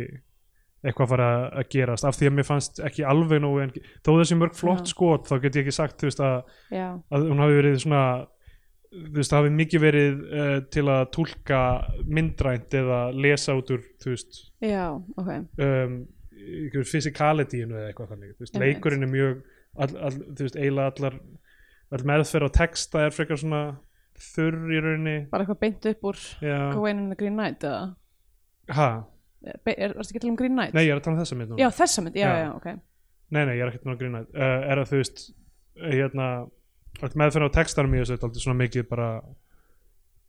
[SPEAKER 1] eitthvað að fara að gerast af því að mér fannst ekki alveg nógu en, þó þessi mörg flott
[SPEAKER 3] Já.
[SPEAKER 1] skot þá get ég ekki sagt þú veist að
[SPEAKER 3] já,
[SPEAKER 1] að hún hafi verið svona þú veist, það hafi mikið verið uh, til að túlka myndrænt eða lesa út úr, þú veist,
[SPEAKER 3] já, ok
[SPEAKER 1] um, ykkur physicalityinu eða eitthvað þannig þú veist,
[SPEAKER 3] Einmitt.
[SPEAKER 1] leikurinn er mjög all, all, þú veist, eiginlega allar all meðferð á texta er frekar svona þurr í rauninni
[SPEAKER 3] bara eitthvað beint upp úr
[SPEAKER 1] já,
[SPEAKER 3] Wayne and the Green Knight eða
[SPEAKER 1] ha,
[SPEAKER 3] Be- er- Varstu ekki að tala um Green Knight?
[SPEAKER 1] Nei, ég er að tala um þessa mynd núna
[SPEAKER 3] Já, þessa mynd, já,
[SPEAKER 1] Já.
[SPEAKER 3] já, já, ok
[SPEAKER 1] Nei, nei, ég er ekkert nú að grína uh, Er að þú veist hérna, allt meðferð á textanum í þessu er aldrei svona mikið bara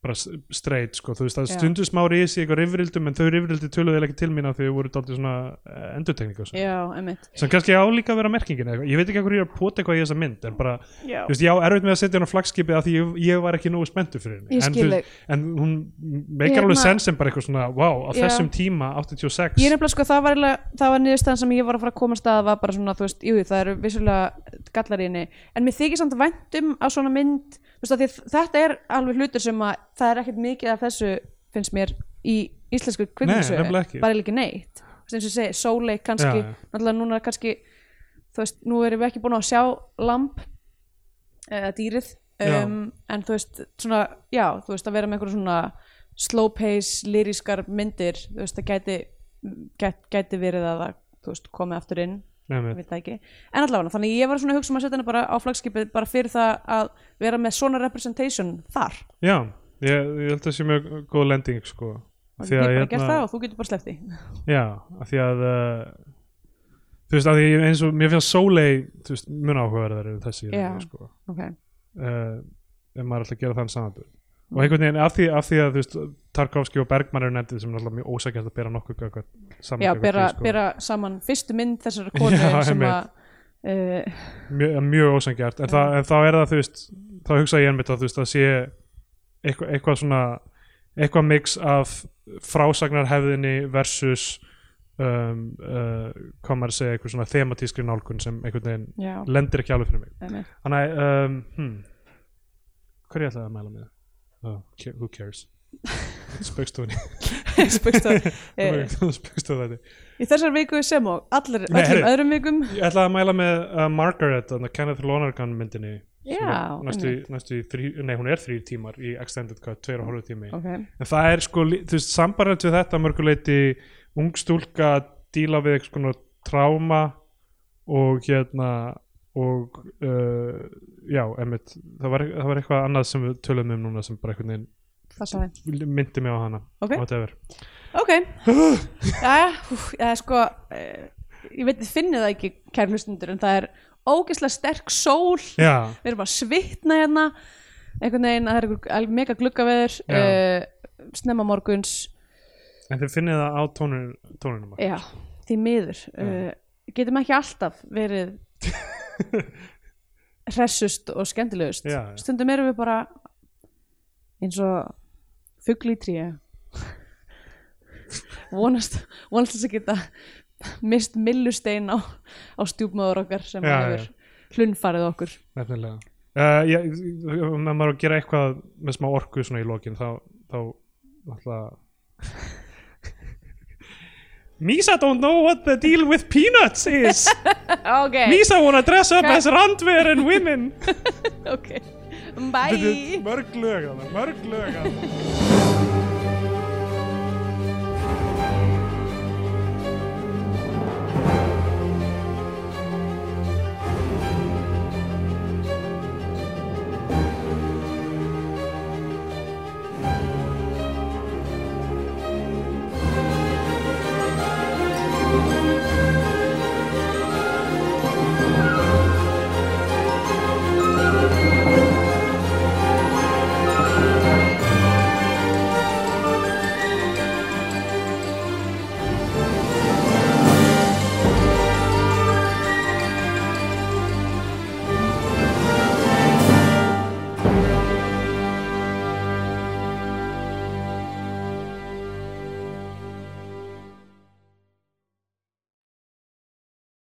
[SPEAKER 1] bara s- straight, sko, þú veist, það
[SPEAKER 3] Já.
[SPEAKER 1] stundu smá risi eitthvað rifrildum, en þau rifrildi töluðu eiginlega ekki til mín af því þau voru daldið svona uh, endurtekning og svo,
[SPEAKER 3] Já, emmitt
[SPEAKER 1] sem kannski álíka að vera merkingin eða eitthvað, ég veit ekki hvað ég er að pota eitthvað í þessa mynd en bara,
[SPEAKER 4] Já.
[SPEAKER 1] þú veist, ég á erfitt með að setja hann á flagskipi af því ég, ég var ekki nógu spenntu fyrir
[SPEAKER 4] Ég
[SPEAKER 1] henni en,
[SPEAKER 4] skil
[SPEAKER 1] þú-
[SPEAKER 4] þig.
[SPEAKER 1] en hún meikar
[SPEAKER 3] Hérna-
[SPEAKER 1] alveg sens en bara eitthvað svona, wow, á
[SPEAKER 3] Já.
[SPEAKER 1] þessum tíma 86,
[SPEAKER 3] Ég nefnilega sko, það var, eiginlega- það var niðurstaðan sem ég var að fara að koma stað var bara svona, þú veist, jú, það eru vissulega gallar í henni, en mér þykir samt væntum að svona mynd, þú veist, að því, þetta er alveg hlutur sem að það er ekkert mikið af þessu, finnst mér, í íslensku kvikmyndsögu,
[SPEAKER 1] nefnilega ekki.
[SPEAKER 3] bara eiginlega ekki neitt Þú veist, eins og ég segi, sóleik kannski
[SPEAKER 1] Já, já.
[SPEAKER 3] náttúrulega núna kannski þú veist, nú erum við ekki búin að sjá lamp eða dýrið
[SPEAKER 1] Já.
[SPEAKER 3] um, en þú veist, svona, já þú veist, að vera með einhverjum svona slow pace, lýriskar myndir þú veist, það gæti, gæt, gæti verið að það, þú veist, komið aftur inn
[SPEAKER 1] Nefnir.
[SPEAKER 3] veit það ekki, en allavega þannig ég var svona að hugsa um að setja hana bara á flagskipið bara fyrir það að vera með svona representation þar,
[SPEAKER 1] Já, ég, ég held að það sé mjög góð lending sko
[SPEAKER 3] og
[SPEAKER 1] Því
[SPEAKER 3] ég
[SPEAKER 1] að,
[SPEAKER 3] bara gert
[SPEAKER 1] hérna,
[SPEAKER 3] það og þú getur bara sleppt því
[SPEAKER 1] já, af því að uh, þú veist, af því að ég- eins og mér finnst Sóley, þú veist, mun áhugaverðar en þessi, í
[SPEAKER 3] Já.
[SPEAKER 1] rauninni, sko
[SPEAKER 3] okay.
[SPEAKER 1] uh, ef maður ætla að gera þann samanbjörn og einhvern veginn, af því, af því að þú veist Tarkovski og Bergmann eru nefndið sem er alltaf mjög ósækjast að bera nokkuð gagnvart- saman
[SPEAKER 3] já,
[SPEAKER 1] gagnvart
[SPEAKER 3] bera,
[SPEAKER 1] því, sko.
[SPEAKER 3] bera saman fyrstu mynd þessara konu
[SPEAKER 1] Já,
[SPEAKER 3] sem
[SPEAKER 1] einmitt.
[SPEAKER 3] að uh,
[SPEAKER 1] mjög, mjög ósangjart en, það, en þá er það þú veist þá hugsa ég einmitt að þú veist að sé eitthvað, eitthvað svona eitthvað mix af frásagnarhefðinni versus um, uh, hvað maður að segja eitthvað svona thematískri nálgun sem einhvern veginn
[SPEAKER 3] já,
[SPEAKER 1] lendir ekki alveg fyrir mig
[SPEAKER 3] einmitt.
[SPEAKER 1] þannig að um, hmm, hverju ætlaði að mæla með oh, ca- who cares spöggstofunni
[SPEAKER 3] Spaugstofa. Eh,
[SPEAKER 1] spöggstofunni
[SPEAKER 3] í þessar viku sem og allir,
[SPEAKER 1] Nei,
[SPEAKER 3] öllum
[SPEAKER 1] heyrðu.
[SPEAKER 3] öðrum vikum
[SPEAKER 1] ég ætlaði að mæla með uh, Margaret þarna Kenneth Lonergan myndinni sem er
[SPEAKER 3] Já,
[SPEAKER 1] næstu, næstu þrý, nei hún er þrýr tímar í Extended Cut, tveir og hálfu tími
[SPEAKER 3] ok,
[SPEAKER 1] en það er sko, lí- þú veist, sambarlegt við þetta að mörguleiti ung stúlka að díla við eitthvað svona tráma og hérna og uh, já, emitt það var, það var eitthvað annað sem við tölum um núna sem bara einhvern
[SPEAKER 3] það sagði
[SPEAKER 1] veginn myndi mig á hana
[SPEAKER 3] Ok.
[SPEAKER 1] whatever.
[SPEAKER 3] ok, já, það er sko uh, ég veit, þið finnið það ekki kæri hlustundur, en það er ógeðslega sterk sól,
[SPEAKER 1] já,
[SPEAKER 3] við erum bara að svitna hérna einhvern veginn, það er einhver al- mega gluggaveður
[SPEAKER 1] Já.
[SPEAKER 3] uh, snemma morguns
[SPEAKER 1] en þið finnið það á tónun, tónunum
[SPEAKER 3] já, því miður uh, getum ekki alltaf verið hressust og skemmtilegust
[SPEAKER 1] Já, já.
[SPEAKER 3] stundum erum við bara eins og fugl í tríu vonast vonast þess að geta mist millustein á, á stjúpmöður okkar sem
[SPEAKER 1] Já,
[SPEAKER 3] hefur hlunnfarið okkur
[SPEAKER 1] nefnilega uh, ég, ef maður á að gera eitthvað með smá orku svona í lokin þá, þá alltaf Misa don't know what the deal with peanuts is
[SPEAKER 3] ok,
[SPEAKER 1] Misa wanna dress up as randver and women
[SPEAKER 3] ok bye
[SPEAKER 1] Mörg lög þarna, mörg lög þarna.